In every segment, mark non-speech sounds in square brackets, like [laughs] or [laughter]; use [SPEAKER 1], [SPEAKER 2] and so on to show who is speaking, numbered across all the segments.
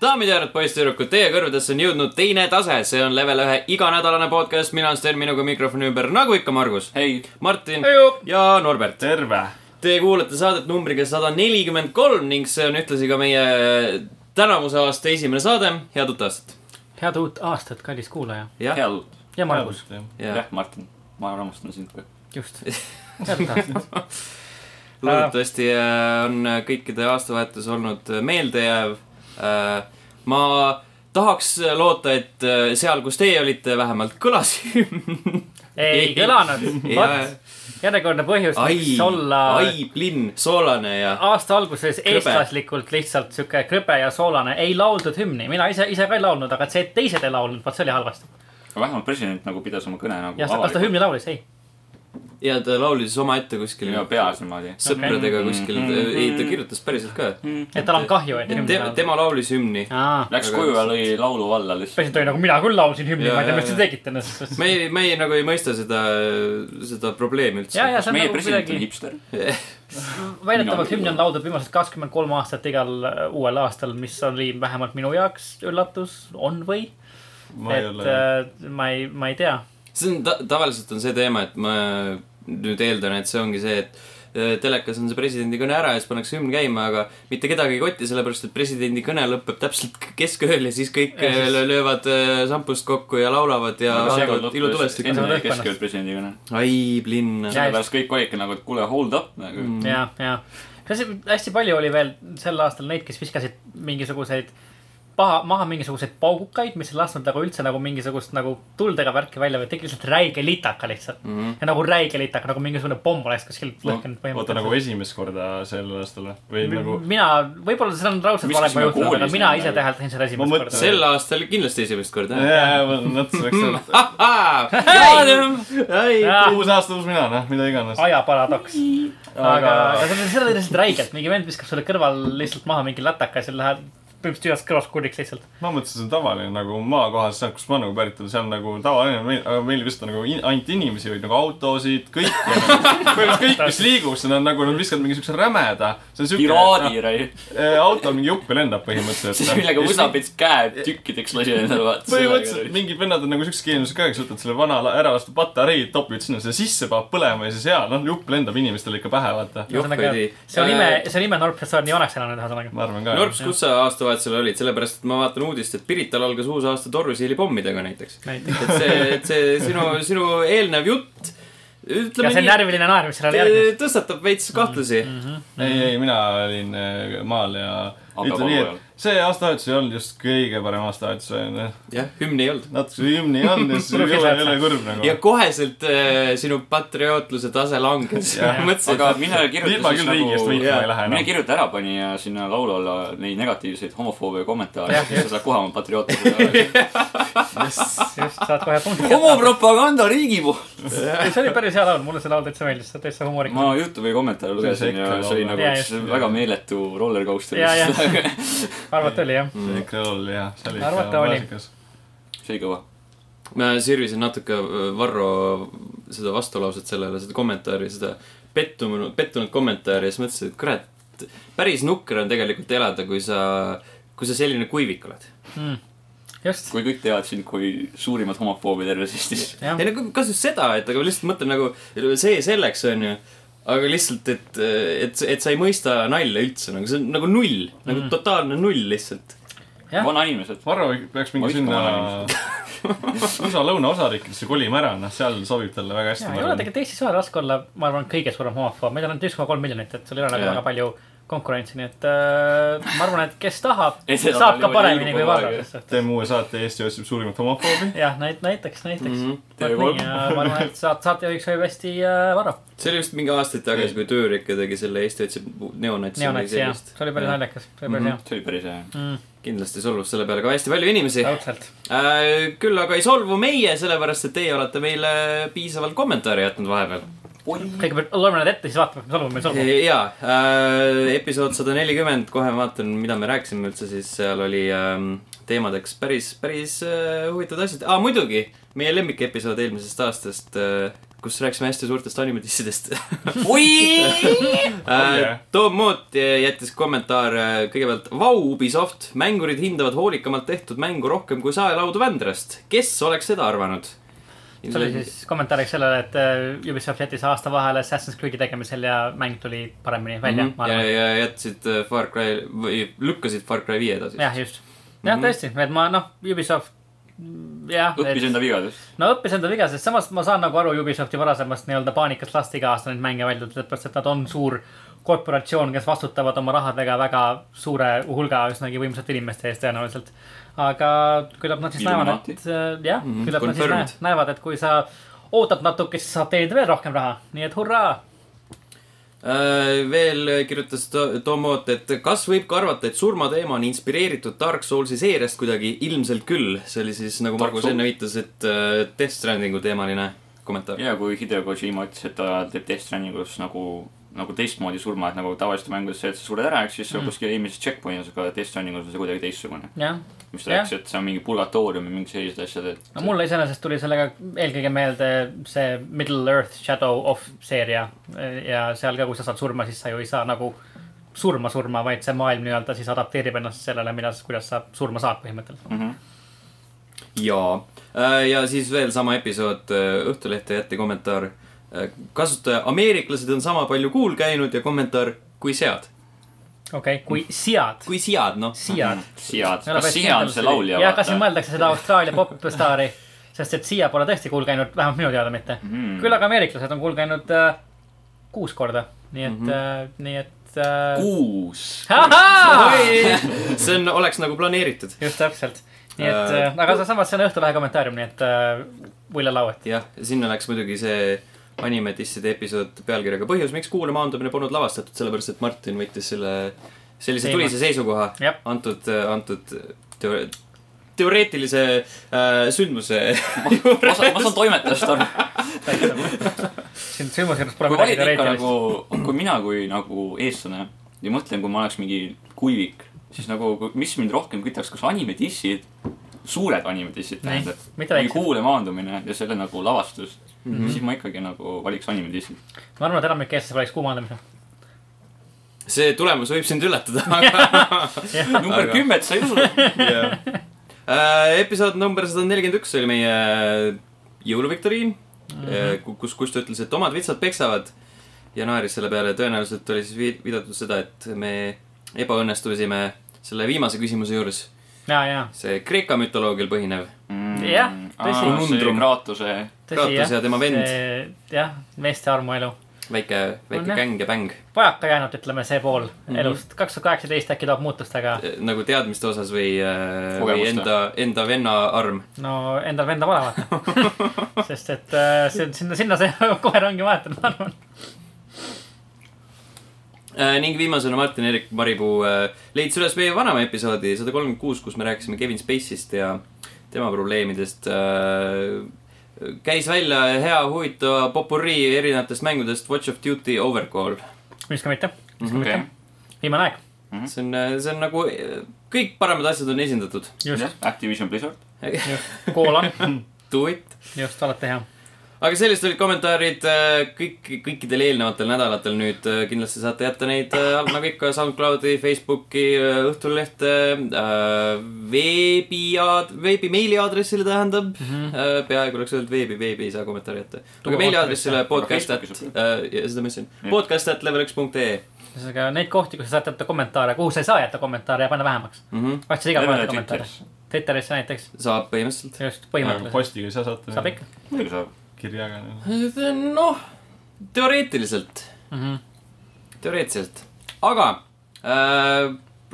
[SPEAKER 1] daamid ja härrad , poisssüdrukud , teie kõrvedesse on jõudnud teine tase , see on level ühe iganädalane podcast , mina olen Sten , minuga mikrofoni ümber , nagu ikka , Margus ,
[SPEAKER 2] hei ,
[SPEAKER 1] Martin
[SPEAKER 2] Heiu!
[SPEAKER 1] ja Norbert .
[SPEAKER 2] terve .
[SPEAKER 1] Te kuulate saadet numbriga sada nelikümmend kolm ning see on ühtlasi ka meie tänavuse aasta esimene saade , head uut aastat .
[SPEAKER 3] head uut aastat , kallis kuulaja .
[SPEAKER 1] jah ,
[SPEAKER 2] head uut .
[SPEAKER 3] ja Margus ,
[SPEAKER 1] Jah.
[SPEAKER 2] jah , Martin , ma armastan sind ka .
[SPEAKER 3] just . head
[SPEAKER 1] [laughs]
[SPEAKER 3] uut aastat .
[SPEAKER 1] loodetavasti äh, on kõikide aastavahetus olnud äh, meeldejääv . ma tahaks loota , et äh, seal , kus teie olite , vähemalt kõlas [laughs] hümn .
[SPEAKER 3] ei kõlanud , vot , järjekordne põhjus ,
[SPEAKER 1] ai
[SPEAKER 3] miks , olla
[SPEAKER 1] ai , plinn , soolane ja
[SPEAKER 3] aasta alguses eestlaslikult lihtsalt sihuke krõbe ja soolane , ei lauldud hümni , mina ise , ise ka ei laulnud , aga see , et teised ei laulnud , vot see oli halvasti .
[SPEAKER 2] vähemalt president nagu pidas oma kõne nagu
[SPEAKER 3] jah , kas ta hümni laulis , ei .
[SPEAKER 1] ja ta laulis omaette kuskil
[SPEAKER 2] ja peas niimoodi .
[SPEAKER 1] sõpradega kuskil ,
[SPEAKER 3] Mm,
[SPEAKER 1] ei ta kirjutas päriselt ka .
[SPEAKER 3] et tal on kahju , et hümni
[SPEAKER 1] tema ,
[SPEAKER 3] laulis .
[SPEAKER 1] tema laulis hümni .
[SPEAKER 3] aa ,
[SPEAKER 2] Läks koju ja lõi laulu alla lihtsalt .
[SPEAKER 3] president oli nagu , mina küll laulsin hümni ,
[SPEAKER 1] Jaa,
[SPEAKER 3] ma ei tea ,
[SPEAKER 1] jaa,
[SPEAKER 3] mis te
[SPEAKER 1] jaa.
[SPEAKER 3] tegite ennast .
[SPEAKER 1] me ei , me ei nagu ei mõista seda , seda probleemi
[SPEAKER 3] ja , ja
[SPEAKER 1] üldse .
[SPEAKER 3] see on
[SPEAKER 2] meie
[SPEAKER 3] nagu
[SPEAKER 2] president on
[SPEAKER 3] kuidagi ,
[SPEAKER 2] hipster .
[SPEAKER 3] väidetavalt
[SPEAKER 2] Mina-
[SPEAKER 3] hümni on lauldud viimased kakskümmend kolm aastat igal äh, uuel aastal , mis oli vähemalt minu jaoks üllatus , on või ?
[SPEAKER 4] ma ei
[SPEAKER 3] et
[SPEAKER 4] ole ,
[SPEAKER 3] äh, ma ei , ma ei tea .
[SPEAKER 1] [laughs] see on ta, , tavaliselt on see teema , et ma nüüd eeldan , et see ongi see , et äh, telekas on see presidendi kõne ära ja siis pannakse hümn käima , aga mitte kedagi ei koti , sellepärast et presidendi kõne lõpeb täpselt k- keskööl ja siis kõik
[SPEAKER 3] Ja siis-
[SPEAKER 1] äh, löövad äh, sampust kokku ja laulavad ja vaatavad ilutulestikku .
[SPEAKER 3] Enne-
[SPEAKER 2] esimene keskööl presidendi kõne .
[SPEAKER 1] ai , plinn .
[SPEAKER 3] Jaa,
[SPEAKER 2] sellepärast kõik olidki nagu , et kuule , hold up nagu .
[SPEAKER 4] Mhm.
[SPEAKER 3] ja , ja . kas see- hästi palju oli veel sel aastal neid , kes viskasid mingisuguseid paha , maha mingisuguseid paugukaid , mis ei lasknud nagu üldse nagu mingisugust nagu tuld ega värki välja , vaid tegi lihtsalt räige litaka lihtsalt mm .
[SPEAKER 4] Mhm.
[SPEAKER 3] -hmm. ja nagu räige litaka , nagu mingisugune pomm oleks kuskil lõhkenud
[SPEAKER 4] oota nagu esimest korda sel aastal või? või nagu ,
[SPEAKER 3] mina , võib-olla see on raudselt valem
[SPEAKER 2] Viskasime
[SPEAKER 3] juhtunud , aga
[SPEAKER 2] koolis
[SPEAKER 3] mina
[SPEAKER 2] neid
[SPEAKER 3] ise
[SPEAKER 2] nagu.
[SPEAKER 3] tähelt tegin selle esimest
[SPEAKER 4] Ma
[SPEAKER 3] korda .
[SPEAKER 4] mõtlesin-
[SPEAKER 1] sel aastal kindlasti esimest korda . ah!
[SPEAKER 4] jaa , ma mõtlesin , Mm. eks see
[SPEAKER 3] Ah.
[SPEAKER 4] on uus aasta , uus mina , noh , mida iganes .
[SPEAKER 3] ajaparadoks . aga
[SPEAKER 4] Aga- ,
[SPEAKER 3] aga see oli , see oli lihtsalt räigelt , mingi vend viskab sulle kõrval lihtsalt maha mingi lätaka ja siis lähed põhimõtteliselt ühest kõrvast kurdiks lihtsalt .
[SPEAKER 4] ma mõtlesin , see on tavaline nagu maakohas , sealt , kus ma nagu pärit olen , see on nagu tavaline , aga meil vist on nagu in, ainult inimesi , vaid nagu autosid , kõike . [laughs] põhimõtteliselt kõik , mis liigub , see on nagu , nad viskavad mingi siukse rämeda . see on siuke . ah,
[SPEAKER 2] piraadi [laughs] raiu ,
[SPEAKER 4] autol mingi jupp lendab põhimõtteliselt . noh.
[SPEAKER 2] millega võsapits käed tükkideks lasi endale vaata .
[SPEAKER 4] põhimõtteliselt . mingid vennad on nagu siukse keemise ka , kes võtavad selle vana la- ära vastu patarei , topivad sinna selle sisse , paneb põlema ja siis jaa , noh jupp lendab inimestele ikka pähe , vaata .
[SPEAKER 1] Juhveidi.
[SPEAKER 3] see on ime , see on ime Norb , et sa oled nii vanaks elanud , ühesõnaga .
[SPEAKER 4] ma arvan ka .
[SPEAKER 1] Norps , kus sa aastavahetusel olid , sellepärast et ma vaatan uudist , et Pirital algas uus aasta torrusiili pommidega näiteks .
[SPEAKER 3] näiteks .
[SPEAKER 1] et see , et see sinu , sinu eelnev jutt ,
[SPEAKER 3] ja see
[SPEAKER 1] ütleme nii ,
[SPEAKER 3] närviline naer , mis sellele järgnes .
[SPEAKER 1] tõstatab veits kahtlusi .
[SPEAKER 3] Mhm,
[SPEAKER 4] ei , ei , mina olin äh, maal ja
[SPEAKER 2] Aga
[SPEAKER 4] ütleme nii ,
[SPEAKER 2] valu
[SPEAKER 4] et see aastavahetus ei olnud just kõige parem aastavahetus , onju .
[SPEAKER 1] jah , hümni ei olnud .
[SPEAKER 4] äh, natuke
[SPEAKER 2] [laughs]
[SPEAKER 4] hümni ei olnud ja siis ei ole , ei ole kurb
[SPEAKER 1] ja
[SPEAKER 4] nagu .
[SPEAKER 1] koheselt äh, sinu patriootluse tase langes . [laughs] mõtlesin ,
[SPEAKER 2] aga
[SPEAKER 1] et
[SPEAKER 2] mina
[SPEAKER 4] ilma
[SPEAKER 2] kirjutasin
[SPEAKER 4] küll riigi eest
[SPEAKER 2] nagu
[SPEAKER 4] võitlema
[SPEAKER 1] jaa.
[SPEAKER 4] ei lähe noh.
[SPEAKER 2] mina
[SPEAKER 4] enam .
[SPEAKER 2] kirjutan ära pani ja sinna laulu alla neid negatiivseid homofoobia kommentaare
[SPEAKER 3] Jah, ,
[SPEAKER 2] siis sa saad kohe oma
[SPEAKER 3] [laughs]
[SPEAKER 2] patriootide .
[SPEAKER 3] just , saad kohe punkti kätte .
[SPEAKER 2] homopropaganda riigi poolt .
[SPEAKER 3] see oli päris hea laul , mulle see laul täitsa meeldis , see on täitsa humoorikas .
[SPEAKER 2] ma Youtube'i kommentaare lugesin ja see oli nagu
[SPEAKER 3] Jaa,
[SPEAKER 2] üks
[SPEAKER 3] just.
[SPEAKER 2] väga meeletu rollercoaster .
[SPEAKER 3] Jaa,
[SPEAKER 2] [laughs]
[SPEAKER 3] jah.
[SPEAKER 2] see
[SPEAKER 3] arvad , oli jah ?
[SPEAKER 4] see EKRE roll jah , see oli
[SPEAKER 3] Arvata
[SPEAKER 4] ikka
[SPEAKER 3] oli.
[SPEAKER 4] maasikas .
[SPEAKER 2] oli kõva .
[SPEAKER 1] ma sirvisin natuke Varro seda vastulauset sellele , seda kommentaari , seda pettunud , pettunud kommentaari ja siis mõtlesin , et kurat , päris nukker on tegelikult elada , kui sa , kui sa selline kuivik oled .
[SPEAKER 3] Mm. just ,
[SPEAKER 2] kui kõik teavad sind kui suurimat homofoobi terves Eestis .
[SPEAKER 3] jah
[SPEAKER 1] ei . no kas just seda , et aga ma lihtsalt mõtlen nagu see selleks on ju , aga lihtsalt , et , et , et sa ei mõista nalja üldse nagu see on nagu null ,
[SPEAKER 3] Mm.
[SPEAKER 1] nagu totaalne null lihtsalt .
[SPEAKER 3] Jah.
[SPEAKER 2] vanainimesed .
[SPEAKER 4] Varro peaks mingi
[SPEAKER 2] Ma vihkan
[SPEAKER 4] sinna
[SPEAKER 2] vanainimesi.
[SPEAKER 4] USA lõunaosariikidesse kolima ära , noh , seal sobib talle väga hästi .
[SPEAKER 3] ja ei ole tegelikult Eestis väga raske olla , ma arvan , kõige suurem homofoob , meid on ainult üks koma kolm miljonit , et sul ei ole nagu
[SPEAKER 1] Jaa.
[SPEAKER 3] väga palju konkurentsi , nii et äh, ma arvan , et kes tahab ,
[SPEAKER 2] [laughs] Ei, seda
[SPEAKER 3] saab ka
[SPEAKER 2] niimoodi
[SPEAKER 3] paremini kui
[SPEAKER 2] liigub kogu
[SPEAKER 3] Varro
[SPEAKER 2] aeg, jah.
[SPEAKER 3] lihtsalt .
[SPEAKER 4] teeme uue saate Eesti otsib suurimat homofoobi .
[SPEAKER 3] jah , näit- , näiteks , näiteks mm .
[SPEAKER 2] Mhm, Tee
[SPEAKER 3] -hmm.
[SPEAKER 2] kolm.
[SPEAKER 3] nii , ma arvan , et saate , saatejuhiks võib hästi äh, Varro ,
[SPEAKER 1] see oli just mingi aastaid tagasi , kui Töörike tegi selle Eesti otsib neonatsi .
[SPEAKER 3] neonats ja see oli päris . naljakas , see oli päris hea Mm,
[SPEAKER 2] see oli päris hea .
[SPEAKER 1] kindlasti solvus selle peale ka hästi palju inimesi .
[SPEAKER 3] raudselt .
[SPEAKER 1] Äh, küll aga ei solvu meie , sellepärast et teie olete meile piisavalt kommentaare jätnud vahepeal .
[SPEAKER 3] kõigepealt loeme need ette , siis vaatame , mis oleme , mis oleme .
[SPEAKER 1] ja äh, , episood sada nelikümmend , kohe vaatan , mida me rääkisime üldse , siis seal oli äh, teemadeks päris , päris äh, huvitavad asjad ah, . muidugi , meie lemmikepisood eelmisest aastast äh, , kus rääkisime hästi suurtest animedissidest .
[SPEAKER 2] oi .
[SPEAKER 4] yeah.
[SPEAKER 1] Äh, Tom Moot jättis kommentaare kõigepealt . Vau , Ubisoft , mängurid hindavad hoolikamalt tehtud mängu rohkem kui saelaudu Vändrast . kes oleks seda arvanud ? Mhm.
[SPEAKER 3] see oli siis kommentaariks sellele , et äh, Ubisoft jättis aasta vahele Assassin's Creed'i tegemisel ja mäng tuli paremini välja mm ,
[SPEAKER 2] Mhm.
[SPEAKER 3] -hmm. ma
[SPEAKER 1] ja ,
[SPEAKER 3] arvan .
[SPEAKER 1] ja jätsid äh, Far Cry või lükkasid Far Cry viie edasi .
[SPEAKER 3] jah , just . jah ,
[SPEAKER 1] Mhm.
[SPEAKER 3] tõesti , et ma noh , Ubisoft , jah .
[SPEAKER 2] õppis enda vigadest .
[SPEAKER 3] no õppis enda viga , sest samas ma saan nagu aru Ubisofti varasemast nii-öelda paanikast lasta iga aasta neid mänge välja , sellepärast et nad on suur korporatsioon , kes vastutavad oma rahadega väga suure hulga üsnagi võimsate inimeste eest tõenäoliselt . aga küllap nad siis näevad ,
[SPEAKER 2] Illuminati.
[SPEAKER 3] et äh, jah mm ,
[SPEAKER 1] Mhm,
[SPEAKER 3] -hmm, küllap nad siis
[SPEAKER 1] confirmed.
[SPEAKER 3] näe- näevad , et kui sa ootad natuke , siis saab teenida veel rohkem raha , nii et hurraa .
[SPEAKER 1] Äh, veel kirjutas To- Tom Oot , et äh, kas võib ka arvata , et surmateema on inspireeritud Dark Soulsi seeriast kuidagi ? ilmselt küll . see oli siis , nagu
[SPEAKER 2] Dark
[SPEAKER 1] Margus
[SPEAKER 2] Souls.
[SPEAKER 1] enne viitas , et äh, Death Strandingu teemaline kommentaar .
[SPEAKER 2] ja kui Hideo Kojima ütles , et ta teeb Death Strandingus nagu , nagu teistmoodi surma , et nagu tavaliselt mängudes see , et sa sured ära , eks siis mm. kuskil eelmises checkpointis , aga Death Strandingus on see kuidagi teistsugune .
[SPEAKER 3] jah ,
[SPEAKER 2] mis ta
[SPEAKER 3] Jah.
[SPEAKER 2] rääkis , et see on mingi purgatoorium ja mingid sellised asjad , et
[SPEAKER 3] no mulle iseenesest tuli sellega eelkõige meelde see Middle Earth Shadow of seeria ja seal ka , kui sa saad surma , siis sa ju ei saa nagu surma surma , vaid see maailm nii-öelda siis adapteerib ennast sellele , mida , kuidas sa surma saad põhimõtteliselt .
[SPEAKER 2] Mhm.
[SPEAKER 1] jaa , Äh, ja siis veel sama episood , Õhtulehte jätti kommentaar . kasutaja , ameeriklased on sama palju kuul käinud ja kommentaar , kui sead .
[SPEAKER 3] okei okay, , kui sead ,
[SPEAKER 1] kui sead , noh .
[SPEAKER 3] sead .
[SPEAKER 2] Mm, siad , Mhm. kas siia on see laulja ?
[SPEAKER 3] jah , kas siin mõeldakse seda Austraalia popstaari , sest et siia pole tõesti kuul käinud , vähemalt minu teada mitte
[SPEAKER 2] Mhm.
[SPEAKER 3] mm. . küll aga ameeriklased on kuul käinud äh, kuus korda , nii et mm , -hmm. äh, nii et äh, .
[SPEAKER 2] Mhm. kuus .
[SPEAKER 3] ahhaa ! [laughs]
[SPEAKER 1] see on , oleks nagu planeeritud .
[SPEAKER 3] just täpselt , nii et
[SPEAKER 1] Äh,
[SPEAKER 3] äh, , aga see samas , see on Õhtulehe kommentaarium , nii et äh, Ulle Lauet .
[SPEAKER 1] jah , sinna läks muidugi see animedisside episood pealkirjaga põhjus , miks kuule maandumine polnud lavastatud , sellepärast et Martin võttis selle , sellise
[SPEAKER 3] Teema.
[SPEAKER 1] tulise seisukoha
[SPEAKER 3] Jah.
[SPEAKER 1] antud , antud teo- teoreetilise äh,
[SPEAKER 3] [laughs]
[SPEAKER 1] sündmuse [laughs]
[SPEAKER 2] ma saan , ma saan toimetajast aru .
[SPEAKER 3] nagu-
[SPEAKER 2] [laughs]
[SPEAKER 3] siin sündmuse juures pole
[SPEAKER 2] kui
[SPEAKER 3] midagi
[SPEAKER 2] valid ikka
[SPEAKER 3] teoreetilist
[SPEAKER 2] nagu , kui mina kui nagu eestlane ja mõtlen , kui ma oleks mingi kuivik , siis nagu , mis mind rohkem kütaks , kas animedissid , suured animedissid
[SPEAKER 3] Nii,
[SPEAKER 2] tähendab ,
[SPEAKER 3] mitte
[SPEAKER 2] mingi
[SPEAKER 3] väiksed.
[SPEAKER 2] kuule maandumine ja selle nagu lavastus mm , -hmm. siis ma ikkagi nagu valiks animedissid .
[SPEAKER 3] ma arvan , et enamik eestlasi valiks kuumandamise .
[SPEAKER 1] see tulemus võib sind üllatada , [laughs] aga
[SPEAKER 2] number
[SPEAKER 1] Aga-
[SPEAKER 2] kümmet sa ei usu .
[SPEAKER 1] yeah. . Uh, episood number sada nelikümmend üks oli meie jõuluviktoriin
[SPEAKER 3] Mhm.
[SPEAKER 1] mm , -hmm. kus , kus ta ütles , et omad vitsad peksavad ja naeris selle peale . tõenäoliselt oli siis vi- viidatud seda , et me ebaõnnestusime selle viimase küsimuse juures .
[SPEAKER 3] ja , ja ,
[SPEAKER 1] see Kreeka mütoloogial põhinev .
[SPEAKER 3] [laughs] Jah, tõsi.
[SPEAKER 2] Mm, see
[SPEAKER 1] Konundrum.
[SPEAKER 2] Kraatuse ,
[SPEAKER 3] tõsi
[SPEAKER 1] Kratos ja tema vend. .
[SPEAKER 3] jah , meeste armuelu .
[SPEAKER 1] väike , väike
[SPEAKER 3] On jah.
[SPEAKER 1] gäng ja bäng .
[SPEAKER 3] vajaka jäänud , ütleme see pool mm
[SPEAKER 2] Mhm.
[SPEAKER 3] -hmm. elust . kaks tuhat kaheksateist äkki toob muutust , aga
[SPEAKER 1] nagu teadmiste osas või , või
[SPEAKER 2] Kogemuste.
[SPEAKER 1] enda , enda venna arm .
[SPEAKER 3] no endal venda pole
[SPEAKER 2] [laughs]
[SPEAKER 3] vaata . sest et äh, see , sinna , sinna see [laughs] kohe rongi vahetada , ma arvan .
[SPEAKER 1] Äh, ning viimasena Martin-Erik Maripuu äh, leidis üles meie vanema episoodi sada kolmkümmend kuus , kus me rääkisime Kevin Spacey'st ja tema probleemidest . käis välja hea huvitava popurii erinevatest mängudest Watch of Duty Overcall .
[SPEAKER 3] miks ka mitte ,
[SPEAKER 2] okei .
[SPEAKER 3] viimane aeg ,
[SPEAKER 1] see on , see on nagu , kõik paremad asjad on esindatud .
[SPEAKER 3] just ,
[SPEAKER 2] Activision Blizzard . [laughs]
[SPEAKER 3] kool on ,
[SPEAKER 1] Do it .
[SPEAKER 3] just , alati hea .
[SPEAKER 1] aga sellised olid kommentaarid äh, kõik , kõikidel eelnevatel nädalatel nüüd äh, kindlasti saate jätta neid äh, all- nagu ikka SoundCloudi , Facebooki , Õhtulehte , äh, veebi , veebi meiliaadressile tähendab mm . -hmm. peaaegu oleks öelnud veebi , veebi ei saa kommentaari jätta .
[SPEAKER 3] Tuua
[SPEAKER 1] aga meiliaadressile
[SPEAKER 2] Facebookis
[SPEAKER 1] podcast at ,
[SPEAKER 2] saab
[SPEAKER 1] seda ma ütlesin , podcast at level üks punkt ee .
[SPEAKER 3] ühesõnaga neid kohti , kus sa saad jätta kommentaare , kuhu sa ei saa jätta kommentaare ja panna vähemaks mm .
[SPEAKER 1] Mhm.
[SPEAKER 3] -hmm. vaatasid igal pool
[SPEAKER 2] Levele
[SPEAKER 3] kommentaare . Twitterisse näiteks ,
[SPEAKER 1] saab põhimõtteliselt .
[SPEAKER 3] just
[SPEAKER 4] aga
[SPEAKER 3] põhimõtteliselt .
[SPEAKER 4] postiga ei saa saata .
[SPEAKER 3] saab ikka .
[SPEAKER 2] muidugi saab .
[SPEAKER 4] kirjaga .
[SPEAKER 1] noh , teoreetiliselt
[SPEAKER 3] Mm -hmm.
[SPEAKER 1] teoreetiliselt , aga äh,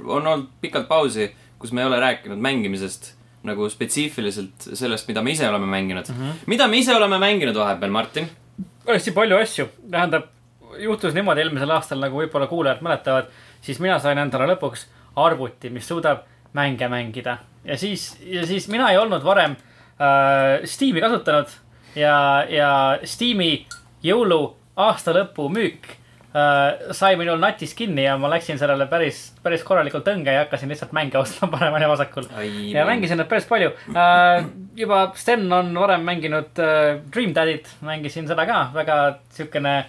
[SPEAKER 1] on olnud pikalt pausi , kus me ei ole rääkinud mängimisest nagu spetsiifiliselt sellest , mida me ise oleme mänginud mm .
[SPEAKER 3] Mhm.
[SPEAKER 1] -hmm. mida me ise oleme mänginud vahepeal , Martin ?
[SPEAKER 3] hästi palju asju , tähendab , juhtus niimoodi eelmisel aastal , nagu võib-olla kuulajad mäletavad , siis mina sain endale lõpuks arvuti , mis suudab mänge mängida ja siis , ja siis mina ei olnud varem äh, Steam'i kasutanud ja , ja Steam'i jõulu aasta lõpu müük äh, sai minul natis kinni ja ma läksin sellele päris , päris korralikult õnge ja hakkasin lihtsalt mänge ostma [laughs] paremal ja vasakul . ja mängisin nad päris palju uh, . juba Sten on varem mänginud uh, Dream Daddy't , mängisin seda ka , väga siukene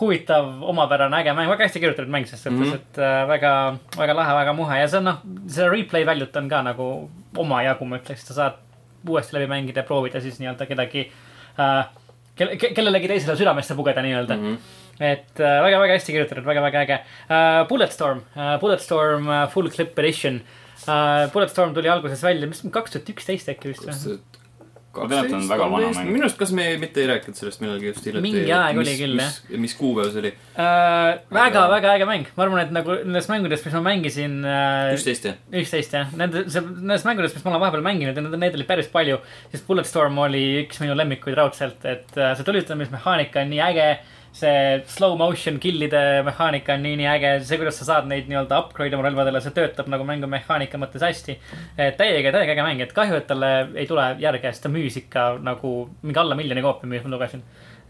[SPEAKER 3] huvitav , omapärane , äge mäng , väga hästi kirjutatud mäng , selles suhtes mm , -hmm. et uh, väga , väga lahe , väga muhe ja see on noh , see replay väljut on ka nagu omajagu , ma ütleks , sa saad uuesti läbi mängida ja proovida siis nii-öelda kedagi uh, , kelle , kellelegi teisele südamesse pugeda nii-öelda mm . -hmm et äh, väga-väga hästi kirjutatud , väga-väga äge uh, . Bulletstorm uh, , Bulletstorm uh, full clip edition uh, . Bulletstorm tuli alguses välja , mis kaks tuhat üksteist äkki vist või ?
[SPEAKER 2] Ma tean, et on väga vana mäng.
[SPEAKER 1] minu arust , kas me mitte ei rääkinud sellest millalgi just hiljuti ?
[SPEAKER 3] Mingi aeg oli küll,
[SPEAKER 1] jah . mis kuupäev see oli ?
[SPEAKER 3] väga-väga Äh, äge mäng , ma arvan , et nagu nendest mängudest , mis ma mängisin uh, .
[SPEAKER 1] üksteist jah ?
[SPEAKER 3] üksteist jah , nende , nendest mängudest , mis ma olen vahepeal mänginud ja neid oli päris palju . siis Bulletstorm oli üks minu lemmikuid raudselt , et äh, see tulistamismehaanika on nii äge . see slow motion kill'ide mehaanika on nii , nii äge , see , kuidas sa saad neid nii-öelda upgrade oma relvadele , see töötab nagu mängumehaanika mõttes hästi . täiega , täiega äge mäng , et kahju , et talle ei tule järge , sest ta müüs ikka nagu mingi alla miljoni koopi , millest ma lugesin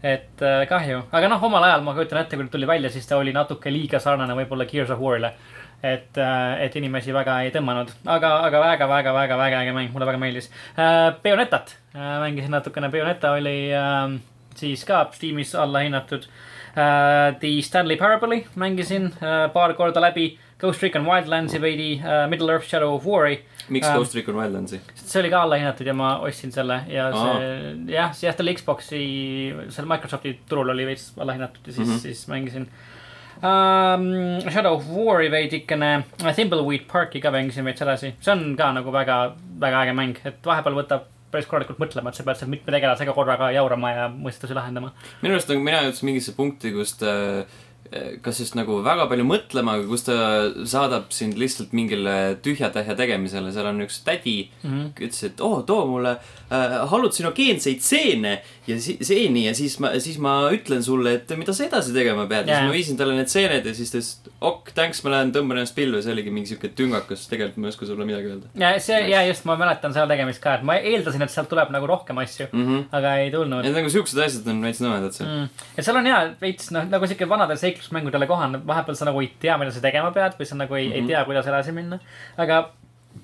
[SPEAKER 3] et äh, kahju , aga noh , omal ajal ma kujutan ette , kui ta tuli välja , siis ta oli natuke liiga sarnane võib-olla Gears of War'ile . et , et inimesi väga ei tõmmanud , aga , aga väga , väga , väga , väga äge mäng , mulle väga meeldis . Bayonetat äh, mängisin natukene , Bayoneta oli äh, siis ka Steamis alla hinnatud . The Stanley Parable'i mängisin äh, paar korda läbi , Ghost Recon Wildlandsi veidi , Middle Earth Shadow of War'i .
[SPEAKER 1] miks Ghost Recon Wildlandsi ?
[SPEAKER 3] sest see oli ka allahinnatud ja ma ostsin selle ja
[SPEAKER 1] Aa.
[SPEAKER 3] see jah , jah ta oli Xbox'i , seal Microsofti turul oli veits allahinnatud ja siis mm ,
[SPEAKER 1] Mhm.
[SPEAKER 3] -hmm. siis mängisin um, . Shadow of War'i veidikene , Thimbleweed Parki ka mängisin veits edasi , see on ka nagu väga , väga äge mäng , et vahepeal võtab päris korralikult mõtlema , et sa pead seal mitme tegelasega korraga jaurama ja mõistusi lahendama .
[SPEAKER 1] minu arust nagu mina jõudsin mingisse punkti , kus ta kas just nagu väga palju mõtlema , aga kus ta saadab sind lihtsalt mingile tühja tähja tegemisele , seal on üks tädi mm ,
[SPEAKER 3] Mhm.
[SPEAKER 1] -hmm. ütles , et oo , too mulle äh, hallutsinogeenseid seene ja si- , seeni ja siis ma , siis ma ütlen sulle , et mida sa edasi tegema pead yeah. .
[SPEAKER 3] Jaa.
[SPEAKER 1] siis ma viisin talle need seened ja siis ta ütles , et ok , thanks , ma lähen tõmban ennast pilve , see oligi mingi siuke tüngakas , tegelikult ma ei oska sulle midagi öelda
[SPEAKER 3] ja see ja just ma mäletan selle tegemist ka , et ma eeldasin , et sealt tuleb nagu rohkem asju ,
[SPEAKER 1] mm . -hmm.
[SPEAKER 3] aga ei tulnud .
[SPEAKER 1] et nagu siuksed asjad on veits nõmedad seal mm. .
[SPEAKER 3] mm. . ja seal on hea veits noh , nagu siuke vanade seiklusmängudele kohane , vahepeal sa nagu ei tea , mida sa tegema pead või sa nagu ei mm , -hmm. ei tea , kuidas edasi minna . aga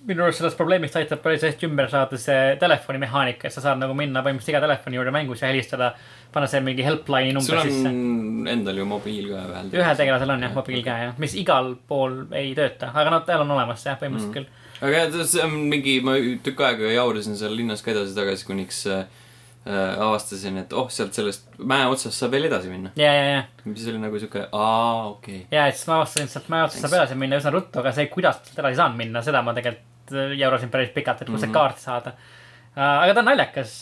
[SPEAKER 3] minu arust sellest probleemist aitab päris hästi ümber saada see telefonimehaanika , et sa saad nagu minna põhimõtteliselt iga telefoni juurde mängus ja helistada , panna see mingi helpline'i
[SPEAKER 1] sul
[SPEAKER 3] number on... sisse
[SPEAKER 1] on endal ju mobiil ka vahel .
[SPEAKER 3] ühel tegelasel on jah mobiil ka jah , mis igal pool ei tööta , aga noh , tal on olemas see jah , põhimõtteliselt mm -hmm. küll .
[SPEAKER 1] aga jah, see on mingi , ma tükk aega jaurisin seal linnas ka edasi-tagasi , kuniks äh, äh, avastasin , et oh , sealt sellest mäe otsast saab veel edasi minna .
[SPEAKER 3] ja , ja , ja ,
[SPEAKER 1] mis oli nagu siuke , aa , okei okay. .
[SPEAKER 3] ja siis ma avastasin sealt , ma otsustasin saab edasi minna üsna ruttu , aga see , kuidas sealt edasi saan minna , seda ma tegelikult äh, jaurasin päris pikalt , et kust see kaart saada . aga ta on naljakas ,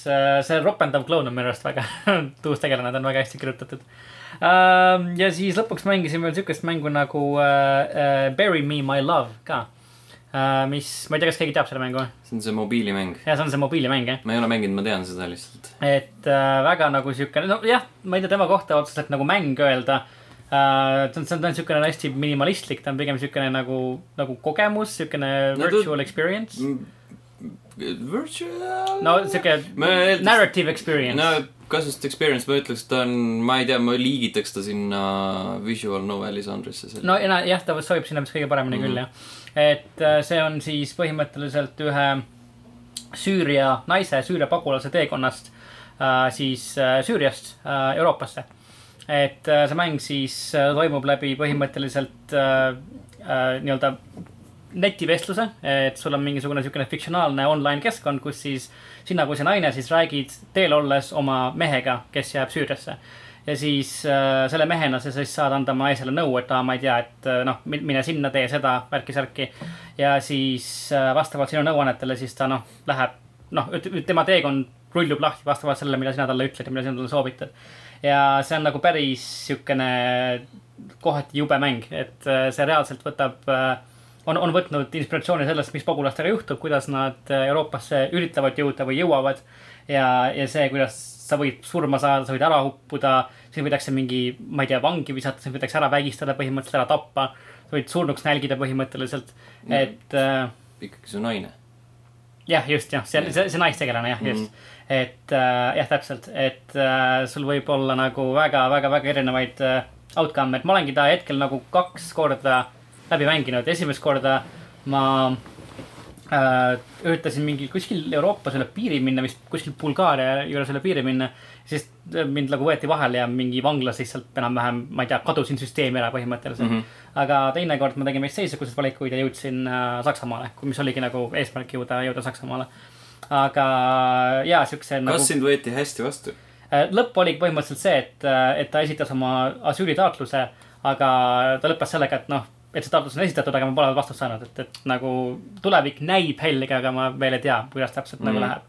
[SPEAKER 3] see ropendav kloun on minu arust väga [laughs] tuus tegelane , ta on väga hästi kirjutatud . ja siis lõpuks mängisin veel siukest mängu nagu äh, äh, Bury me my love ka . mis , ma ei tea , kas keegi teab selle mängu või ?
[SPEAKER 1] see on see mobiilimäng .
[SPEAKER 3] jah , see on see mobiilimäng jah .
[SPEAKER 1] ma ei ole mänginud , ma tean seda lihtsalt .
[SPEAKER 3] et äh, väga nagu siukene , nojah , ma ei tea tema kohta otseselt nagu mäng öelda äh, . ta on , ta on siukene hästi minimalistlik , ta on pigem siukene nagu , nagu kogemus , siukene
[SPEAKER 1] No ta-
[SPEAKER 3] virtual experience .
[SPEAKER 1] Virtual
[SPEAKER 3] no siuke
[SPEAKER 1] ma eeldaks ,
[SPEAKER 3] narrative experience
[SPEAKER 1] no
[SPEAKER 3] no. .
[SPEAKER 1] kas just experience , ma ütleks , ta on , ma ei tea , ma liigitaks ta sinna visual noveli žanrisse .
[SPEAKER 3] no ja na- jah , ta sobib sinna vist kõige paremini mm. küll jah . et äh, see on siis põhimõtteliselt ühe Süüria naise , Süüria pagulase teekonnast äh, siis äh, Süüriast äh, Euroopasse . et äh, see mäng siis äh, toimub läbi põhimõtteliselt äh, äh, nii-öelda netivestluse , et sul on mingisugune siukene fiktsionaalne online keskkond , kus siis sina kui see naine siis räägid teel olles oma mehega , kes jääb Süüriasse . ja siis äh, selle mehena sa siis saad anda oma naisele nõu , et aa , ma ei tea , et äh, noh , mine sinna , tee seda , värki-särki . ja siis äh, vastavalt sinu nõuannetele , siis ta noh , läheb , noh , tema teekond rullub lahti vastavalt sellele , mida sina talle ütled ja mida sina talle soovitad . ja see on nagu päris siukene kohati jube mäng , et äh, see reaalselt võtab äh, on , on võtnud inspiratsiooni sellest , mis pagulastega juhtub , kuidas nad äh, Euroopasse üritavad jõuda või jõuavad . ja , ja see , kuidas sa võid surma saada , sa võid ära uppuda , sind võidakse mingi , ma ei tea , vangi visata , sind võidakse ära vägistada , põhimõtteliselt ära tappa . sa võid surnuks nälgida põhimõtteliselt , et äh,
[SPEAKER 1] ikkagi su naine .
[SPEAKER 3] jah , just jah , see , see , see naistegelane jah , just mm . -hmm. et äh, jah , täpselt , et äh, sul võib olla nagu väga , väga , väga erinevaid äh, outcome , et ma olengi ta hetkel nagu kaks korda läbi mänginud , esimest korda ma äh, üritasin mingi kuskil Euroopas üle piiri minna , vist kuskil Bulgaaria juures üle piiri minna . siis mind nagu võeti vahele ja mingi vanglas lihtsalt enam-vähem , ma ei tea , kadusin süsteemi ära põhimõtteliselt mm . -hmm. aga teinekord ma tegin vist seisuguseid valikuid ja jõudsin äh, Saksamaale , mis oligi nagu eesmärk jõuda , jõuda Saksamaale . aga jaa , siukse
[SPEAKER 1] kas
[SPEAKER 3] nagu
[SPEAKER 1] sind võeti hästi vastu ?
[SPEAKER 3] äh, lõpp oligi põhimõtteliselt see , et , et ta esitas oma asüülitaotluse , aga ta lõppes sellega , et noh , et see taotlus on esitatud , aga ma pole vastust saanud , et , et nagu tulevik näib helge , aga ma veel ei tea , kuidas täpselt mm. nagu läheb .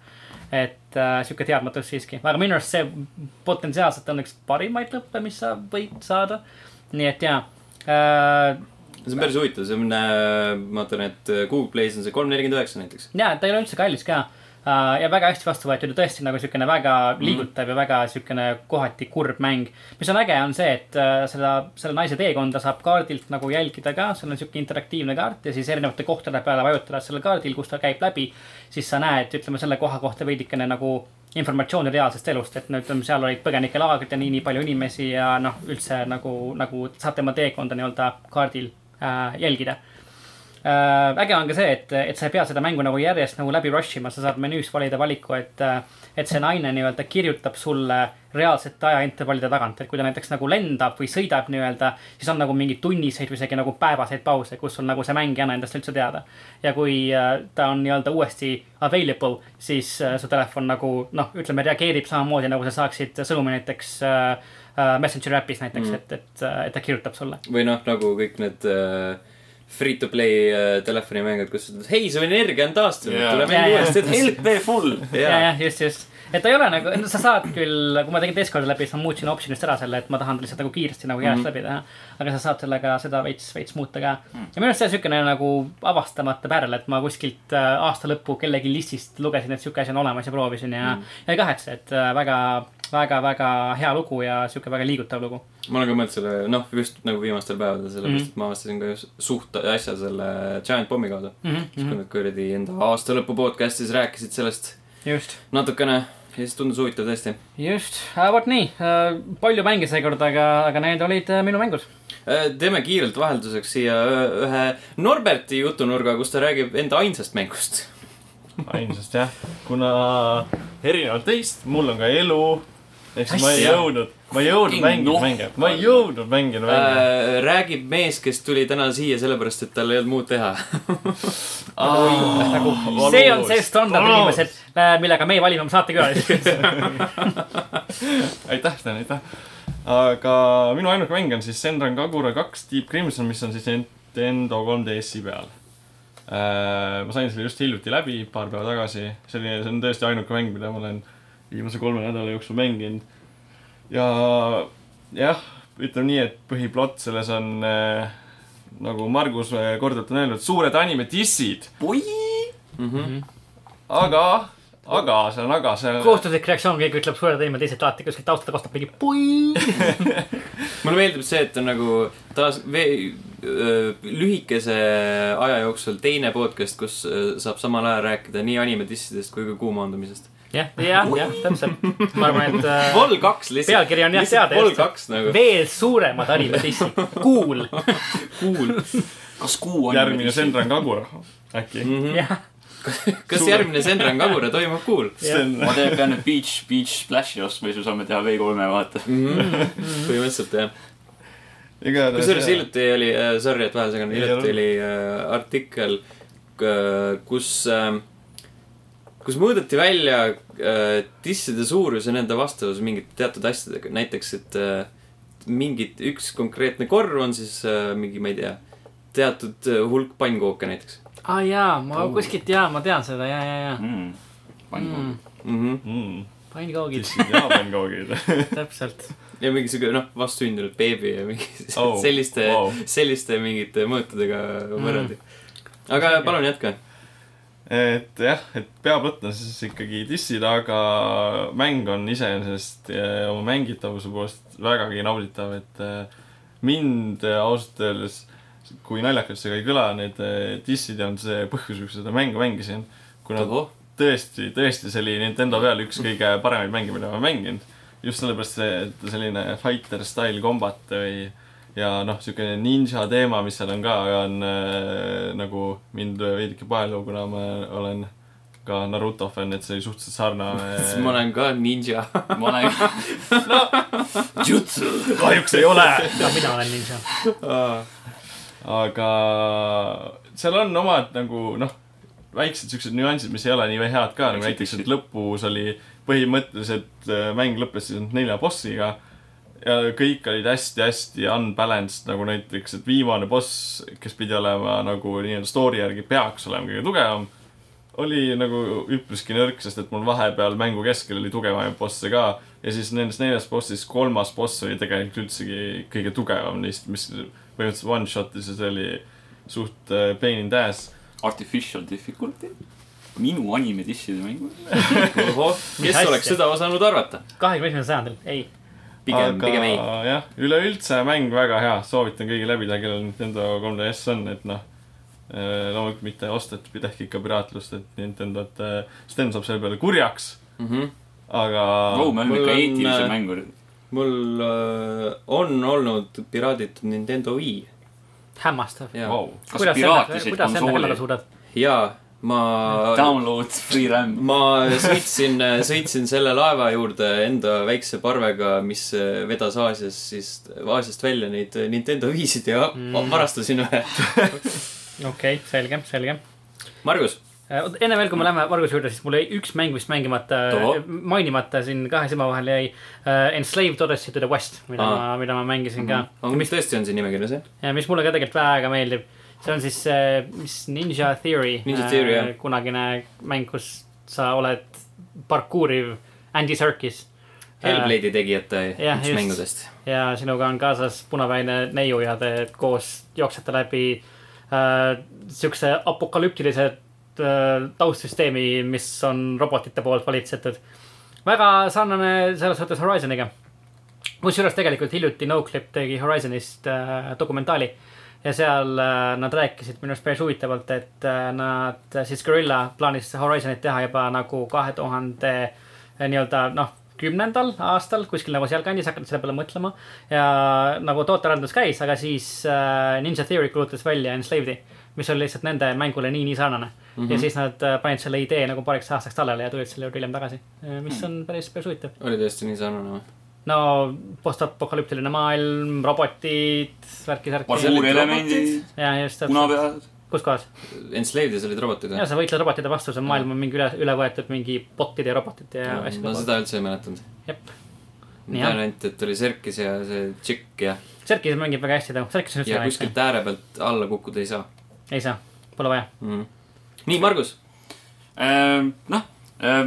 [SPEAKER 3] et äh, sihuke teadmatus siiski , aga minu arust see potentsiaalselt on üks parimaid lõppe , mis sa võid saada . nii et jaa äh, ,
[SPEAKER 1] see on päris huvitav , see on , ma ütlen , et äh, Google Play's on see kolm nelikümmend üheksa näiteks .
[SPEAKER 3] ja ta ei ole üldse kallis ka Äh, ja väga hästi vastu võetud ja tõesti nagu siukene väga liigutav ja väga siukene kohati kurb mäng . mis on äge , on see , et äh, seda , selle naise teekonda saab kaardilt nagu jälgida ka , seal on siuke interaktiivne kaart ja siis erinevate kohtade peale vajutades sellel kaardil , kus ta käib läbi . siis sa näed , ütleme selle koha kohta veidikene nagu informatsiooni reaalsest elust , et no ütleme , seal olid põgenikelaagrid ja nii , nii palju inimesi ja noh , üldse nagu , nagu saab tema teekonda nii-öelda kaardil äh, jälgida äh, äge on ka see , et , et sa ei pea seda mängu nagu järjest nagu läbi rush ima , sa saad menüüs valida valiku , et , et see naine nii-öelda kirjutab sulle reaalsete ajaintervallide tagant , et kui ta näiteks nagu lendab või sõidab nii-öelda , siis on nagu mingeid tunniseid või isegi nagu päevaseid pause , kus sul nagu see mäng ei anna endast üldse teada . ja kui äh, ta on nii-öelda uuesti available , siis äh, su telefon nagu noh , ütleme , reageerib samamoodi nagu sa saaksid sõnumi näiteks äh, äh, Messengeri äpis näiteks mm. , et , et , et ta kirjutab sulle .
[SPEAKER 1] või noh , nagu kõik need äh, free to play äh, telefonimängud , kus ütled , hei , su energia on taastunud
[SPEAKER 2] Jaa.
[SPEAKER 1] yeah. , tule mängi
[SPEAKER 3] Jaa,
[SPEAKER 1] uuesti edasi .
[SPEAKER 2] LP
[SPEAKER 3] [laughs]
[SPEAKER 2] full .
[SPEAKER 1] Jaa.
[SPEAKER 3] ja , jah , just , just . et ta ei ole nagu , sa saad küll , kui ma tegin teist korda läbi , siis ma muutsin option'ist ära selle , et ma tahan lihtsalt nagu kiiresti nagu järjest mm -hmm. läbi teha . aga sa saad sellega seda veits , veits muuta ka mm. . ja minu arust see on siukene nagu avastamata pärl , et ma kuskilt äh, aasta lõppu kellegi listist lugesin , et siuke asi on olemas ja proovisin ja mm. , ja ei kahetse , et äh, väga , väga , väga hea lugu ja siuke väga liigutav lugu .
[SPEAKER 1] ma olen ka mõelnud selle , noh , just nagu viimastel päevadel ,
[SPEAKER 3] Mhm.
[SPEAKER 1] sellepärast et ma avastasin ka just suht äsja selle Giant Bombi kaudu mm .
[SPEAKER 3] Mhm,
[SPEAKER 1] -hmm. siis kui nad kuradi enda aasta lõpu podcast'is rääkisid sellest
[SPEAKER 3] just
[SPEAKER 1] natukene ja siis tundus huvitav tõesti .
[SPEAKER 3] just , vot nii , palju mänge seekord , aga , aga need olid äh, minu mängud .
[SPEAKER 1] Äh, teeme kiirelt vahelduseks siia ö- ühe Norberti jutunurga , kus ta räägib enda ainsast mängust .
[SPEAKER 4] ainsast jah , kuna erinevalt teist , mul on ka elu . ehk siis ma ei
[SPEAKER 1] Asja.
[SPEAKER 4] jõudnud , ma ei jõudnud
[SPEAKER 2] Fucking
[SPEAKER 4] mängida
[SPEAKER 2] noh.
[SPEAKER 4] mänge , ma ei jõudnud mängida mänge .
[SPEAKER 1] Äh, räägib mees , kes tuli täna siia sellepärast , et tal ei olnud muud teha . [laughs]
[SPEAKER 3] nagu Äh, see on see standard , inimesed , millega meie valime oma saatekülalisi .
[SPEAKER 4] aitäh , Sten , aitäh . aga minu ainuke mäng on siis Senran Kagura kaks Deep Crimson , mis on siis Nintendo 3DS-i peal . ma sain selle just hiljuti läbi , paar päeva tagasi . selline , see on tõesti ainuke mäng , mida ma olen viimase kolme nädala jooksul mänginud . ja jah , ütleme nii , et põhiplott selles on äh, nagu Margus äh, korduvalt on öelnud , suured animedissid ,
[SPEAKER 2] oi ,
[SPEAKER 4] aga , aga see on aga , see on
[SPEAKER 3] kohustuslik reaktsioon , keegi ütleb suured võimed , teised alati kuskilt taustalt kostab mingi pui .
[SPEAKER 1] mulle meeldib see , et on nagu taas vee- öö, lühikese aja jooksul teine podcast , kus öö, saab samal ajal rääkida nii animedissidest kui ka kuumaandumisest .
[SPEAKER 3] jah , jah , jah , täpselt . ma arvan , et äh,
[SPEAKER 1] vol kaks lihtsalt .
[SPEAKER 3] pealkiri on jah teada .
[SPEAKER 1] vol kaks nagu .
[SPEAKER 3] veel suuremad animedissid , cool .
[SPEAKER 1] Cool .
[SPEAKER 2] kas kuu on ?
[SPEAKER 4] järgmine . Senran Kagura äkki .
[SPEAKER 1] Mhm.
[SPEAKER 3] jah ,
[SPEAKER 1] kas järgmine Senran Kagura toimub Cool ?
[SPEAKER 4] Sten ,
[SPEAKER 2] ma tean , pean nüüd Beach , Beach Splashi ostma , siis me saame teha V3-e , vaata .
[SPEAKER 1] Mhm. põhimõtteliselt jah .
[SPEAKER 4] igatahes .
[SPEAKER 1] kusjuures hiljuti oli , sorry , et vahele segan ,
[SPEAKER 4] Ei
[SPEAKER 1] hiljuti
[SPEAKER 4] ole.
[SPEAKER 1] oli äh, artikkel , kus , kus mõõdeti välja äh, disside suurus ja nende vastavus mingite teatud asjadega , näiteks , et äh, mingid , üks konkreetne korv on siis äh, mingi , ma ei tea , teatud äh, hulk pannkooke näiteks
[SPEAKER 3] aa jaa , ma kuskilt jaa , ma tean seda ja , ja , ja .
[SPEAKER 2] Mm. pangu .
[SPEAKER 1] mm . -hmm.
[SPEAKER 4] mm. .
[SPEAKER 3] pannkoogid ,
[SPEAKER 4] jaapan kaugid . [laughs]
[SPEAKER 3] täpselt .
[SPEAKER 1] ja mingi siuke , noh , vastsündinud beebi ja mingi [laughs]
[SPEAKER 4] Oh,
[SPEAKER 1] oh, selliste
[SPEAKER 4] wow.
[SPEAKER 1] wow. , selliste mingite mõõtudega võrreldi mm. . aga palun jätka .
[SPEAKER 4] et jah , et peaplott on siis ikkagi dissid , aga mäng on iseenesest eh, oma mängitavuse poolest vägagi nauditav , et eh, mind eh, ausalt öeldes , kui naljakalt see ka ei kõla , need eh, dissid on see põhjus , miks ma seda mängu mängisin . kuna
[SPEAKER 1] ohoh ,
[SPEAKER 4] tõesti , tõesti , see oli Nintendo peal üks kõige paremaid mänge , mida ma mänginud . just sellepärast see et selline fighter style kombat või ja noh , siukene ninja teema , mis seal on ka , on äh, nagu mind veidike paelu , kuna ma olen ka Naruto fänn , et see oli
[SPEAKER 1] [laughs]
[SPEAKER 4] suhteliselt
[SPEAKER 1] siis ma
[SPEAKER 4] sarnane .
[SPEAKER 1] olen ka ninja .
[SPEAKER 2] ma olen ,
[SPEAKER 1] jutsu .
[SPEAKER 4] kahjuks ei ole .
[SPEAKER 3] ka mina olen ninja .
[SPEAKER 4] aga seal on omad nagu noh , väiksed siuksed nüansid , mis ei ole nii head ka , nagu
[SPEAKER 2] Väiksed
[SPEAKER 4] näiteks , et
[SPEAKER 2] tiksid.
[SPEAKER 4] lõpus oli põhimõtteliselt äh, mäng lõppes siis ainult nelja bossiga . ja kõik olid hästi-hästi unbalanced , nagu näiteks , et viimane boss , kes pidi olema nagu nii-öelda story järgi peaks olema kõige tugevam , oli nagu üpriski nõrk , sest et mul vahepeal mängu keskel oli tugevamaid bosse ka ja siis nendest neljast bossist kolmas boss oli tegelikult üldsegi kõige tugevam neist , mis põhimõtteliselt one shot'is ja see oli suht äh, pain in the ass .
[SPEAKER 2] artificial difficulty , minu anime disside mängu .
[SPEAKER 1] kes
[SPEAKER 3] asja?
[SPEAKER 1] oleks seda osanud arvata ?
[SPEAKER 3] kahekümne esimesel sajandil , ei .
[SPEAKER 1] pigem , pigem ei .
[SPEAKER 4] jah , üleüldse mäng väga hea , soovitan kõigil läbi teha , kellel Nintendo 3DS on , et noh , loomulikult mitte osta , et tehke ikka piraatlust , et Nintendo , et äh, Sten saab selle peale kurjaks ,
[SPEAKER 1] Mhm.
[SPEAKER 4] aga
[SPEAKER 2] Vau , me oleme
[SPEAKER 1] Mul
[SPEAKER 2] ikka
[SPEAKER 1] on,
[SPEAKER 2] eetilised
[SPEAKER 1] äh,
[SPEAKER 2] mängurid .
[SPEAKER 1] mul äh, on olnud piraaditud Nintendo Wii
[SPEAKER 3] hämmastav .
[SPEAKER 1] ja wow. ,
[SPEAKER 4] vau .
[SPEAKER 2] kas piraatisid
[SPEAKER 3] kuidas sa enda
[SPEAKER 2] konsooli
[SPEAKER 3] kallale ? suudad ?
[SPEAKER 1] ja ma ,
[SPEAKER 2] Download free RAM .
[SPEAKER 1] ma sõitsin , sõitsin selle laeva juurde enda väikse parvega , mis vedas Aasias siis , Aasiast välja neid Nintendo Wii-sid ja mm. varastasin ühe .
[SPEAKER 3] okei okay, , selge , selge .
[SPEAKER 1] Margus ,
[SPEAKER 3] Äh, enne veel , kui me läheme Varguse juurde , siis mul jäi üks mäng vist mängimata äh,
[SPEAKER 1] Tohoh. ,
[SPEAKER 3] mainimata siin kahe silma vahel jäi uh, . Enslaved Odyssey to the West , mida
[SPEAKER 1] Aa.
[SPEAKER 3] ah. ma , mida ma mängisin ka .
[SPEAKER 1] aga mis Äh, tõesti on siin nimekirjas , jah ?
[SPEAKER 3] ja mis mulle ka tegelikult väga meeldib . see on siis , mis Ninja Theory .
[SPEAKER 1] Ninja Theory, jah.
[SPEAKER 3] kunagine mäng , kus sa oled parkuuriv Andy Serkis .
[SPEAKER 1] Hellblade'i tegijate
[SPEAKER 3] jah,
[SPEAKER 1] üks
[SPEAKER 3] just.
[SPEAKER 1] mängudest .
[SPEAKER 3] ja sinuga on kaasas punaväine neiu ja te koos jooksete läbi äh, siukse apokalüptilise äh, taustsüsteemi , mis on robotite poolt valitsetud . väga sarnane selles suhtes Horizoniga . kusjuures tegelikult hiljuti Noclip tegi Horizonist äh, dokumentaali ja seal äh, nad rääkisid minu arust päris huvitavalt , et äh, nad siis Gorilla plaanis Horizonit teha juba nagu kahe tuhande nii-öelda noh , kümnendal aastal kuskil nagu sealkandis hakanud selle peale mõtlema . ja nagu tootearendus käis , aga siis äh, Ninja Theory kuulutas välja Enslaved'i , mis oli lihtsalt nende mängule nii , nii sarnane mm . -hmm. ja siis nad äh, panid selle idee nagu paariks aastaks tallele ja tulid selle juurde hiljem tagasi , mis on päris , päris huvitav .
[SPEAKER 1] oli tõesti nii sarnane või ?
[SPEAKER 3] no postapokalüptiline maailm , robotid , värki-särki .
[SPEAKER 2] parkuurelemendid ,
[SPEAKER 3] ja just ,
[SPEAKER 2] punapead .
[SPEAKER 3] kus kohas ?
[SPEAKER 1] Enslaved'is olid robotid
[SPEAKER 3] ja
[SPEAKER 1] või ?
[SPEAKER 3] sa võitled robotide vastu , see maailm on mingi üle , üle võetud mingi bot'ide ja robotite ja
[SPEAKER 1] ma
[SPEAKER 3] asjadega .
[SPEAKER 1] seda üldse ei mäletanud .
[SPEAKER 3] jep .
[SPEAKER 1] ma
[SPEAKER 3] Nii,
[SPEAKER 1] tean
[SPEAKER 3] jah.
[SPEAKER 1] ainult , et oli Serkis ja see tšikk ja ,
[SPEAKER 3] Serkis mängib väga hästi ta , Serkis on
[SPEAKER 1] ja
[SPEAKER 3] üldse
[SPEAKER 1] kuskilt ääre pealt alla kukkuda ei saa
[SPEAKER 3] ei saa , pole vaja .
[SPEAKER 1] mm. . nii , Margus ,
[SPEAKER 2] noh ,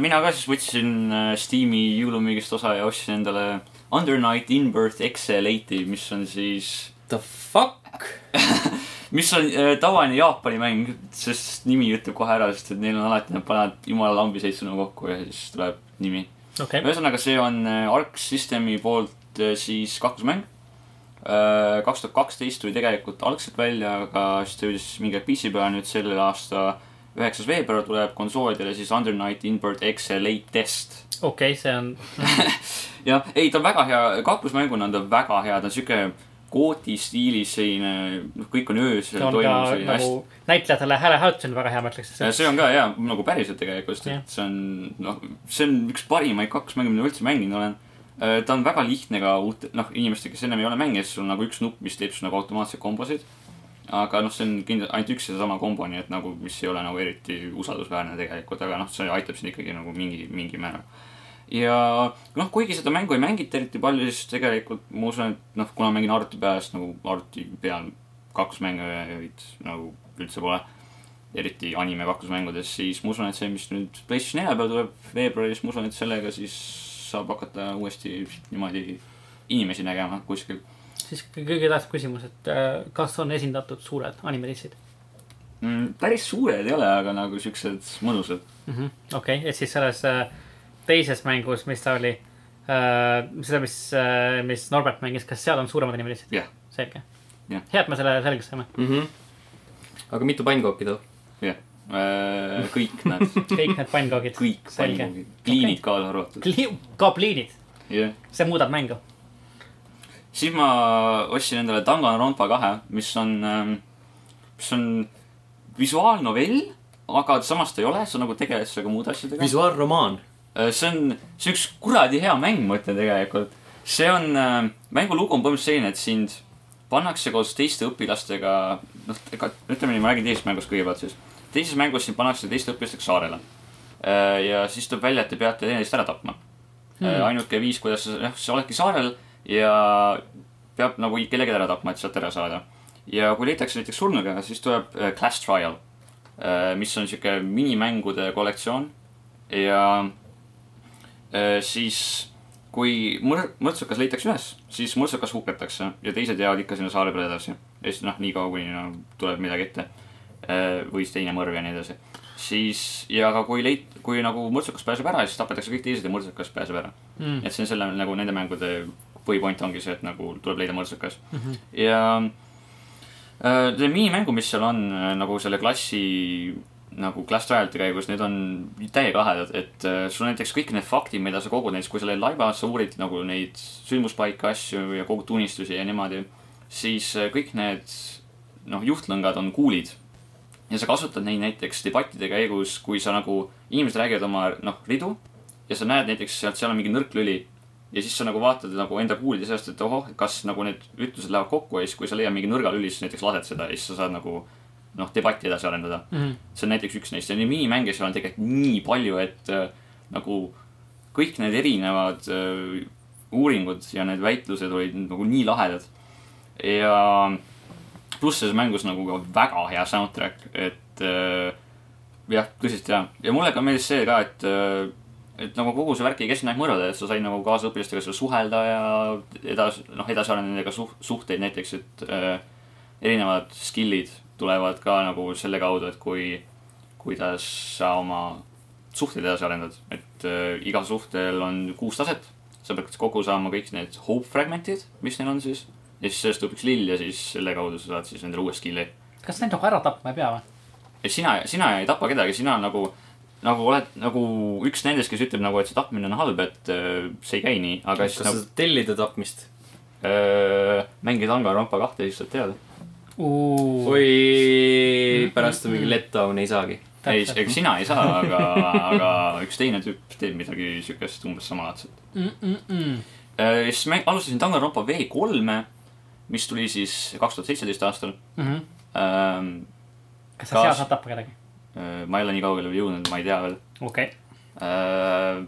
[SPEAKER 2] mina ka siis võtsin äh, Steam'i jõulumüügist osa ja ostsin endale Under Night Inbirth XL80 , mis on siis ,
[SPEAKER 1] the fuck ?
[SPEAKER 2] mis on äh, tavaline Jaapani mäng , sest nimi ütleb kohe ära , sest et neil on alati , nad panevad jumala lambi seitsmena kokku ja siis tuleb nimi .
[SPEAKER 3] okei okay. ,
[SPEAKER 2] ühesõnaga , see on äh, Arc Systemi poolt äh, siis kaklusmäng . kaks tuhat kaksteist tuli tegelikult algselt välja , aga siis ta jõudis mingi aeg PC peale , nüüd selle aasta üheksas veebruar tuleb konsoolidele siis Under Night Inbird XL latest .
[SPEAKER 3] okei , see on ,
[SPEAKER 2] jah , ei , ta on väga hea , kaklusmänguna on ta väga hea , ta on sihuke koodi stiilis selline , noh , kõik on öösel
[SPEAKER 3] see on ka
[SPEAKER 2] toimunud selline
[SPEAKER 3] nagu
[SPEAKER 2] hästi .
[SPEAKER 3] näitlejatele häälehääletus on väga hea , ma ütleks .
[SPEAKER 2] see on ka hea , nagu päriselt tegelikult ,
[SPEAKER 3] Jah.
[SPEAKER 2] et see on , noh , see on üks parimaid kaklusmänge , mida ma üldse mänginud olen . ta on väga lihtne ka uute , noh , inimestega , kes ennem ei ole mänginud , siis sul on nagu üks nupp , mis teeb sul nagu automaatseid kombosid . aga noh , see on kindlalt ainult üks ja seesama kombo , nii et nagu , mis ei ole nagu eriti usaldusväärne tegelikult , aga noh , see aitab sind ikkagi nagu mingi , mingi määral . ja noh , kuigi seda mängu ei mängita eriti palju , siis tegelikult ma usun , et noh , kuna mängin arvuti peal , siis nagu arvuti peal kaklusmängijaid nagu üldse pole . eriti anime kaklusmängudes , siis ma usun , et see , mis nüüd PlayStation nelja peal tuleb veebruaris , ma usun , et sellega siis saab hakata uuesti niimoodi inimesi nägema kuskil .
[SPEAKER 3] siis kõige tähtsam küsimus , et äh, kas on esindatud suured animedissid
[SPEAKER 2] Mm, päris suured ei ole , aga nagu siuksed mõnusad .
[SPEAKER 3] mm -hmm. ? okei okay, , et siis selles äh, teises mängus , mis ta oli äh, , seda , mis äh, , mis Norbert mängis , kas seal on suuremad animedissid ?
[SPEAKER 2] jah , Jah. .
[SPEAKER 3] selge
[SPEAKER 2] Mhm.
[SPEAKER 3] hea , et me selle selgeks saime .
[SPEAKER 1] Mhm. aga mitu pannkooki toob ?
[SPEAKER 2] jah , kõik nad ,
[SPEAKER 3] kõik need pannkoogid .
[SPEAKER 2] kõik
[SPEAKER 3] Selge.
[SPEAKER 2] pannkoogid , kliinid kaasa arvatud .
[SPEAKER 3] Kli- , kapliinid .
[SPEAKER 2] jah .
[SPEAKER 3] see muudab mängu .
[SPEAKER 2] siis ma ostsin endale Danganronpa kahe , mis on , mis on visuaalnovell , aga samas ta ei ole , see on nagu tegelasega muude asjadega .
[SPEAKER 1] visuaalromaan .
[SPEAKER 2] Äh, see on , see on üks kuradi hea mäng , ma ütlen tegelikult . see on , mängu lugu on põhimõtteliselt selline , et sind pannakse koos teiste õpilastega , noh , ega ütleme nii , ma räägin teisest mängust kõigepealt siis . teises mängus sind pannakse teiste õpilastega saarele . ja siis tuleb välja , et te peate teineteist ära tapma hmm. . ainuke viis , kuidas sa , jah , sa oledki saarel ja peab nagu kellegi ära tapma , et sealt ära saada . ja kui leitakse näiteks surnuga , siis tuleb äh, Class Trial , mis on sihuke minimängude kollektsioon ja äh, siis kui mõr- , mõrtsukas leitakse üles , siis mõrtsukas hukatakse ja teised jäävad ikka sinna saare peale edasi . ja siis noh , niikaua kuni no, tuleb midagi ette Äh, või siis teine mõrv ja nii edasi . siis , ja aga kui leit- , kui nagu mõrtsukas pääseb ära , siis tapetakse kõik teised ja mõrtsukas pääseb ära mm. . et see on selle nagu nende mängude põhipoint ongi see , et nagu tuleb leida mõrtsukas mm . -hmm. ja äh, selle minimängu , mis seal on äh, nagu selle klassi nagu klass trial'ite käigus , need on täiega lahedad , et äh, sul on näiteks kõik need faktid , mida sa kogud , näiteks kui sa oled laivas , sa uurid nagu neid sündmuspaika asju ja kogud tunnistusi ja niimoodi , siis äh, kõik need noh , juhtlõngad on kuulid ja sa kasutad neid näiteks debattide käigus , kui sa nagu , inimesed räägivad oma noh , ridu ja sa näed näiteks sealt , seal on mingi nõrk lüli ja siis sa nagu vaatad nagu enda kuulide seast , et ohoh , kas nagu need ütlused lähevad kokku ja siis , kui sa leiad mingi nõrga lüli , siis näiteks lased seda ja siis sa saad nagu noh , debatti edasi arendada mm . -hmm. see on näiteks üks neist ja neid minimänge seal on tegelikult nii palju , et äh, nagu kõik need erinevad äh, uuringud ja need väitlused olid nagu nii lahedad ja pluss selles mängus nagu ka väga hea soundtrack , et äh, jah , tõsiselt hea . ja mulle ka meeldis see ka , et äh, , et nagu kogu see värk ei kestnud ainult mõrvade , et sa said nagu kaasõpilastega seal suhelda ja edasi , noh , edasi arendada nendega suh- , suhteid näiteks , et äh, erinevad skill'id tulevad ka nagu selle kaudu , et kui , kuidas sa oma suhteid edasi arendad , et äh, igal suhtel on kuus taset . sa pead kokku saama kõik need hope fragment'id , mis neil on siis . ja siis sellest tuleb üks lill ja siis selle kaudu sa saad siis endale uue skill'i .
[SPEAKER 3] kas neid nagu ära tapma ei pea või ?
[SPEAKER 2] ja sina , sina ei tapa kedagi , sina nagu , nagu oled nagu üks nendest , kes ütleb nagu , et see tapmine on halb , et äh, see ei käi nii , aga
[SPEAKER 1] kas
[SPEAKER 2] siis
[SPEAKER 1] sa
[SPEAKER 2] nagu,
[SPEAKER 1] saad tellida tapmist ?
[SPEAKER 2] äh, mängi Danganronpa kahte , siis saad teada .
[SPEAKER 1] [laughs] oi , pärast on mingi letdown , ei saagi .
[SPEAKER 2] ei , ega sina ei saa , aga aga üks teine tüüp teeb midagi siukest umbes samalaadset
[SPEAKER 3] Mm.
[SPEAKER 2] äh, . siis me alustasin Danganronpa V3-e , mis tuli siis kaks tuhat seitseteist aastal ähm, .
[SPEAKER 3] Mhm. kas sa seal
[SPEAKER 2] Kas-
[SPEAKER 3] saad tappa kedagi ?
[SPEAKER 2] Äh, ma ei ole nii kaugele veel jõudnud , ma ei tea veel
[SPEAKER 3] okei ,
[SPEAKER 2] äh, .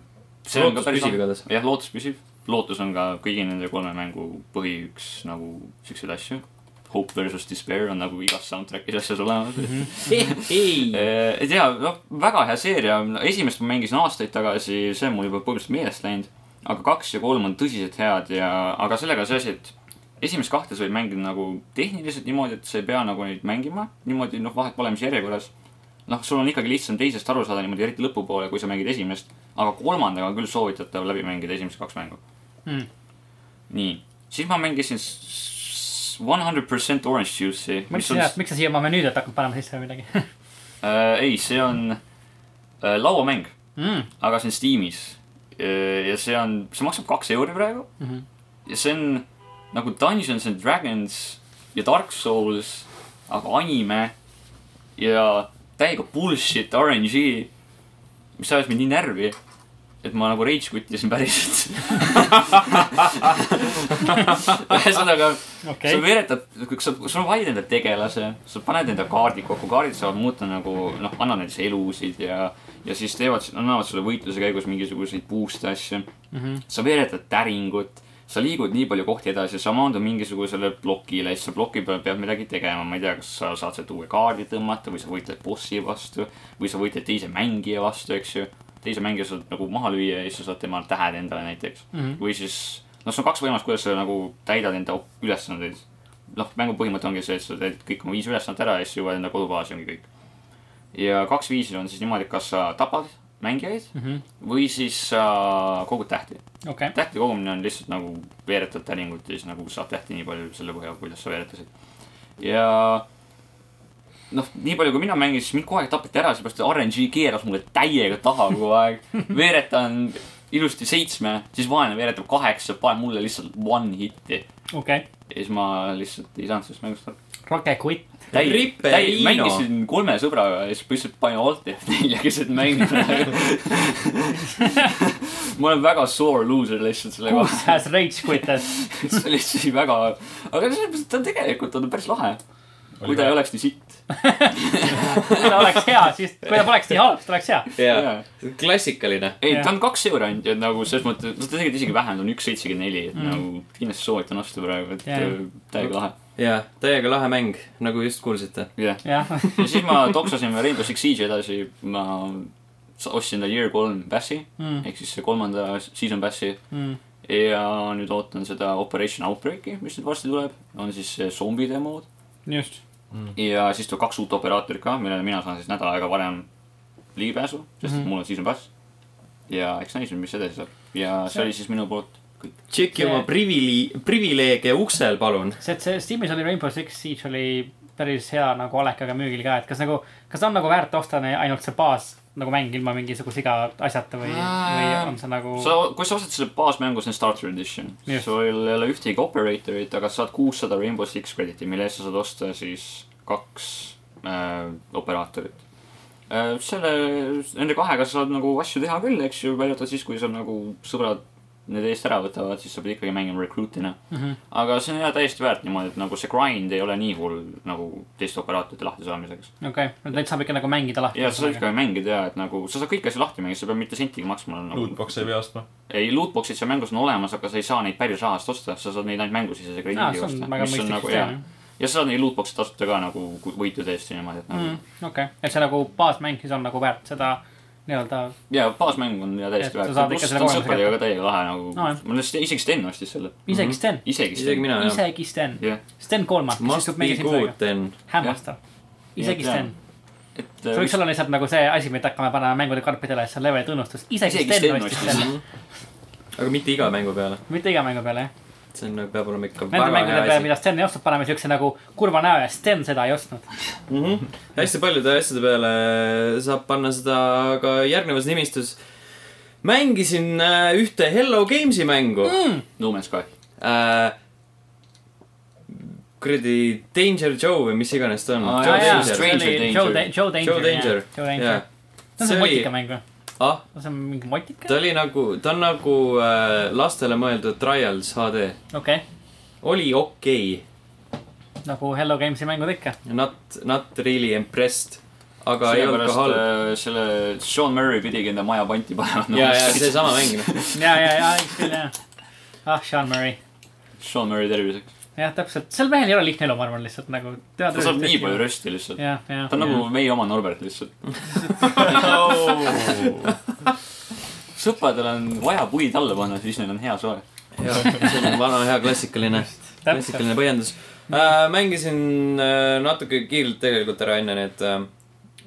[SPEAKER 1] Lootus püsib igatahes.
[SPEAKER 2] jah , lootus püsib , lootus on ka kõigi nende kolme mängu põhi üks nagu siukseid asju . Hope versus despair on nagu igas soundtrack'is asjas olemas
[SPEAKER 1] Mhm.
[SPEAKER 2] mm . -hmm.
[SPEAKER 1] [laughs] ei .
[SPEAKER 2] ei tea , noh , väga hea seeria , esimest ma mängisin aastaid tagasi , see on mul juba põhimõtteliselt meelest läinud . aga kaks ja kolm on tõsiselt head ja , aga sellega on see asi , et esimest kahte sa võid mängida nagu tehniliselt niimoodi , et sa ei pea nagu neid mängima . niimoodi , noh , vahet pole , mis järjekorras . noh , sul on ikkagi lihtsam teisest aru saada niimoodi , eriti lõpupoole , kui sa mängid esimest . aga kolmandaga on küll soovitatav läbi mängida esimesed kaks mängu
[SPEAKER 3] Mm. .
[SPEAKER 2] nii , siis ma mängisin One Hundred Percent Orange Juice'i .
[SPEAKER 3] miks sa , miks sa siia oma menüüd oled hakanud panema sisse või midagi ? [laughs]
[SPEAKER 2] äh, ? ei , see on äh, lauamäng mm. , aga see on Steamis äh, . ja see on , see maksab kaks euri praegu mm . -hmm. ja see on nagu Dungeons and Dragons ja Dark Souls , aga anime ja täiega bullshit RNG , mis ajas mind nii närvi , et ma nagu rage quit isin päriselt . ühesõnaga okay. . sa
[SPEAKER 3] okei ,
[SPEAKER 2] veeretad , kui sa , sul on valida enda tegelase , sa paned enda kaardid kokku , kaardid saavad muuta nagu noh , annavad näiteks elusid ja , ja siis teevad , annavad sulle võitluse käigus mingisuguseid boost'e asju mm . -hmm. sa veeretad täringut , sa liigud nii palju kohti edasi , sa maandud mingisugusele plokile , siis sa ploki peal pead midagi tegema , ma ei tea , kas sa saad sealt uue kaardi tõmmata või sa võitled bossi vastu või sa võitled teise mängija vastu , eks ju teise mängija saad nagu maha lüüa ja siis sa saad temalt tähed endale näiteks mm . -hmm. või siis , noh , sul on kaks võimalust , kuidas sa nagu täidad enda ülesandeid . noh , mängu põhimõte ongi see , et sa teed kõik oma viis ülesannet ära ja siis jõuad enda kodubaasi , ongi kõik . ja kaks viisi on siis niimoodi , et kas sa tapad mängijaid mm -hmm. või siis sa kogud tähti .
[SPEAKER 3] okei ,
[SPEAKER 2] tähti kogumine on lihtsalt nagu veeretad täringut ja siis nagu saad tähti nii palju selle põhjal , kuidas sa veeretasid . ja noh , nii palju kui mina mängisin , siis mind kogu aeg tapeti ära , seepärast et RNG keeras mulle täiega taha kogu aeg . veeretan ilusti seitsme , siis vaene veeretab kaheksa , paneb mulle lihtsalt one hit'i .
[SPEAKER 3] okei ,
[SPEAKER 2] ja siis ma lihtsalt ei saanud sellest mängust aru .
[SPEAKER 3] Rocket Quit .
[SPEAKER 2] täi- ,
[SPEAKER 1] Ripperino.
[SPEAKER 2] täi- , mängisin kolme sõbraga ja siis lihtsalt panin alt F4 ja keset mängu . [laughs] ma olen väga sore loser lihtsalt selle
[SPEAKER 3] Kuus
[SPEAKER 2] kohta .
[SPEAKER 3] has rage quitted .
[SPEAKER 2] [laughs] see oli siis väga , aga selles mõttes , et ta on tegelikult on päris lahe . kui ta ei oleks nii sitt .
[SPEAKER 3] kui ta oleks hea , siis , kui ta poleks nii halb , siis ta oleks hea .
[SPEAKER 1] jaa ,
[SPEAKER 2] ei ,
[SPEAKER 1] klassikaline .
[SPEAKER 3] Jah.
[SPEAKER 2] ta on kaks euri ainult , et nagu selles mõttes , no tegelikult isegi vähem , ta on üks seitsekümmend neli , et nagu kindlasti soovitan osta praegu , et
[SPEAKER 3] Jah.
[SPEAKER 2] öö, täiega lahe .
[SPEAKER 1] jaa , täiega lahe mäng , nagu just kuulsite .
[SPEAKER 2] jah .
[SPEAKER 3] jah ,
[SPEAKER 2] ja siis ma toksasin veel Rainbow Six Siege edasi , ma sa- ostsin ta Year kolm passi
[SPEAKER 3] Mm.
[SPEAKER 2] mm. ehk siis kolmanda season passi
[SPEAKER 3] Mm.
[SPEAKER 2] ja nüüd ootan seda Operation Outbreak'i , mis nüüd varsti tuleb , on siis see zombide mood
[SPEAKER 3] just .
[SPEAKER 2] ja siis tuleb kaks uut operaatorit ka , millele mina saan siis nädal aega varem ligipääsu , sest mm -hmm. mul on season pass ja eks näis , mis edasi saab ja see oli siis minu poolt kõik .
[SPEAKER 1] tšeki oma privili- , privileege uksel , palun .
[SPEAKER 3] see , et see Steamis oli Rainbow Six Siege oli päris hea nagu olekaga müügil ka , et kas nagu , kas on nagu väärt osta ne- ainult see baas nagu mäng ilma mingisuguse iga asjata või , või on see nagu .
[SPEAKER 2] sa , kui sa ostad selle baasmängu , see on starter edition
[SPEAKER 3] Just.
[SPEAKER 2] yes. . sul ei ole ühtegi operatorit , aga saad kuussada Rainbow Six credit'i , mille eest sa saad osta siis kaks äh, operaatorit äh, . selle , nende kahega sa saad nagu asju teha küll , eks ju , välja arvatud siis , kui sa nagu sõbrad need eest ära võtavad , siis sa pead ikkagi mängima recruit'ina mm . -hmm. aga see on jah täiesti väärt niimoodi , et nagu see grind ei ole nii hull nagu teiste operaatorite lahtisaamiseks .
[SPEAKER 3] okei , neid saab ikka nagu mängida lahti .
[SPEAKER 2] ja sa saad ikka mängida ja , et nagu sa saad kõiki asju lahti mängida , sa ei pea mitte sentigi maksma nagu, .
[SPEAKER 4] Lootbox ei pea
[SPEAKER 2] [laughs]
[SPEAKER 4] ostma .
[SPEAKER 2] ei , lootbox'id seal mängus on olemas , aga sa ei saa neid päris rahast osta , sa saad neid ainult mängusisese
[SPEAKER 3] Aa,
[SPEAKER 2] krediidi
[SPEAKER 3] Ah, see on
[SPEAKER 2] osta .
[SPEAKER 3] väga mõistlik süsteem, .
[SPEAKER 2] ja sa saad neid lootbox'e tasuta ka nagu ku- võitude eest ja niimoodi , et nagu mm. .
[SPEAKER 3] okei , et see nagu baasmäng siis on nagu väärt seda nii-öelda ,
[SPEAKER 2] ja baasmäng on ja
[SPEAKER 3] Et
[SPEAKER 2] täiesti
[SPEAKER 3] sa
[SPEAKER 2] väärt .
[SPEAKER 3] saad
[SPEAKER 2] pluss
[SPEAKER 3] ikka selle
[SPEAKER 2] ta on
[SPEAKER 3] kogemuse
[SPEAKER 2] sõpradega ka täiega lahe nagu
[SPEAKER 3] No jah.
[SPEAKER 2] no, . mul just isegi Sten ostis selle .
[SPEAKER 3] isegi Sten ,
[SPEAKER 2] isegi
[SPEAKER 1] isegi
[SPEAKER 2] Sten .
[SPEAKER 1] mina , jah .
[SPEAKER 3] isegi Sten ,
[SPEAKER 2] jah ,
[SPEAKER 3] Sten Koolman , kes
[SPEAKER 1] Must
[SPEAKER 3] istub
[SPEAKER 1] be
[SPEAKER 3] meie siin
[SPEAKER 1] good
[SPEAKER 3] praegu ,
[SPEAKER 1] then .
[SPEAKER 3] hämmastav , isegi
[SPEAKER 2] Jah.
[SPEAKER 3] Sten .
[SPEAKER 2] et
[SPEAKER 3] see võiks
[SPEAKER 2] äh,
[SPEAKER 3] olla lihtsalt nagu see asi , mida hakkame panema mängude karpidele , see on leveli tunnustus , isegi
[SPEAKER 2] Isegi
[SPEAKER 3] Sten
[SPEAKER 2] Sten
[SPEAKER 3] ostis
[SPEAKER 2] ostis.
[SPEAKER 3] selle ,
[SPEAKER 1] aga mitte iga mängu peale .
[SPEAKER 3] mitte iga mängu peale jah .
[SPEAKER 1] see on , peab olema ikka
[SPEAKER 3] Nende
[SPEAKER 1] väga
[SPEAKER 3] mängude
[SPEAKER 1] hea
[SPEAKER 3] peale ,
[SPEAKER 1] asi .
[SPEAKER 3] mida Sten ei ostnud , paneme siukse nagu kurva näo ja Sten seda ei ostnud .
[SPEAKER 1] mm . -hmm. hästi paljude asjade peale saab panna seda ka järgnevas nimistus . mängisin äh, ühte Hello Games'i mängu mm. .
[SPEAKER 2] No Man's Sky .
[SPEAKER 1] Äh, kuradi Danger Joe või mis iganes ta on
[SPEAKER 2] Aa,
[SPEAKER 1] Joe
[SPEAKER 2] jaa,
[SPEAKER 3] Ah,
[SPEAKER 2] jaa.
[SPEAKER 1] Danger.
[SPEAKER 2] Stranger Danger.
[SPEAKER 3] Joe Danger .
[SPEAKER 1] Joe Danger ,
[SPEAKER 3] Joe Danger
[SPEAKER 1] jaa ..
[SPEAKER 3] see
[SPEAKER 1] see
[SPEAKER 3] on see
[SPEAKER 1] oli-
[SPEAKER 3] motikamäng või ?
[SPEAKER 1] ah ,
[SPEAKER 3] see on mingi motika ?
[SPEAKER 1] ta oli nagu , ta on nagu äh, lastele mõeldud Trials HD .
[SPEAKER 3] okei ,
[SPEAKER 1] oli okei okay. ,
[SPEAKER 3] nagu Hello Games'i mängud ikka .
[SPEAKER 1] not , not really impressed , aga ei olnud ka
[SPEAKER 2] sellepärast
[SPEAKER 1] halb .
[SPEAKER 2] äh, selle Sean Murray pidigi enda maja panti panema no, .
[SPEAKER 1] ja , ja seesama mäng , noh .
[SPEAKER 3] ja , ja , ja , eks küll jah . ah , Sean Murray .
[SPEAKER 2] [laughs] Sean Murray terviseks .
[SPEAKER 3] jah , täpselt , sel mehel ei ole lihtne elu , ma arvan , lihtsalt nagu . ta
[SPEAKER 2] ta saab nii palju . rösti lihtsalt .
[SPEAKER 3] jah , jah .
[SPEAKER 2] ta on nagu meie oma Norbert
[SPEAKER 3] [laughs]
[SPEAKER 1] [laughs]
[SPEAKER 2] lihtsalt .
[SPEAKER 1] Oh.
[SPEAKER 2] sõpradel on vaja puid alla panna , siis neil on hea soe .
[SPEAKER 1] jah , see on vana hea klassikaline , klassikaline põhjendus äh, . mängisin äh, natuke kiirelt tegelikult ära enne need äh,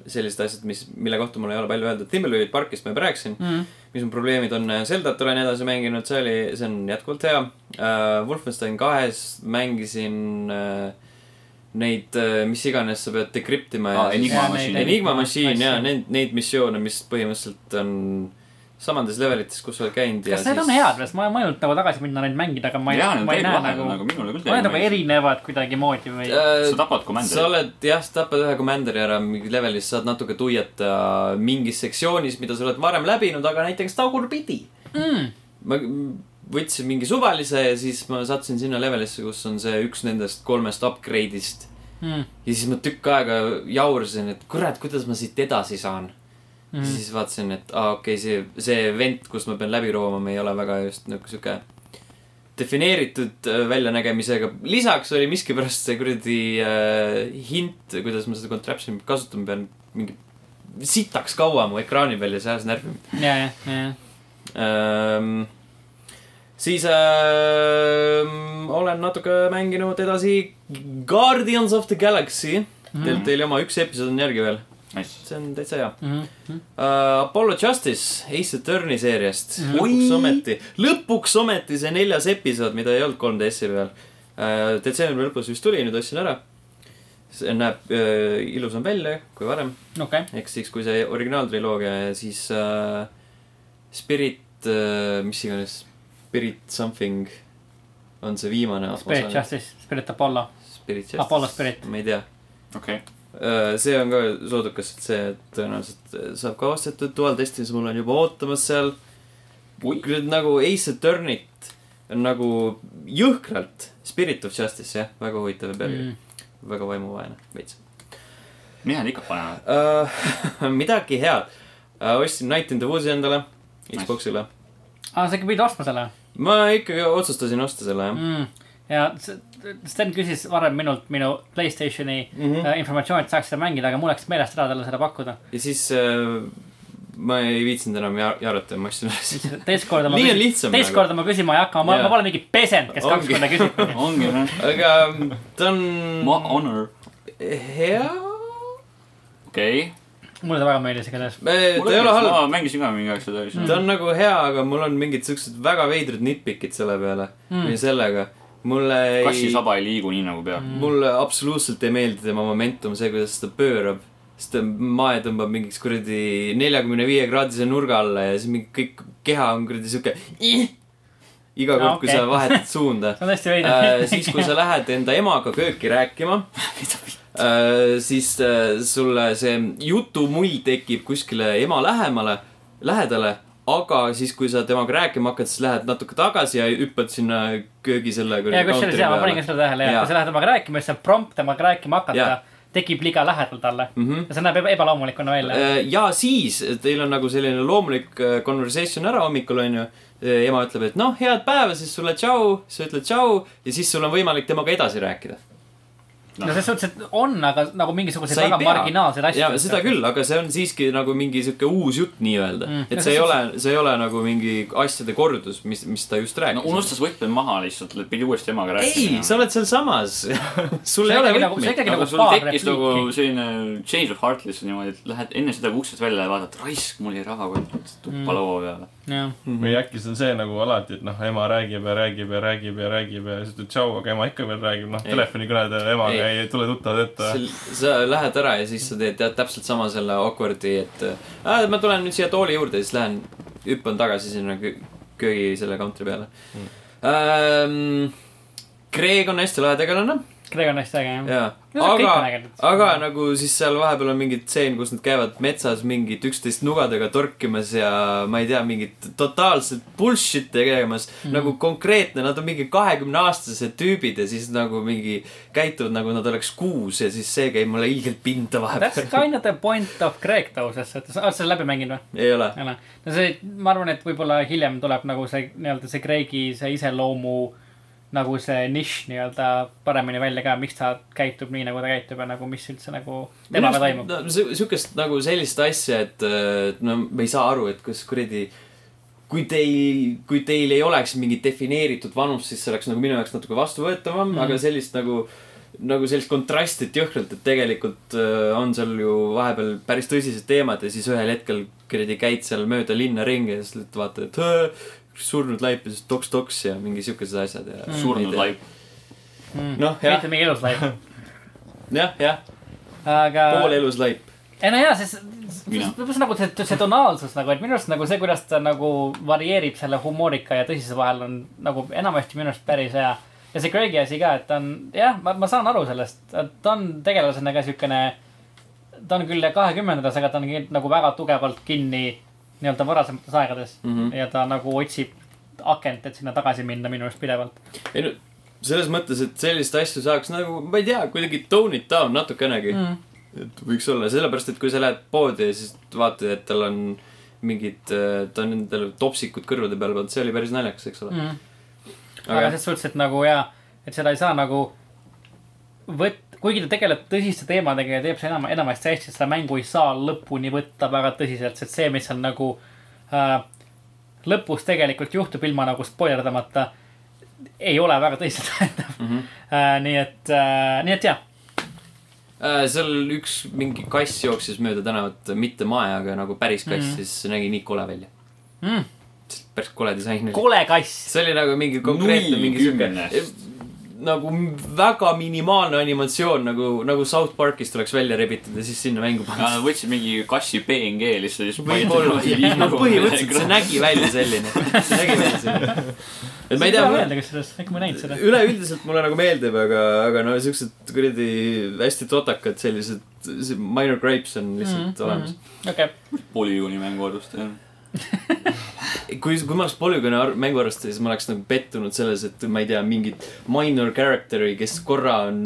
[SPEAKER 1] sellised asjad , mis , mille kohta mul ei ole palju öelda . Thimbleweed Parkist ma juba rääkisin mm . -hmm. mis mu probleemid on , Zeldat olen edasi mänginud , see oli , see on jätkuvalt hea äh, . Wolfenstein kahes mängisin äh, neid äh, , mis iganes sa pead dekrüptima
[SPEAKER 2] Aa, Enigma
[SPEAKER 3] Jaa,
[SPEAKER 2] masiin.
[SPEAKER 3] neid-
[SPEAKER 1] Enigma masiin ja neid , neid missioone , mis põhimõtteliselt on samades levelites , kus sa oled käinud .
[SPEAKER 3] kas need on head või ? ma olen mõelnud nagu tagasi minna neid mängida , aga ma ei ,
[SPEAKER 2] jaa , need on
[SPEAKER 3] ma ei
[SPEAKER 2] täiega
[SPEAKER 3] näe
[SPEAKER 2] lahedad
[SPEAKER 3] nagu ,
[SPEAKER 2] nagu minule küll
[SPEAKER 3] ma olen nagu . erinevad kuidagimoodi või ?
[SPEAKER 1] Äh.
[SPEAKER 2] sa tapad
[SPEAKER 1] sa
[SPEAKER 2] komandöri .
[SPEAKER 1] oled jah , sa tapad ühe komandöri ära mingi levelis , saad natuke tuiata mingis sektsioonis , mida sa oled varem läbinud , aga näiteks tagurpidi
[SPEAKER 3] Mm.
[SPEAKER 1] ma võtsin mingi suvalise ja siis ma sattusin sinna levelisse , kus on see üks nendest kolmest upgrade'ist .
[SPEAKER 3] Mm.
[SPEAKER 1] ja siis ma tükk aega jaursin , et kurat , kuidas ma siit edasi saan mm . -hmm. siis vaatasin , et aa , okei okay, , see , see event , kus ma pean läbi roomama , ei ole väga just nagu sihuke defineeritud äh, väljanägemisega . lisaks oli miskipärast see kuradi äh, hint , kuidas ma seda contraption'i kasutama pean , mingi sitaks kaua mu ekraani peal ja see ajas närvi
[SPEAKER 3] ja , ja , ja ,
[SPEAKER 1] ähm, . siis ähm, olen natuke mänginud edasi Guardians of the Galaxy mm. . Teil , teil oma üks episood on järgi veel ,
[SPEAKER 2] nice .
[SPEAKER 1] see on täitsa hea
[SPEAKER 3] Mhm.
[SPEAKER 1] uh, . Apollo Justice , Ace Attorney seeriast mm. .
[SPEAKER 3] Mhm.
[SPEAKER 1] lõpuks ometi , lõpuks ometi see neljas episood , mida ei olnud 3DS-i peal uh, . detsembri lõpus vist tuli , nüüd ostsin ära . see näeb uh, ilusam välja kui varem
[SPEAKER 3] okei .
[SPEAKER 1] ehk siis , kui see originaaltriloogia ja siis äh, Spirit Spirit , mis iganes , Spirit something on see viimane
[SPEAKER 3] Spirit . Justice , Spirit Apollo .
[SPEAKER 1] Spirit
[SPEAKER 3] Apollo Spirit.
[SPEAKER 1] ma ei tea .
[SPEAKER 2] okei ,
[SPEAKER 1] Äh, see on ka soodukas , et see tõenäoliselt äh, saab ka ostetud , Dual Destinies mul on juba ootamas seal . nagu Ace Attorney't on nagu jõhkralt , Spirit of Justice jah , väga huvitav ja pealkiri
[SPEAKER 3] Mm.
[SPEAKER 1] mm. . väga vaimuvaene , veits
[SPEAKER 2] mida nad ikka panevad ?
[SPEAKER 1] uh, . [laughs] midagi head uh, , ostsin Night in the Woods'i endale ,
[SPEAKER 2] Nice.
[SPEAKER 1] Xbox'ile .
[SPEAKER 3] aa , sa ikka pidid Ah, ostma selle
[SPEAKER 1] ma ikkagi otsustasin osta selle jah
[SPEAKER 3] mm. . ja s- Sten küsis varem minult minu Playstationi
[SPEAKER 1] mm . -hmm.
[SPEAKER 3] äh, informatsiooni , et saaks seda mängida , aga mul läks meelest ära talle seda pakkuda .
[SPEAKER 1] ja siis äh, ma ei viitsinud enam ja- jaarata ja ma ostsin üles .
[SPEAKER 3] [laughs] teist korda ma
[SPEAKER 1] [laughs] Nii on
[SPEAKER 3] küsin-
[SPEAKER 1] lihtsam
[SPEAKER 3] teist
[SPEAKER 1] nagu.
[SPEAKER 3] korda ma küsima ei hakka , ma ,
[SPEAKER 1] Jaa.
[SPEAKER 3] ma pole mingi pesend , kes kaks
[SPEAKER 1] Ongi.
[SPEAKER 3] korda küsib .
[SPEAKER 2] ongi jah ,
[SPEAKER 1] aga ähm, ta on
[SPEAKER 2] ma honor ,
[SPEAKER 1] hea .
[SPEAKER 2] okei .
[SPEAKER 3] mulle ta väga meeldis igatahes .
[SPEAKER 1] ta ei ole halb ,
[SPEAKER 2] ma mängisin ka mingi aeg seda asja .
[SPEAKER 1] ta on nagu hea , aga mul on mingid siuksed väga veidrad nitpikid selle peale
[SPEAKER 3] Mm.
[SPEAKER 1] mm. või sellega . mulle ei , Mm.
[SPEAKER 2] kassisaba ei liigu nii nagu peab .
[SPEAKER 1] mulle absoluutselt ei meeldi tema momentum , see , kuidas ta pöörab sest ta mae tõmbab mingiks kuradi neljakümne viie kraadise nurga alla ja siis mingi kõik keha on kuradi siuke . iga
[SPEAKER 3] Aa,
[SPEAKER 1] kord , kui
[SPEAKER 3] okei.
[SPEAKER 1] sa vahetad suunda .
[SPEAKER 3] [laughs] see on hästi
[SPEAKER 1] Äh,
[SPEAKER 3] veider .
[SPEAKER 1] siis ,
[SPEAKER 3] [laughs]
[SPEAKER 1] kui sa lähed enda emaga kööki rääkima , siis äh, sulle see jutumull tekib kuskile ema lähemale , lähedale , aga siis , kui sa temaga rääkima hakkad , siis lähed natuke tagasi ja hüppad sinna köögi selle
[SPEAKER 3] ja
[SPEAKER 1] kuradi
[SPEAKER 3] kusjuures
[SPEAKER 1] counteri
[SPEAKER 3] jaa , ma panin ka
[SPEAKER 1] peale .
[SPEAKER 3] seda tähele ja
[SPEAKER 1] Jaa.
[SPEAKER 3] kui sa lähed temaga rääkima , siis see prompt temaga rääkima
[SPEAKER 1] Jaa.
[SPEAKER 3] hakata tekib liiga lähedal talle .
[SPEAKER 1] Mhm.
[SPEAKER 3] ja see näeb eba- ebaloomulikuna välja .
[SPEAKER 1] Äh, ja siis teil on nagu selline loomulik äh, conversation ära hommikul onju . ema ütleb , et noh , head päeva , siis sulle tšau , sa ütled tšau ja siis sul on võimalik temaga edasi rääkida .
[SPEAKER 3] no selles suhtes , et on , aga nagu mingisuguseid
[SPEAKER 1] sa ei
[SPEAKER 3] väga
[SPEAKER 1] pea.
[SPEAKER 3] marginaalseid asju
[SPEAKER 1] ja . seda . küll , aga see on siiski nagu mingi sihuke uus jutt nii-öelda
[SPEAKER 3] Mm.
[SPEAKER 1] mm. .
[SPEAKER 3] No
[SPEAKER 1] et see
[SPEAKER 3] see-
[SPEAKER 1] ei ole , see ei ole nagu mingi asjade kordus , mis , mis ta just rääkis
[SPEAKER 2] no . unustas võtme maha lihtsalt , pidi uuesti emaga
[SPEAKER 1] ei ,
[SPEAKER 2] rääkima .
[SPEAKER 1] sa oled sealsamas . [laughs] sul
[SPEAKER 3] See
[SPEAKER 1] ei
[SPEAKER 3] on
[SPEAKER 1] ole
[SPEAKER 3] ikkagi nagu- see on
[SPEAKER 1] võtmeid .
[SPEAKER 3] ikkagi
[SPEAKER 2] aga
[SPEAKER 3] nagu
[SPEAKER 2] sul
[SPEAKER 3] paar
[SPEAKER 2] tekkis nagu
[SPEAKER 3] repliiki .
[SPEAKER 2] selline change of heart lihtsalt niimoodi , et lähed enne seda , kui uksest välja lähed , vaatad , raisk , mul jäi rahakott tuppa
[SPEAKER 3] Mm.
[SPEAKER 2] laua peale .
[SPEAKER 3] jah ,
[SPEAKER 4] või äkki see on see nagu alati , et noh , ema räägib ja räägib ja räägib ja räägib ja siis ütleb tšau , aga ema ikka veel räägib , noh ,
[SPEAKER 1] Ei.
[SPEAKER 4] telefonikõne teel emaga
[SPEAKER 1] Ei.
[SPEAKER 4] ei, ei tule tuttavad ette .
[SPEAKER 1] sa lähed ära ja siis sa teed tead, täpselt sama selle awkward'i , et äh, ma tulen nüüd siia tooli juurde ja siis lähen , hüppan tagasi sinna kö- köögi selle country peale mm. . Kreeg on hästi lahe tegelane ,
[SPEAKER 3] Greg on hästi äge jah .
[SPEAKER 1] jaa .
[SPEAKER 3] No kõik
[SPEAKER 1] aga
[SPEAKER 3] on ägedad.
[SPEAKER 1] aga nagu siis seal vahepeal on mingi tseen , kus nad käivad metsas mingit üksteist nugadega torkimas ja ma ei tea , mingit totaalset bullshit'i tegemas mm .
[SPEAKER 3] Mhm.
[SPEAKER 1] -hmm. nagu konkreetne , nad on mingi kahekümneaastased tüübid ja siis nagu mingi käituvad nagu nad oleks kuus ja siis see käib mulle ilgelt pinda
[SPEAKER 3] That's
[SPEAKER 1] vahepeal .
[SPEAKER 3] kind of the point of Greg though , selles suhtes , oled sa selle läbi mänginud või ?
[SPEAKER 1] [laughs] ei ole .
[SPEAKER 3] ei ole , no see , ma arvan , et võib-olla hiljem tuleb nagu see nii-öelda see Kreegi see iseloomu nagu see nišš nii-öelda paremini välja ka , miks ta käitub nii , nagu ta käitub ja nagu mis üldse nagu temaga toimub .
[SPEAKER 1] no, . sihukest nagu sellist asja , et äh, et no ma ei saa aru , et kas kuradi , kui teil , kui teil ei oleks mingit defineeritud vanust , siis see oleks nagu minu jaoks natuke vastuvõetavam mm ,
[SPEAKER 3] Mhm.
[SPEAKER 1] -hmm. aga sellist nagu , nagu sellist kontrastit jõhkralt , et tegelikult äh, on seal ju vahepeal päris tõsised teemad ja siis ühel hetkel kuradi käid seal mööda linna ringi ja siis lihtsalt vaatad , et "Hõ, surnud laip ja siis toks-toks ja mingi siukesed asjad ja .
[SPEAKER 2] surnud . laip .
[SPEAKER 1] Noh, jah.
[SPEAKER 3] Mhm. Hmm. mitte mingi
[SPEAKER 1] [laughs]
[SPEAKER 3] elus laip ,
[SPEAKER 1] jah , jah ,
[SPEAKER 3] aga .
[SPEAKER 1] poolelus laip .
[SPEAKER 3] ei no jaa , sest
[SPEAKER 2] Mina.
[SPEAKER 3] see nagu see , see tonaalsus nagu , et minu arust nagu see , kuidas ta nagu varieerib selle humoorika ja tõsise vahel on nagu enamasti minu arust päris hea . ja see Craigie asi ka , et ta on jah , ma , ma saan aru sellest , ta on tegelasena ka siukene . ta on küll kahekümnendates , aga ta on kind- nagu väga tugevalt kinni nii-öelda varasemates aegades mm
[SPEAKER 1] Mhm.
[SPEAKER 3] ja ta nagu otsib akent , et sinna tagasi minna minu arust pidevalt .
[SPEAKER 1] ei no selles mõttes , et sellist asju saaks nagu , ma ei tea , kuidagi tone it down natukenegi mm. . et võiks olla , sellepärast et kui sa lähed poodi ja siis vaatad , et tal on mingid , ta on endale topsikud kõrvade peale pannud , see oli päris naljakas , eks ole .
[SPEAKER 3] Mm. aga
[SPEAKER 1] aga
[SPEAKER 3] selles suhtes , et nagu jaa , et seda ei saa nagu võt- , kuigi ta tegeleb tõsiste teemadega ja teeb seda enam , enamasti hästi , seda mängu ei saa lõpuni võtta väga tõsiselt , sest see , mis on nagu äh, lõpus tegelikult juhtub ilma nagu spoilerdamata , ei ole väga tõsiselt [laughs] võetav mm .
[SPEAKER 1] Mhm.
[SPEAKER 3] -hmm. Äh, nii et äh, , nii et jaa ,
[SPEAKER 1] äh, seal üks mingi kass jooksis mööda tänavat , mitte mae , aga nagu päris kass mm. , siis see nägi nii kole välja
[SPEAKER 3] Mm. .
[SPEAKER 1] päris kole disain oli .
[SPEAKER 3] kole kass .
[SPEAKER 1] see oli nagu mingi konkreetne
[SPEAKER 2] Null
[SPEAKER 1] mingi siuke
[SPEAKER 2] kümnest. .
[SPEAKER 1] nagu väga minimaalne animatsioon nagu , nagu South Parkist oleks välja rebitud ja siis sinna mängu
[SPEAKER 2] ja
[SPEAKER 1] pandud .
[SPEAKER 2] nad võtsid mingi kassi PNG lihtsalt ja siis
[SPEAKER 1] võib-olla , no nagu põhimõtteliselt see
[SPEAKER 2] nägi .
[SPEAKER 1] nägi välja selline , see nägi välja selline . [laughs] et ma ei
[SPEAKER 3] ma ei
[SPEAKER 1] tea ,
[SPEAKER 3] mäleta , kas sellest , äkki ma ei näinud seda .
[SPEAKER 1] üleüldiselt mulle nagu meeldib , aga , aga no siuksed kuradi hästi totakad sellised , see minor gripes on lihtsalt mm, olemas .
[SPEAKER 3] Mhm, okei ,
[SPEAKER 2] polügooni mängu arust , jah .
[SPEAKER 1] kui , kui ma oleks polügooni ar- mängu arvestaja , siis ma oleks nagu pettunud selles , et ma ei tea , mingit minor character'i , kes korra on ,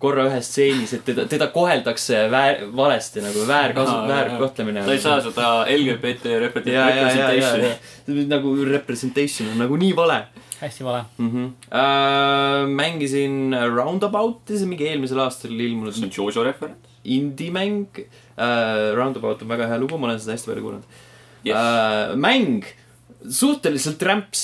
[SPEAKER 1] korra ühes stseenis , et teda , teda koheldakse väär, valesti nagu väärkasu
[SPEAKER 2] Aa, ,
[SPEAKER 1] väärkohtlemine .
[SPEAKER 2] ta ei saa seda LGBT repet-
[SPEAKER 1] ja , ja , ja , ja ,
[SPEAKER 2] representation'i
[SPEAKER 1] ja . nagu representation on nagu nii vale
[SPEAKER 3] hästi vale .
[SPEAKER 1] mm .
[SPEAKER 2] Mhm.
[SPEAKER 1] -hmm. Uh, mängisin Roundabouti , see on mingi eelmisel aastal ilmunud
[SPEAKER 2] see on Jojo referent .
[SPEAKER 1] indie-mäng uh, . Roundabout on väga hea lugu , ma olen seda hästi palju kuulnud
[SPEAKER 2] Yes.
[SPEAKER 1] uh, . mäng , suhteliselt rämps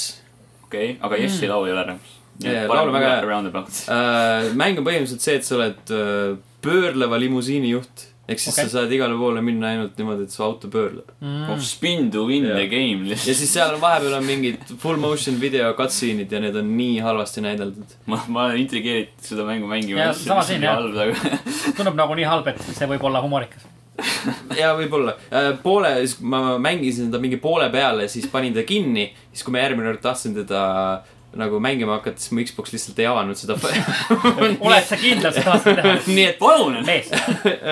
[SPEAKER 2] okei , aga Jessi laul ei ole rämps .
[SPEAKER 1] Mm. Jaa, laul on väga hea.
[SPEAKER 2] Roundabout .
[SPEAKER 1] Äh, mäng on põhimõtteliselt see , et sa oled äh, pöörleva limusiini juht . ehk siis okay.
[SPEAKER 3] Okei.
[SPEAKER 1] sa saad igale poole minna ainult niimoodi , et su auto pöörleb .
[SPEAKER 2] Oh, Spin to win the
[SPEAKER 1] Mm. Jaa.
[SPEAKER 2] game
[SPEAKER 1] ja
[SPEAKER 2] lihtsalt .
[SPEAKER 1] siis seal on vahepeal on mingid full motion video cutscene'id ja need on nii halvasti näideldud .
[SPEAKER 2] ma , ma olen intrigeeritud seda mängu mängima .
[SPEAKER 3] Jaa, sama siin, jah.
[SPEAKER 2] jah .
[SPEAKER 3] tundub nagu nii halb , et see võib olla
[SPEAKER 1] [laughs]
[SPEAKER 3] humoorikas .
[SPEAKER 1] ja võib-olla äh, poole , siis ma mängisin seda mingi poole peale , siis panin ta kinni . siis kui ma järgmine kord tahtsin teda nagu mängima hakata , siis mu Xbox lihtsalt ei avanud seda . [laughs]
[SPEAKER 3] oled sa kindel , sa tahad seda teha ?
[SPEAKER 1] nii et ,
[SPEAKER 2] [laughs] palun ,
[SPEAKER 3] mees ,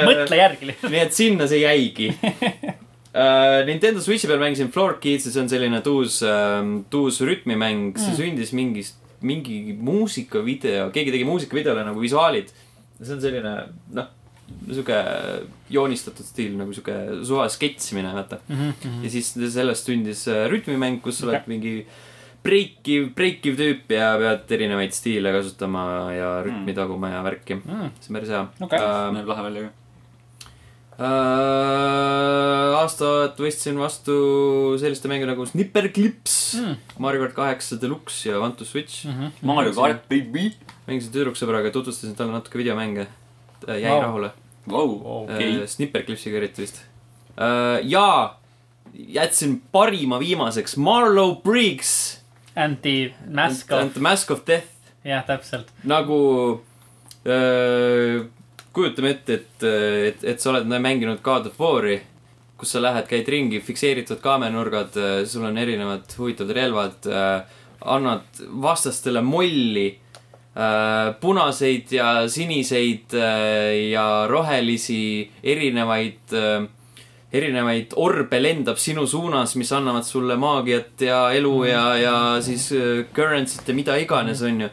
[SPEAKER 3] mõtle järgi lihtsalt .
[SPEAKER 1] nii et sinna see jäigi . Uh, Nintendo Switchi peal mängisin Floor Kids'i , see on selline tuus uh, , tuus rütmimäng , see mm. sündis mingist , mingi muusikavideo , keegi tegi muusikavideole nagu visuaalid . see on selline noh , sihuke joonistatud stiil nagu sihuke suva sketšimine , vaata mm .
[SPEAKER 3] Mhm,
[SPEAKER 1] -hmm. ja siis sellest sündis äh, rütmimäng , kus sa oled
[SPEAKER 3] Okei.
[SPEAKER 1] mingi breikiv , breikiv tüüp ja pead erinevaid stiile kasutama ja rütmi
[SPEAKER 2] Mm.
[SPEAKER 1] taguma ja värki . see on päris hea
[SPEAKER 3] Okei.
[SPEAKER 1] Äh,
[SPEAKER 2] näeb lahe välja ka .
[SPEAKER 1] Äh, aastat võistlesin vastu selliste mänge nagu Snipper Clips mm. , Mario kart kaheksa Deluxe ja Vantu Switch mm .
[SPEAKER 3] mhm.
[SPEAKER 2] Mario kart , baby .
[SPEAKER 1] -hmm. mängisin tüdruksõbraga , tutvustasin talle natuke videomänge . jäi wow.
[SPEAKER 3] Vau.
[SPEAKER 1] rahule
[SPEAKER 2] Vau ,
[SPEAKER 1] okay.
[SPEAKER 2] okei .
[SPEAKER 1] äh, . Snipper Clipsiga eriti vist äh, . ja jätsin parima viimaseks , Marlow Briggs .
[SPEAKER 3] Anti-mask of ,
[SPEAKER 1] Mask of Death
[SPEAKER 3] jah , täpselt .
[SPEAKER 1] nagu öö, kujutame ette , et , et , et sa oled mänginud God of War'i , kus sa lähed , käid ringi , fikseeritud kaamerunurgad , sul on erinevad huvitavad relvad , annad vastastele molli , punaseid ja siniseid öö, ja rohelisi erinevaid , äh, erinevaid orbe lendab sinu suunas , mis annavad sulle maagiat ja elu ja , ja siis öö, currency't ja mida iganes , onju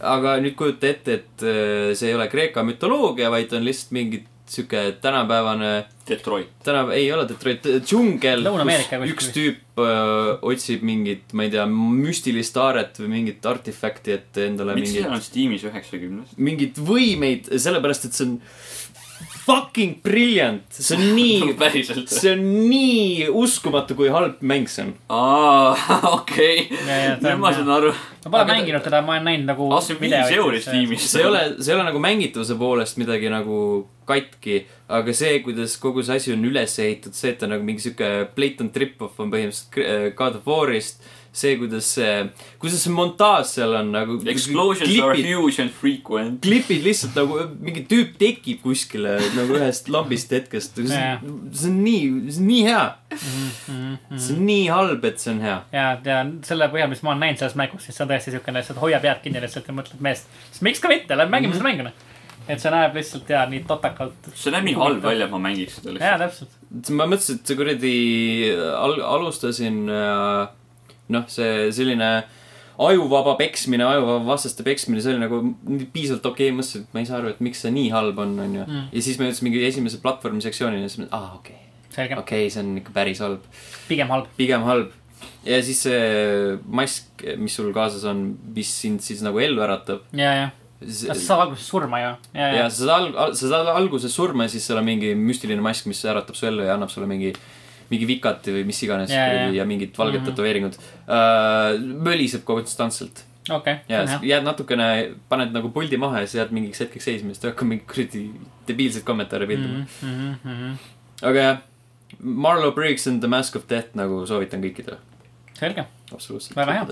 [SPEAKER 1] aga nüüd kujuta ette , et äh, see ei ole Kreeka mütoloogia , vaid on lihtsalt mingi sihuke tänapäevane ,
[SPEAKER 2] Detroit .
[SPEAKER 1] tänapäev , ei ole Detroit , džungel ,
[SPEAKER 3] Lõuna-Ameerika kuskil
[SPEAKER 1] üks
[SPEAKER 3] vist.
[SPEAKER 1] tüüp öö, otsib mingit , ma ei tea , müstilist aaret või mingit artefakti , et endale
[SPEAKER 2] miks seal
[SPEAKER 1] mingit ,
[SPEAKER 2] on Steamis üheksakümnes ?
[SPEAKER 1] mingit võimeid , sellepärast et see on fucking brilliant , see on nii ,
[SPEAKER 2] [laughs] päriselt .
[SPEAKER 1] see on nii uskumatu , kui halb mäng see on .
[SPEAKER 2] aa , [laughs] okei .
[SPEAKER 3] Jaa, jaa, ta
[SPEAKER 2] nüüd
[SPEAKER 3] on-
[SPEAKER 2] ma saan aru .
[SPEAKER 3] ma pole
[SPEAKER 1] Aga- Ah,
[SPEAKER 3] mänginud teda , ma olen näinud nagu .
[SPEAKER 2] aa , see on viis euri Steamis .
[SPEAKER 1] see ei ole , see ei ole nagu mängitavuse poolest midagi nagu katki , aga see , kuidas kogu see asi on üles ehitatud , see , et ta nagu mingi sihuke blatant rip-off on põhimõtteliselt Kr- äh, God of War'ist , see , kuidas see , kuidas see montaaž seal on nagu .
[SPEAKER 2] Explosions are huge and frequent .
[SPEAKER 1] klipid lihtsalt nagu mingi tüüp tekib kuskile nagu ühest lambist hetkest ,
[SPEAKER 3] Jaa.
[SPEAKER 1] see on nii , see on nii hea . see on nii halb , et see on hea .
[SPEAKER 3] ja , ja selle põhjal , mis ma olen näinud selles mängus , siis see on tõesti siukene , sa hoiad pead kinni lihtsalt ja mõtled meest , siis miks ka mitte , lähme
[SPEAKER 1] Mhm.
[SPEAKER 3] mängime seda mängu , noh . et see näeb lihtsalt ja nii totakalt .
[SPEAKER 2] see näeb nii halb . välja , et ma mängiks seda
[SPEAKER 3] jaa ,
[SPEAKER 2] lihtsalt .
[SPEAKER 3] täpselt .
[SPEAKER 1] ma mõtlesin , et see kuradi äh, al- , alustasin äh, noh , see selline ajuvaba peksmine , ajuvaba vastaste peksmine , see oli nagu nii piisavalt okei okay, , mõtlesin , et ma ei saa aru , et miks see nii halb on , onju . ja siis me jõudsime mingi esimese platvormi sektsioonini ja siis mõtlesin , aa , okei okay. ,
[SPEAKER 3] selge
[SPEAKER 1] okei , okay, see on ikka päris halb ,
[SPEAKER 3] pigem halb .
[SPEAKER 1] pigem halb . ja siis see mask , mis sul kaasas on , mis sind siis nagu ellu äratab .
[SPEAKER 3] ja , ja . sa
[SPEAKER 1] ja
[SPEAKER 3] saad alguses surma ju . ja , ja
[SPEAKER 1] sa . saad alg- , sa saad alguses surma ja siis seal on mingi müstiline mask , mis äratab su ellu ja annab sulle mingi mingi vikati või mis iganes
[SPEAKER 3] Jaa,
[SPEAKER 1] yeah,
[SPEAKER 3] jaa. Mhm.
[SPEAKER 1] yeah. ja mingid valged mm -hmm. tätoveeringud uh, . möliseb konstantselt
[SPEAKER 3] okei , see
[SPEAKER 1] ja
[SPEAKER 3] on
[SPEAKER 1] yes.
[SPEAKER 3] hea .
[SPEAKER 1] jääd natukene , paned nagu puldi maha ja siis jääd mingiks hetkeks seisma , siis ta hakkab mingeid kuradi debiilseid kommentaare pilduma
[SPEAKER 3] Mhm.
[SPEAKER 1] mm . -hmm. aga jah , Marlo Briggs and the Mask of Death nagu soovitan kõikidele ,
[SPEAKER 3] selge .
[SPEAKER 1] absoluutselt .
[SPEAKER 3] Väga hea. .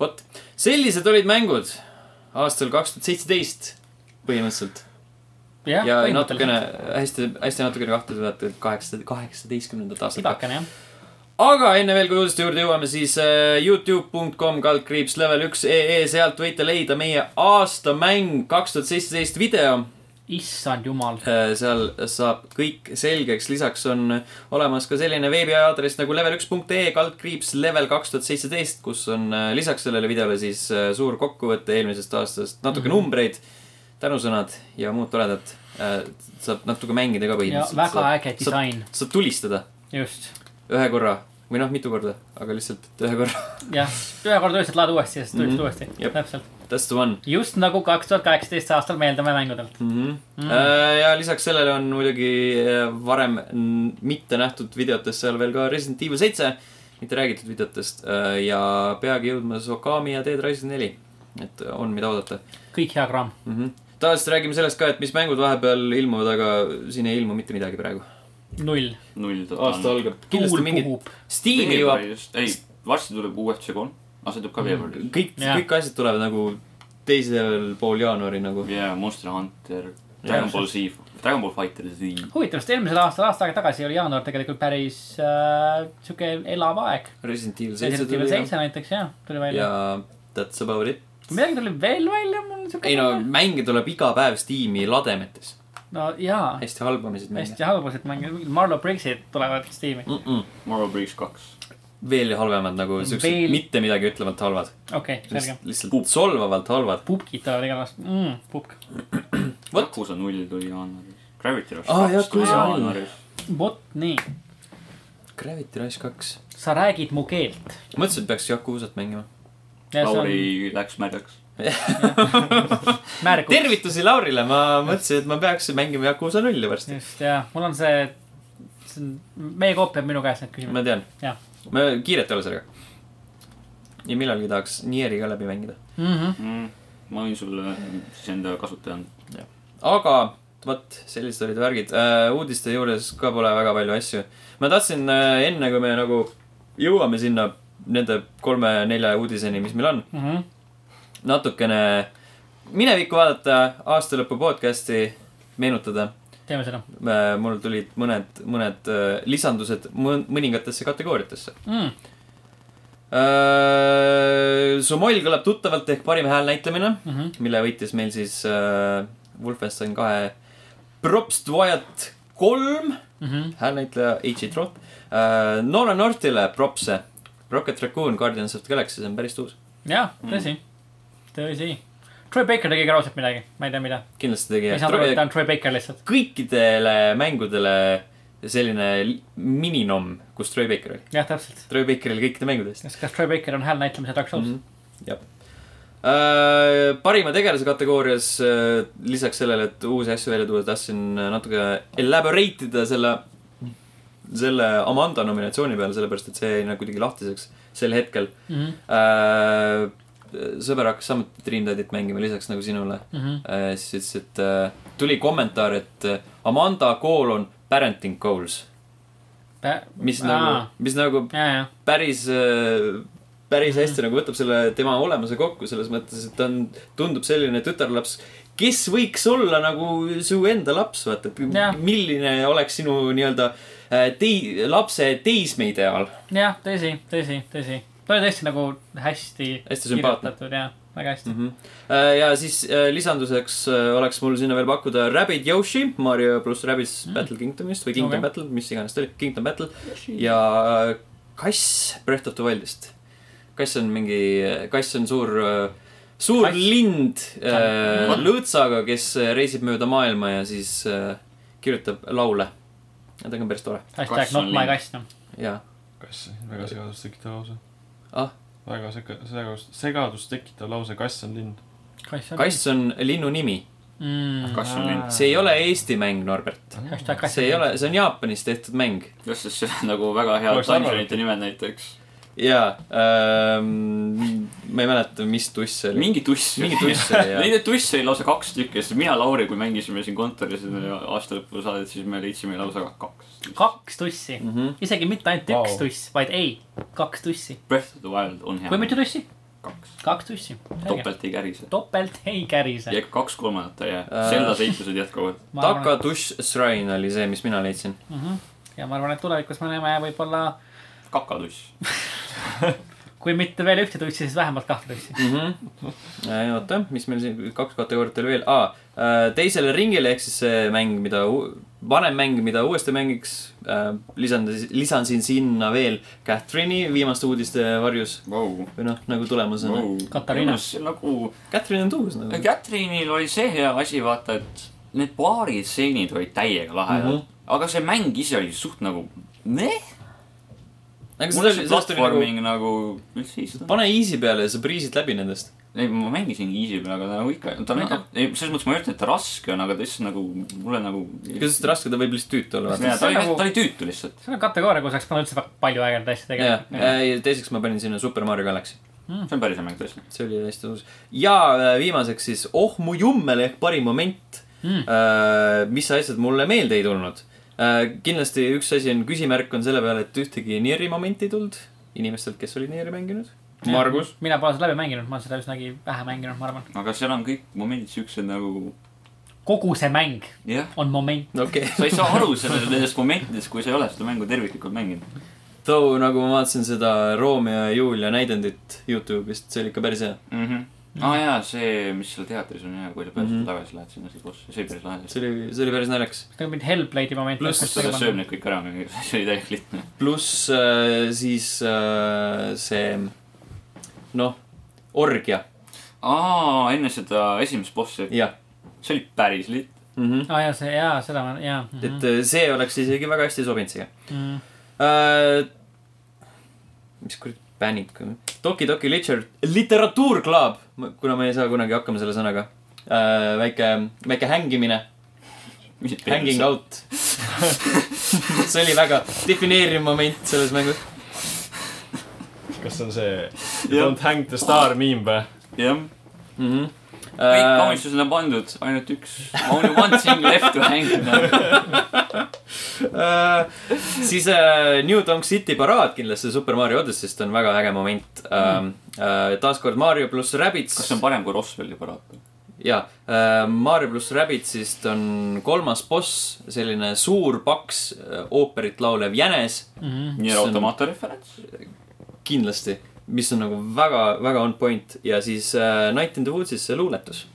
[SPEAKER 1] vot , sellised olid mängud aastal kaks tuhat seitseteist põhimõtteliselt .
[SPEAKER 3] jah
[SPEAKER 1] ja natukene , hästi , hästi natukene kahtluse pealt , et kaheksa , kaheksateistkümnendat aastat .
[SPEAKER 3] pidakene jah .
[SPEAKER 1] aga enne veel , kui uudiste juurde jõuame , siis äh, Youtube.com kaldkriips level üks ee , sealt võite leida meie aastamäng kaks tuhat seitseteist video
[SPEAKER 3] issand jumal .
[SPEAKER 1] Äh, seal saab kõik selgeks , lisaks on olemas ka selline veebiaadress nagu level1.ee kaldkriips level kaks tuhat seitseteist , kus on äh, lisaks sellele videole siis äh, suur kokkuvõte eelmisest aastast , natuke
[SPEAKER 3] Mhm.
[SPEAKER 1] numbreid , tänusõnad ja muud toredat . saab natuke mängida ka
[SPEAKER 3] ja
[SPEAKER 1] põhimõtteliselt .
[SPEAKER 3] väga äge disain ,
[SPEAKER 1] saab tulistada
[SPEAKER 3] just .
[SPEAKER 1] ühe korra või noh , mitu korda , aga lihtsalt et ühe korra . [laughs]
[SPEAKER 3] jah , ühe korda lihtsalt laad uuesti ja siis tulid
[SPEAKER 1] Mhm.
[SPEAKER 3] uuesti ,
[SPEAKER 1] Jep.
[SPEAKER 3] täpselt .
[SPEAKER 1] That's the one
[SPEAKER 3] just nagu kaks tuhat kaheksateist aastal meeldime mängudelt .
[SPEAKER 1] mm . -hmm.
[SPEAKER 3] Mm.
[SPEAKER 1] Äh, ja lisaks sellele on muidugi äh, varem n- mitte nähtud videotes seal veel ka Resident Evil seitse , mitte räägitud videotest äh, ja peagi jõudmas Okami ja Dead Rising neli , et on , mida oodata
[SPEAKER 3] kõik hea kraam .
[SPEAKER 1] mm -hmm. . tavaliselt räägime sellest ka , et mis mängud vahepeal ilmuvad , aga siin ei ilmu mitte midagi praegu .
[SPEAKER 3] null .
[SPEAKER 2] null
[SPEAKER 4] aasta . algab .
[SPEAKER 1] Kindlasti
[SPEAKER 3] tuul
[SPEAKER 1] mingid-
[SPEAKER 3] puhub .
[SPEAKER 1] Steam jõuab ,
[SPEAKER 2] veebruaris , ei , varsti tuleb UFC kolm , aga see tuleb ka veebruaris .
[SPEAKER 1] kõik ,
[SPEAKER 3] Jah.
[SPEAKER 1] kõik asjad tulevad nagu teisel pool jaanuari nagu .
[SPEAKER 2] ja Monster Hunter , Dragon Ball Z , Dragon Ball Fighter Z .
[SPEAKER 3] huvitav , sest eelmisel aastal , aasta aega tagasi oli jaanuar tegelikult päris äh, sihuke elav aeg .
[SPEAKER 1] Resident Evil seitse tuli ja,
[SPEAKER 3] seitse näiteks jah , tuli
[SPEAKER 1] ja
[SPEAKER 3] välja .
[SPEAKER 1] that's about it .
[SPEAKER 3] midagi tuli veel välja , mul on sihuke .
[SPEAKER 1] ei no mänge tuleb iga päev Steam'i lademetes ,
[SPEAKER 3] no jaa ,
[SPEAKER 1] hästi halbamiseid mänge .
[SPEAKER 3] hästi halbused mängud , Marlo Briggs'id tulevad Steam'i .
[SPEAKER 1] mm . -mm.
[SPEAKER 2] Morrow Breeze kaks .
[SPEAKER 1] veel halvemad nagu siuksed
[SPEAKER 3] Veel-
[SPEAKER 1] Veel... mitte midagi ütlemata halvad .
[SPEAKER 3] okei okay, , selge .
[SPEAKER 1] lihtsalt Pup. solvavalt halvad .
[SPEAKER 3] pupkid tulevad igatahes mm, , pupk .
[SPEAKER 1] Vot.
[SPEAKER 2] Yakuza null tuli jaanuaris . Gravity Rush
[SPEAKER 1] Aa,
[SPEAKER 2] kaks tuli
[SPEAKER 1] Ah, Yakuza null.
[SPEAKER 2] jaanuaris .
[SPEAKER 3] vot nii ,
[SPEAKER 1] Gravity Rush kaks .
[SPEAKER 3] sa räägid mu keelt .
[SPEAKER 1] mõtlesin , et peaks Yakuuzat mängima .
[SPEAKER 2] Lauri läks märjaks .
[SPEAKER 3] märgus .
[SPEAKER 1] [laughs] tervitusi Laurile , ma mõtlesin , et ma peaks mängima Yakuuza nulli varsti .
[SPEAKER 3] just jah , mul on see , see on , meie koop peab minu käest need küsimused .
[SPEAKER 1] ma tean
[SPEAKER 3] Jah. .
[SPEAKER 1] ma kiiret ei ole sellega . ja millalgi tahaks Nieri ka läbi mängida .
[SPEAKER 3] Mm -hmm.
[SPEAKER 2] ma võin sulle siis enda kasutaja anda .
[SPEAKER 1] aga vot , sellised olid värgid uh, . uudiste juures ka pole väga palju asju . ma tahtsin uh, enne , kui me nagu jõuame sinna nende kolme-nelja uudiseni , mis meil on ,
[SPEAKER 3] mm -hmm.
[SPEAKER 1] natukene minevikku vaadata , aastalõpu podcast'i meenutada .
[SPEAKER 3] teeme seda
[SPEAKER 1] mul tulid mõned , mõned äh, lisandused mõ- mõningatesse kategooriatesse .
[SPEAKER 3] mm. .
[SPEAKER 1] Äh, su moll kõlab tuttavalt ehk parim hääl näitlemine ,
[SPEAKER 3] Mm -hmm.
[SPEAKER 1] mille võitis meil siis äh, Wolfenstein kahe Propst Wyatt kolm ,
[SPEAKER 3] Mm -hmm.
[SPEAKER 1] häälnäitleja H.E. Trot . Äh, Nolan Northile propse , Rocket Raccoon Guardians of the Galaxy , see on päris uus .
[SPEAKER 3] jah , tõsi mm. , tõsi . Troy Baker tegi ka raudselt midagi , ma ei tea , mida .
[SPEAKER 1] kindlasti tegi
[SPEAKER 3] ei saa aru , et ta on Troy Baker lihtsalt .
[SPEAKER 1] kõikidele mängudele selline li- mininom , kus Troy Baker oli .
[SPEAKER 3] jah , täpselt .
[SPEAKER 1] Troy Baker oli kõikide mängude eest .
[SPEAKER 3] kas , kas Troy Baker on hääl näitlemise Dark
[SPEAKER 1] Mhm.
[SPEAKER 3] Souls mm ?
[SPEAKER 1] jah . parima tegelase kategoorias äh, lisaks sellele , et uusi asju välja tuua , tahtsin äh, natuke elaborate ida selle , selle Amanda nominatsiooni peale , sellepärast et see jäi nagu kuidagi lahtiseks sel hetkel .
[SPEAKER 3] -hmm. Mm
[SPEAKER 1] sõber hakkas samuti Dream Daddy't mängima lisaks nagu sinule .
[SPEAKER 3] -hmm.
[SPEAKER 1] Äh, siis ütles , et äh, tuli kommentaar , et äh, Amanda koolon parenting goals , mis Aa. nagu , mis nagu
[SPEAKER 3] ja , ja ,
[SPEAKER 1] päris , päris hästi nagu võtab selle tema olemuse kokku selles mõttes , et ta on , tundub selline tütarlaps , kes võiks olla nagu su enda laps , vaata , et
[SPEAKER 3] Jah.
[SPEAKER 1] milline oleks sinu nii-öelda äh, tei- , lapse teisme ideaal .
[SPEAKER 3] jah , tõsi , tõsi , tõsi . ta oli tõesti nagu hästi .
[SPEAKER 1] Hästi sümpaatne. .
[SPEAKER 3] jah , väga hästi mm .
[SPEAKER 1] Mm -hmm. ja siis äh, lisanduseks äh, oleks mul sinna veel pakkuda Rabbit Yoshi , Mario pluss Rabbids mm. Battle Kingdomist või Kingdom
[SPEAKER 3] Okei.
[SPEAKER 1] okay. Battle , mis iganes ta oli , Kingdom Battle ja äh, kass Breath of the Wildist . kass on mingi , kass on suur , suur
[SPEAKER 3] Kass.
[SPEAKER 1] kass. lind äh,
[SPEAKER 3] Kass.
[SPEAKER 1] lõõtsaga , kes äh, reisib mööda maailma ja siis äh, kirjutab laule . ja ta on päris tore
[SPEAKER 3] hashtag
[SPEAKER 2] Kass on
[SPEAKER 3] not my
[SPEAKER 2] lind.
[SPEAKER 3] kass , noh .
[SPEAKER 1] ja
[SPEAKER 4] kass , väga segadust tekitav lause .
[SPEAKER 1] Ah? ?
[SPEAKER 4] väga sega- , segadust , segadust tekitav lause , kass on lind .
[SPEAKER 3] kass on .
[SPEAKER 1] kass on linnu nimi ,
[SPEAKER 3] mm. .
[SPEAKER 2] kas on lind ?
[SPEAKER 1] see ei ole Eesti mäng , Norbert .
[SPEAKER 3] hashtag kass
[SPEAKER 1] see ei . ole , see on Jaapanis tehtud mäng .
[SPEAKER 2] kas siis see [laughs] on nagu väga head
[SPEAKER 4] Oleks
[SPEAKER 2] dungeonite nimed näiteks ?
[SPEAKER 1] jaa ähm, , ma ei mäleta , mis tuss see oli .
[SPEAKER 2] mingi tuss .
[SPEAKER 1] mingi tuss oli jah .
[SPEAKER 2] [laughs] Neid tusse oli lausa kaks tükki , sest mina , Lauri , kui mängisime siin kontoris aasta lõpu saadet , siis me leidsime lausa kaks .
[SPEAKER 3] kaks tussi
[SPEAKER 1] Mhm.
[SPEAKER 3] isegi mitte ainult
[SPEAKER 4] Vau.
[SPEAKER 3] üks tuss , vaid ei , kaks tussi .
[SPEAKER 2] Breath of the Wild on hea
[SPEAKER 3] või . mitu tussi ?
[SPEAKER 2] kaks .
[SPEAKER 3] kaks tussi .
[SPEAKER 2] topelt ei kärise .
[SPEAKER 3] topelt ei kärise .
[SPEAKER 2] ja kaks kolmandat ei jää
[SPEAKER 1] Äh. .
[SPEAKER 2] Zelda seiklused jätkuvad .
[SPEAKER 1] Takatush Shrine oli see , mis mina leidsin .
[SPEAKER 3] Mhm. ja ma arvan , et tulevikus me näeme võib-olla ,
[SPEAKER 2] kakaduss .
[SPEAKER 3] kui mitte veel ühte tussi , siis vähemalt kahte tussi .
[SPEAKER 1] Mhm. Äh, oota , mis meil siin , kaks kategooriat oli veel ah, . teisele ringile ehk siis see mäng , mida , vanem mäng , mida uuesti mängiks . lisan , lisansin sinna veel Catherine'i viimaste uudiste varjus
[SPEAKER 2] Vau .
[SPEAKER 1] või noh , nagu tulemas on .
[SPEAKER 3] Katariina. .
[SPEAKER 2] nagu
[SPEAKER 1] Catherine on tuus nagu .
[SPEAKER 2] Catherine'il oli see hea asi , vaata , et need paarid stseenid olid täiega lahedad mm .
[SPEAKER 1] Mhm.
[SPEAKER 2] -hmm. aga see mäng ise oli suht nagu , neh .
[SPEAKER 1] aga
[SPEAKER 2] mul
[SPEAKER 1] seda oli ,
[SPEAKER 2] see
[SPEAKER 1] sellest oli nagu ,
[SPEAKER 2] platvorming nagu üldse ei istunud .
[SPEAKER 1] pane easy peale ja sa priisid läbi nendest .
[SPEAKER 2] ei , ma mängisin easy peal , aga ta nagu ikka , ta on ikka , ei , selles mõttes ma ei ütle , et ta raske on , aga ta lihtsalt nagu , mulle nagu .
[SPEAKER 1] ega sest raske ta võib lihtsalt tüütu olla .
[SPEAKER 2] jaa , ta
[SPEAKER 3] see
[SPEAKER 2] oli ,
[SPEAKER 3] nagu-
[SPEAKER 2] ta oli tüütu lihtsalt .
[SPEAKER 3] see on kategooria , kus oleks pannud üldse väga palju aega neid asju
[SPEAKER 1] ja
[SPEAKER 3] tegema .,
[SPEAKER 1] Äh, ja teiseks ma panin sinna Super Mario Galaxy .
[SPEAKER 2] see on päris hea mäng tõesti .
[SPEAKER 1] see oli hästi uus . ja äh, viimaseks siis Oh mu jummel ehk parim moment mm. , mis asjad mulle meelde ei tulnud . kindlasti üks asi on , küsimärk on selle peale , et ühtegi Nieri momenti ei tulnud inimestelt , kes olid Nieri mänginud . Margus .
[SPEAKER 3] mina pole seda läbi mänginud , ma olen seda üsnagi vähe mänginud , ma arvan .
[SPEAKER 2] aga seal on kõik momendid siuksed nagu ,
[SPEAKER 3] kogu see mäng
[SPEAKER 2] jah .
[SPEAKER 3] on moment .
[SPEAKER 1] [laughs] okei okay. ,
[SPEAKER 2] sa ei saa aru sellest , nendest momentidest , kui sa ei ole seda mängu terviklikult mänginud .
[SPEAKER 1] too nagu ma vaatasin seda Romeo ja Julia näidendit Youtube'ist , see oli ikka päris hea .
[SPEAKER 2] aa Ah, jaa , see , mis seal teatris on ja kui sa pärast tagasi lähed sinna , siis koos , see oli päris lahe .
[SPEAKER 1] Mhm. see oli , see oli päris naljakas .
[SPEAKER 3] nagu mind Hellblade'i moment .
[SPEAKER 1] Pluss
[SPEAKER 2] sa ta sööb need kõik ära , [laughs] see oli täiesti lihtne .
[SPEAKER 1] pluss äh, siis äh, see , noh , orgia ,
[SPEAKER 2] aa , enne seda esimest bossi ,
[SPEAKER 1] jah
[SPEAKER 2] see oli päris lit- .
[SPEAKER 1] mm . -hmm.
[SPEAKER 3] aa Ah, jaa , see jaa , seda ma jaa .
[SPEAKER 1] et
[SPEAKER 2] Mhm.
[SPEAKER 1] äh, see oleks isegi väga hästi sobinud siia
[SPEAKER 3] Mm.
[SPEAKER 1] äh, . mis kuradi pänik , Toki Toki Liter- , literatuurklaab , kuna ma ei saa kunagi hakkama selle sõnaga äh, . väike , väike hängimine , hanging out . [laughs] see oli väga defineeriv moment selles mängus .
[SPEAKER 4] kas see
[SPEAKER 1] [laughs]
[SPEAKER 4] on see
[SPEAKER 2] Jah.
[SPEAKER 4] Don't hang the star meme või ?
[SPEAKER 2] jah ,
[SPEAKER 1] Mm -hmm.
[SPEAKER 2] kõik kaunistused on pandud , ainult üks . Only one thing left to [laughs] hang now .
[SPEAKER 1] Äh, siis äh, New Donk City paraad kindlasti Super Mario Odyssey'st on väga äge moment ähm, . Äh, taaskord Mario pluss Rabbids .
[SPEAKER 2] Mhm. kas see on parem kui Roswelli paraat ?
[SPEAKER 1] jaa , Mario pluss Rabbidsist on kolmas boss , selline suur paks äh, ooperit laulev jänes
[SPEAKER 3] Mhm.
[SPEAKER 2] nii automaato referents .
[SPEAKER 1] kindlasti , mis on nagu väga , väga on point ja siis äh, Night in the Woods'is see luuletus ,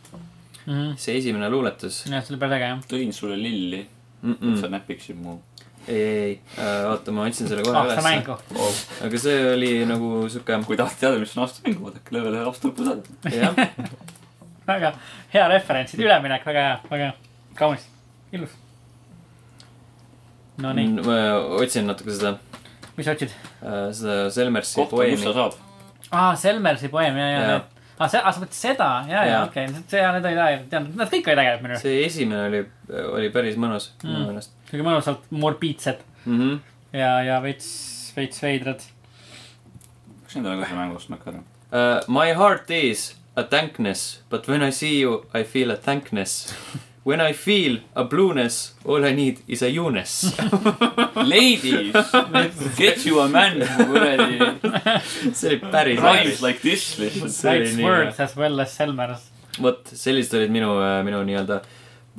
[SPEAKER 3] jah ,
[SPEAKER 1] see esimene luuletus .
[SPEAKER 3] see oli päris äge Mhm. jah .
[SPEAKER 2] tõin sulle lilli ,
[SPEAKER 1] Mm
[SPEAKER 2] et
[SPEAKER 1] -mm.
[SPEAKER 2] sa näpiksid mu .
[SPEAKER 1] ei , ei , ei , oota , ma otsin selle kohe
[SPEAKER 3] ah , seda
[SPEAKER 1] ülesse .
[SPEAKER 3] mängu .
[SPEAKER 1] aga see oli nagu sihuke ,
[SPEAKER 2] kui tahad teada , mis on aasta mäng , vaadake level ühe aasta lõpu taga . [laughs]
[SPEAKER 1] jah ,
[SPEAKER 3] väga hea referents , üleminek , väga hea , väga hea. kaunis , ilus .
[SPEAKER 1] Mm.
[SPEAKER 3] Nonii ,
[SPEAKER 1] otsin natuke seda ,
[SPEAKER 3] mis sa otsid ?
[SPEAKER 1] seda Selmersi
[SPEAKER 2] kohta , kus
[SPEAKER 1] poeemi
[SPEAKER 2] sa . saad .
[SPEAKER 3] aa , Ah, Selmersi poeem ja , ja ,
[SPEAKER 1] Jaa.
[SPEAKER 3] ja . aa , see , aa , sa mõtled seda , ja , ja
[SPEAKER 1] Jaa.
[SPEAKER 3] okei , see , need olid ägedad , tead , nad kõik olid ägedad minu arust .
[SPEAKER 1] see esimene oli , oli päris mõnus mm. minu meelest
[SPEAKER 3] kõige mõnusalt morbiidsed
[SPEAKER 1] mm . -hmm.
[SPEAKER 3] ja , ja veits , veits veidrad .
[SPEAKER 2] peaks endale ka selle mängu ostma ikka ära .
[SPEAKER 1] Uh, my heart is a thankness, but when I see you, I feel a thankness. When I feel a blueness, all I need is a youness . [laughs]
[SPEAKER 2] Ladies , get you a man who kuradi
[SPEAKER 1] see oli päris
[SPEAKER 2] rhymes like this lihtsalt .
[SPEAKER 1] See oli
[SPEAKER 3] Veits
[SPEAKER 1] nii
[SPEAKER 3] words as well as Selmers .
[SPEAKER 1] hea. vot sellised olid minu , minu nii-öelda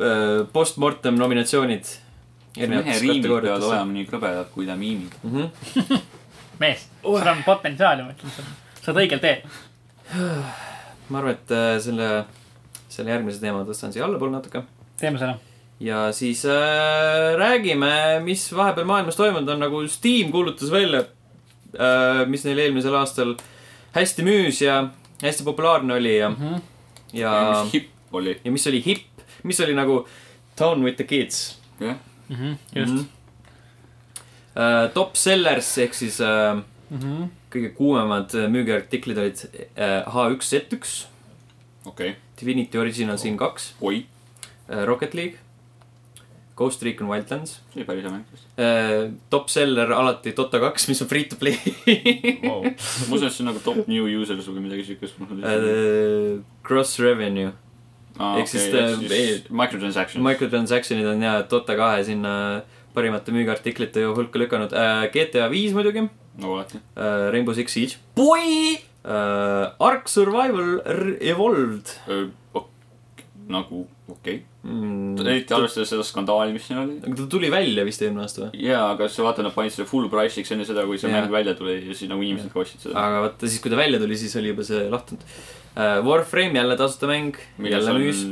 [SPEAKER 1] äh, postmortem nominatsioonid .
[SPEAKER 2] mehe
[SPEAKER 1] erinevates
[SPEAKER 2] riimid peavad
[SPEAKER 1] kategooriates .
[SPEAKER 2] olema nii krõbedad , kui ta miimib .
[SPEAKER 3] mees , sul on potentsiaali , ma ütlen sulle . sa oled õigel teel .
[SPEAKER 1] ma arvan , et äh, selle , selle järgmise teema tõstan siia allapoole natuke .
[SPEAKER 3] teeme seda .
[SPEAKER 1] ja siis äh, räägime , mis vahepeal maailmas toimunud on , nagu Steam kuulutas välja äh, , mis neil eelmisel aastal hästi müüs ja hästi populaarne oli ja mm , -hmm. ja ,
[SPEAKER 2] mis hipp oli ,
[SPEAKER 1] ja mis oli hipp , mis oli nagu Down with the kids
[SPEAKER 2] jah .
[SPEAKER 1] Mhm,
[SPEAKER 3] Mhm. just .
[SPEAKER 1] äh, . Top sellers ehk siis äh, mm -hmm. kõige kuumemad äh, müügiartiklid olid äh, H1Z1 ,
[SPEAKER 2] okei okay. ,
[SPEAKER 1] Divinity Original Sin kaks
[SPEAKER 2] oi ,
[SPEAKER 1] äh, , Rocket League , Ghost Recon Wildlands
[SPEAKER 2] see oli päris hea mäng vist .
[SPEAKER 1] Äh, top seller alati Dota kaks , mis on free to play
[SPEAKER 4] Wow.
[SPEAKER 2] [laughs] ma usun , et see on nagu top new users või midagi siukest .
[SPEAKER 1] Äh, Gross revenue ,
[SPEAKER 2] Ah,
[SPEAKER 1] ehk siis ta-
[SPEAKER 2] microtransaction .
[SPEAKER 1] microtransaction'id on ja Dota kahe sinna parimate müügiartiklite ju hulka lükanud äh, . GTA viis muidugi
[SPEAKER 2] nagu alati .
[SPEAKER 1] äh, , Rainbow Six Siege ,
[SPEAKER 2] boi ,
[SPEAKER 1] Uh, Ark Survival R- Evolved
[SPEAKER 2] nagu okei okay. .
[SPEAKER 1] mm, .
[SPEAKER 2] eriti arvestades seda skandaali , mis siin oli .
[SPEAKER 1] ta tuli välja vist eelmine aasta või ?
[SPEAKER 2] jaa , aga sa vaata , nad panid selle full price'iks enne seda , kui see
[SPEAKER 1] Jaa. Ah,
[SPEAKER 2] mäng välja tuli ja siis nagu inimesed ka ostsid seda .
[SPEAKER 1] aga vaata siis , kui ta välja tuli , siis oli juba see lahtunud uh, . Warframe jälle tasuta mäng , jälle müüs .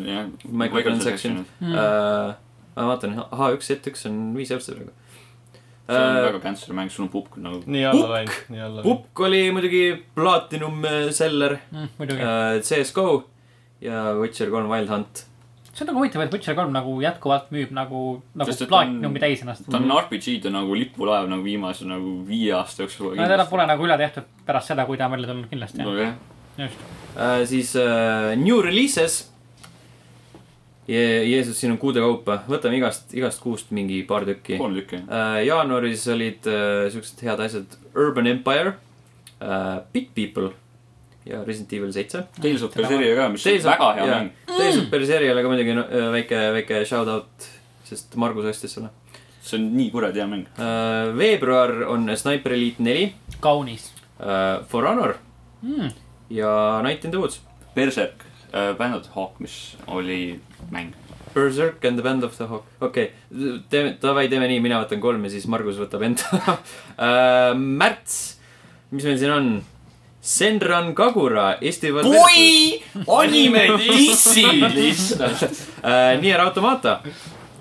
[SPEAKER 1] Microtransaction.
[SPEAKER 3] Mm.
[SPEAKER 1] uh, . ma vaatan , H1Z1 on viis eurot sellega
[SPEAKER 2] see
[SPEAKER 1] uh, .
[SPEAKER 2] on väga cancer mäng , sul on pukk nagu .
[SPEAKER 4] nii alla läinud , nii alla läinud .
[SPEAKER 1] Pukk oli muidugi platinum äh, seller
[SPEAKER 3] Mhm, muidugi .
[SPEAKER 1] uh, , CSGO ja Witcher kolm Wild Hunt .
[SPEAKER 3] see on nagu huvitav , et Witcher kolm nagu jätkuvalt müüb nagu , nagu
[SPEAKER 2] Sest et ta on-
[SPEAKER 3] platinumi täis ennast .
[SPEAKER 2] ta on RPG-de nagu lipulaev nagu viimase nagu viie aasta jooksul . Nagu
[SPEAKER 3] no teda pole nagu üle tehtud pärast seda , kui ta on välja tulnud kindlasti .
[SPEAKER 2] nojah ,
[SPEAKER 3] just .
[SPEAKER 1] Äh, siis äh, New Releases Je . Jeesus , siin on kuude kaupa , võtame igast , igast kuust mingi paar tükki .
[SPEAKER 2] kolm tükki .
[SPEAKER 1] Äh, jaanuaris olid äh, siuksed head asjad Urban Empire äh, , Big People ja Resident Evil seitse .
[SPEAKER 2] Tales of Berseria ka , mis on
[SPEAKER 1] Tales of-
[SPEAKER 2] väga hea
[SPEAKER 1] jaa.
[SPEAKER 2] mäng .
[SPEAKER 1] Tales of Berseeriale ka muidugi no, äh, väike , väike shout out , sest Margus ostis selle
[SPEAKER 2] see on nii kuradi hea mäng .
[SPEAKER 1] äh, . veebruar on Sniper Elite neli
[SPEAKER 3] kaunis .
[SPEAKER 1] äh, , For Honor
[SPEAKER 3] Mm.
[SPEAKER 1] ja Night in the Woods .
[SPEAKER 2] Berserk , Band of the Hawk , mis oli mäng .
[SPEAKER 1] Berserk and the Band of the Hawk , okei okay. , teeme , davai , teeme nii , mina võtan kolm ja siis Margus võtab [laughs] enda uh, . märts , mis meil siin on ? Senran Kagura , Eesti .
[SPEAKER 2] [laughs] anime dissi
[SPEAKER 1] [laughs] lihtsalt uh, . Nier Automata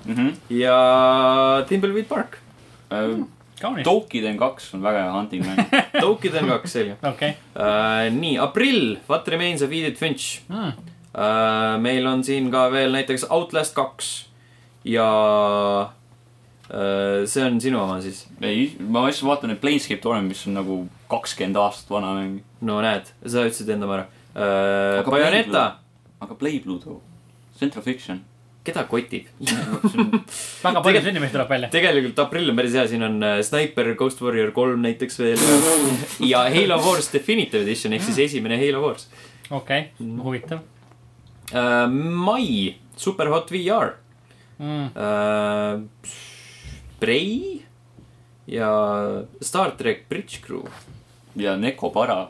[SPEAKER 2] Mhm.
[SPEAKER 1] ja Thimbleweed Park .
[SPEAKER 3] kaunis .
[SPEAKER 2] Tokiden Äh, kaks on väga hea hunting mäng .
[SPEAKER 1] Tokid on kaks , selge
[SPEAKER 3] okei .
[SPEAKER 1] uh, . nii , aprill , What Remains of Edith Finch uh, . meil on siin ka veel näiteks Outlast kaks ja uh, see on sinu oma siis
[SPEAKER 2] ei , ma lihtsalt vaatan , et Planescape Torment , mis on nagu kakskümmend aastat vana mäng .
[SPEAKER 1] no näed , sa ütlesid enda oma ära
[SPEAKER 2] Aga
[SPEAKER 1] uh, . Bayoneta ,
[SPEAKER 2] aga Play Pluto , Central Fiction .
[SPEAKER 1] keda kotib ? [laughs]
[SPEAKER 3] väga palju sündimisi tuleb välja .
[SPEAKER 1] tegelikult aprill on päris hea , siin on äh, Sniper , Ghost Warrior kolm näiteks veel ja Halo Wars Definitive Edition ehk siis esimene Halo Wars
[SPEAKER 3] okei ,
[SPEAKER 1] Mm.
[SPEAKER 3] huvitav .
[SPEAKER 1] uh, . mai , Superhot VR
[SPEAKER 3] Mm.
[SPEAKER 1] uh, . Prei ja Star track Bridge Crew .
[SPEAKER 2] ja Neko Para ,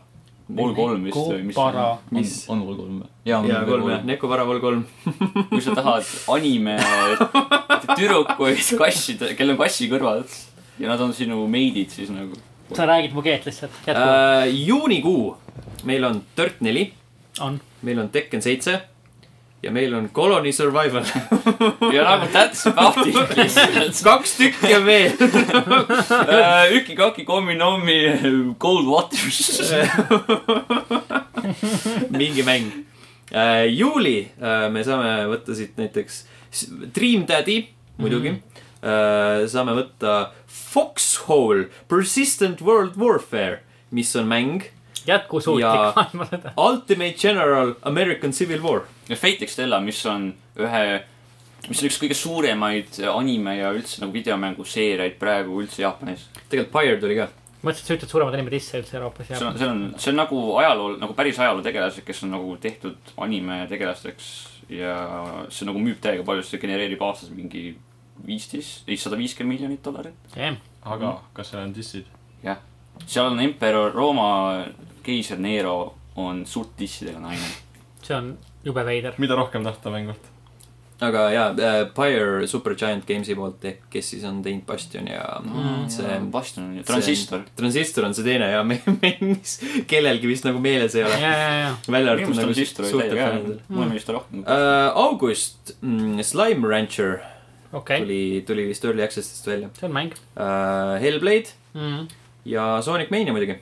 [SPEAKER 2] Vol kolm vist või mis .
[SPEAKER 3] Para.
[SPEAKER 1] Mis?
[SPEAKER 5] on mul kolm või ? jaa ,
[SPEAKER 1] ja
[SPEAKER 5] on
[SPEAKER 1] kolm
[SPEAKER 5] mul
[SPEAKER 1] jah ,
[SPEAKER 5] kolm .
[SPEAKER 1] Neko Varaval kolm . [laughs]
[SPEAKER 2] kui sa tahad anime tüdrukuid kasside , kellel on kassi kõrvad ja nad on sinu meidid , siis nagu .
[SPEAKER 3] sa räägid mu keelt lihtsalt , jätkuvalt .
[SPEAKER 1] Uh, juunikuu , meil on Dirt neli ,
[SPEAKER 3] on .
[SPEAKER 1] meil on Tekken seitse ja meil on Colony Survival .
[SPEAKER 2] ja nagu that's about it
[SPEAKER 1] [laughs]
[SPEAKER 2] lihtsalt .
[SPEAKER 1] [laughs] kaks tükki on veel .
[SPEAKER 2] Uh, Üki-kaki komminomi Cold Waters .
[SPEAKER 1] [laughs] mingi mäng . juuli äh, me saame võtta siit näiteks s- Dream Daddy , muidugi mm . -hmm. saame võtta Foxhole Persistent World Warfare , mis on mäng . Ja-
[SPEAKER 3] [laughs] jätkusuutlik maailma sõda .
[SPEAKER 1] Ultimate General American Civil War .
[SPEAKER 2] ja Fate Extella , mis on ühe , mis on üks kõige suuremaid äh, anime ja üldse nagu videomänguseeriaid praegu üldse Jaapanis .
[SPEAKER 1] tegelikult Pyre tuli ka .
[SPEAKER 3] mõtlesin , et sa ütled suuremad inimesed ise üldse Euroopas
[SPEAKER 2] see
[SPEAKER 3] ja .
[SPEAKER 2] on , see on , see on nagu ajaloo , nagu päris ajalootegelased , kes on nagu tehtud anime tegelasteks ja see nagu müüb täiega palju , see genereerib aastas mingi viisteist , ei sada viiskümmend miljonit dollarit .
[SPEAKER 4] aga kas seal on dissid ?
[SPEAKER 2] jah , seal on emperor , Rooma keiser Nero on suurt dissidega naine .
[SPEAKER 3] see on jube veider .
[SPEAKER 4] mida rohkem tahta mängult ?
[SPEAKER 1] aga jaa äh, , Pyre Supergiant Games'i poolt ehk kes siis on teinud Bastion ja mm, see .
[SPEAKER 2] Bastion on ju , transistor .
[SPEAKER 1] transistor on see teine ja [laughs] me- me- mis kellelgi vist nagu meeles ei ole .
[SPEAKER 3] ja , ja , ja ,
[SPEAKER 1] välja
[SPEAKER 2] minu
[SPEAKER 1] arvatud
[SPEAKER 2] meelest
[SPEAKER 1] nagu
[SPEAKER 2] transistor Mm. oli
[SPEAKER 1] suurte
[SPEAKER 2] täiega hea
[SPEAKER 1] fännidel .
[SPEAKER 2] mäng , mulle meeldis ta rohkem .
[SPEAKER 1] Uh, august mm, , Slime Rancher
[SPEAKER 3] okei okay. ,
[SPEAKER 1] tuli , tuli vist Early Access'ist välja
[SPEAKER 3] see on mäng
[SPEAKER 1] uh, . Hellblade
[SPEAKER 3] mm. .
[SPEAKER 1] ja Sonic Mania muidugi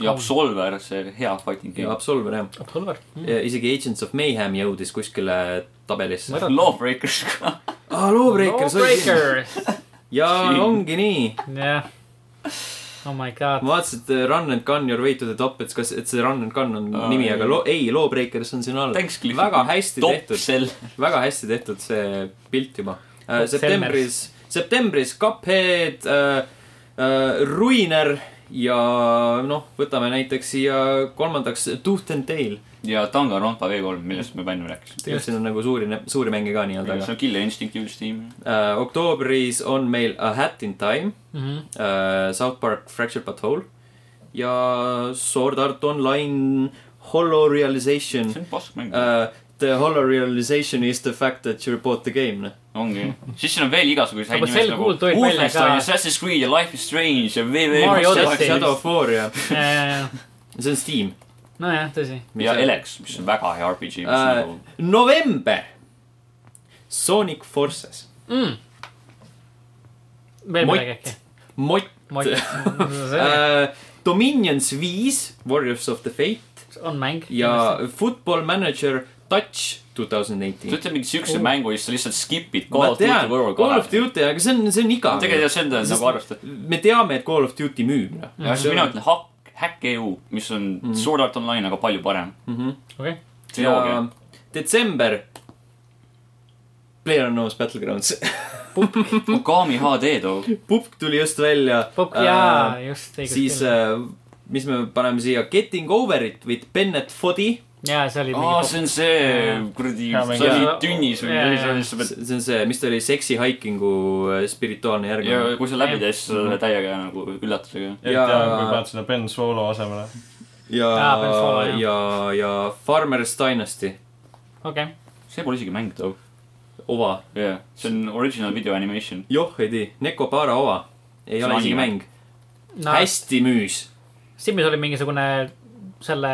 [SPEAKER 2] ja Absolver , see hea fighting
[SPEAKER 1] ja
[SPEAKER 2] game .
[SPEAKER 1] Absolver jah
[SPEAKER 3] Absolver mm. .
[SPEAKER 1] ja isegi Agents of Mayhem jõudis kuskile tabelisse .
[SPEAKER 2] Lawbreakers ka .
[SPEAKER 1] aa , Lawbreakers oli siin .
[SPEAKER 3] Breakers .
[SPEAKER 1] ja ongi nii .
[SPEAKER 3] jah . Oh my god .
[SPEAKER 1] ma vaatasin , et äh, Run and Gun Your Way to the Top , et kas , et see Run and Gun on
[SPEAKER 2] Aa,
[SPEAKER 1] nimi ,
[SPEAKER 2] ei.
[SPEAKER 1] aga lo- , ei , Lawbreakers on siin all .
[SPEAKER 2] Thanks , Cliff .
[SPEAKER 1] väga hästi
[SPEAKER 2] top
[SPEAKER 1] tehtud ,
[SPEAKER 2] sell .
[SPEAKER 1] väga hästi tehtud see pilt juba .
[SPEAKER 3] Top
[SPEAKER 1] septembris , septembris Cuphead äh, , äh, Ruiner ja noh , võtame näiteks siia kolmandaks Tooth and Tail .
[SPEAKER 2] ja Danganronpa V3 , millest me enne rääkisime .
[SPEAKER 1] tegelikult siin on nagu suuri , suuri mänge ka nii-öelda ,
[SPEAKER 2] see
[SPEAKER 1] aga
[SPEAKER 2] on Killer Instincti uus tiim .
[SPEAKER 1] äh, oktoobris on meil A Hat in Time
[SPEAKER 3] Mm -hmm.
[SPEAKER 1] äh, South Park Fractured But Whole ja Sword Art Online Hollow Realization
[SPEAKER 2] see on pask mäng uh, .
[SPEAKER 1] uh, . The hollow realization is the fact that you report the game , noh .
[SPEAKER 2] ongi . siis siin on veel igasuguseid häid
[SPEAKER 3] Aga sel
[SPEAKER 2] nimesid nagu
[SPEAKER 3] kuul tulid välja
[SPEAKER 2] Wolfenstein
[SPEAKER 3] ka-
[SPEAKER 2] ja Assassin's Creed ja Life is Strange ja VV
[SPEAKER 3] Mario Odyssey.
[SPEAKER 1] Shadow of War ja see on Steam .
[SPEAKER 3] nojah , tõsi .
[SPEAKER 2] ja Elex , mis on väga hea RPG , mis on
[SPEAKER 1] Äh,
[SPEAKER 2] nagu
[SPEAKER 1] november , Sonic Forces ,
[SPEAKER 3] Mm. veel
[SPEAKER 1] Mott.
[SPEAKER 3] midagi äkki ?
[SPEAKER 1] Mott,
[SPEAKER 2] [laughs]
[SPEAKER 1] äh, Dominions viis , Warriors of the Fate
[SPEAKER 2] Äh,
[SPEAKER 3] on mäng .
[SPEAKER 1] ja . Football Manager Touch two thousand
[SPEAKER 2] sa
[SPEAKER 1] eighteen .
[SPEAKER 2] ütled mingi siukse
[SPEAKER 3] Cool.
[SPEAKER 2] mängu ja siis sa lihtsalt skip'id Call
[SPEAKER 1] ma
[SPEAKER 2] of Duty
[SPEAKER 1] tean ,
[SPEAKER 2] World
[SPEAKER 1] Call of
[SPEAKER 2] kahe .
[SPEAKER 1] Duty , aga see on , see on igav .
[SPEAKER 2] tegelikult jah , see on ta nagu arvestatud .
[SPEAKER 1] me teame , et Call of Duty müüb , noh .
[SPEAKER 2] ja siis mina ütlen Hack , Hack EU , mis on Sword Art Online , aga palju parem .
[SPEAKER 3] okei ,
[SPEAKER 1] ja
[SPEAKER 2] triloogia .
[SPEAKER 1] detsember , PlayerUnknown's Battlegrounds . [laughs]
[SPEAKER 2] Okami HD too .
[SPEAKER 1] Pupk tuli just välja .
[SPEAKER 3] Pop- jaa , just .
[SPEAKER 1] siis äh, mis me paneme siia , Getting Over It with Bennett Foddy .
[SPEAKER 3] jaa , see oli
[SPEAKER 2] aa ,
[SPEAKER 3] mingi
[SPEAKER 2] see on see kuradi ,
[SPEAKER 4] Hea mäng.
[SPEAKER 2] sa
[SPEAKER 3] Jaa.
[SPEAKER 2] olid tünnis või
[SPEAKER 3] Jaa,
[SPEAKER 2] midagi
[SPEAKER 3] jaa.
[SPEAKER 2] sellist , sa pead
[SPEAKER 1] see on see , mis ta oli , seksi haikingu äh, spirituaalne noh.
[SPEAKER 2] ja
[SPEAKER 1] järglane .
[SPEAKER 2] kui sa läbi teed , siis sa oled täiega nagu üllatusega .
[SPEAKER 4] et
[SPEAKER 1] Ja-
[SPEAKER 4] ja... tean , kui paned seda Ben Solo asemele .
[SPEAKER 1] ja
[SPEAKER 3] Aa, Benz Fodla, , jah.
[SPEAKER 1] ja , ja Farmers Dynasty ,
[SPEAKER 3] pop- okei .
[SPEAKER 2] see pole isegi mäng too .
[SPEAKER 1] ova .
[SPEAKER 2] jah , see on original video animation .
[SPEAKER 1] joh , ei tea , Neko Para ova . ei
[SPEAKER 2] See
[SPEAKER 1] ole
[SPEAKER 2] on
[SPEAKER 1] isegi
[SPEAKER 2] anime.
[SPEAKER 1] mäng .
[SPEAKER 3] no
[SPEAKER 1] hästi müüs .
[SPEAKER 3] Simis oli mingisugune selle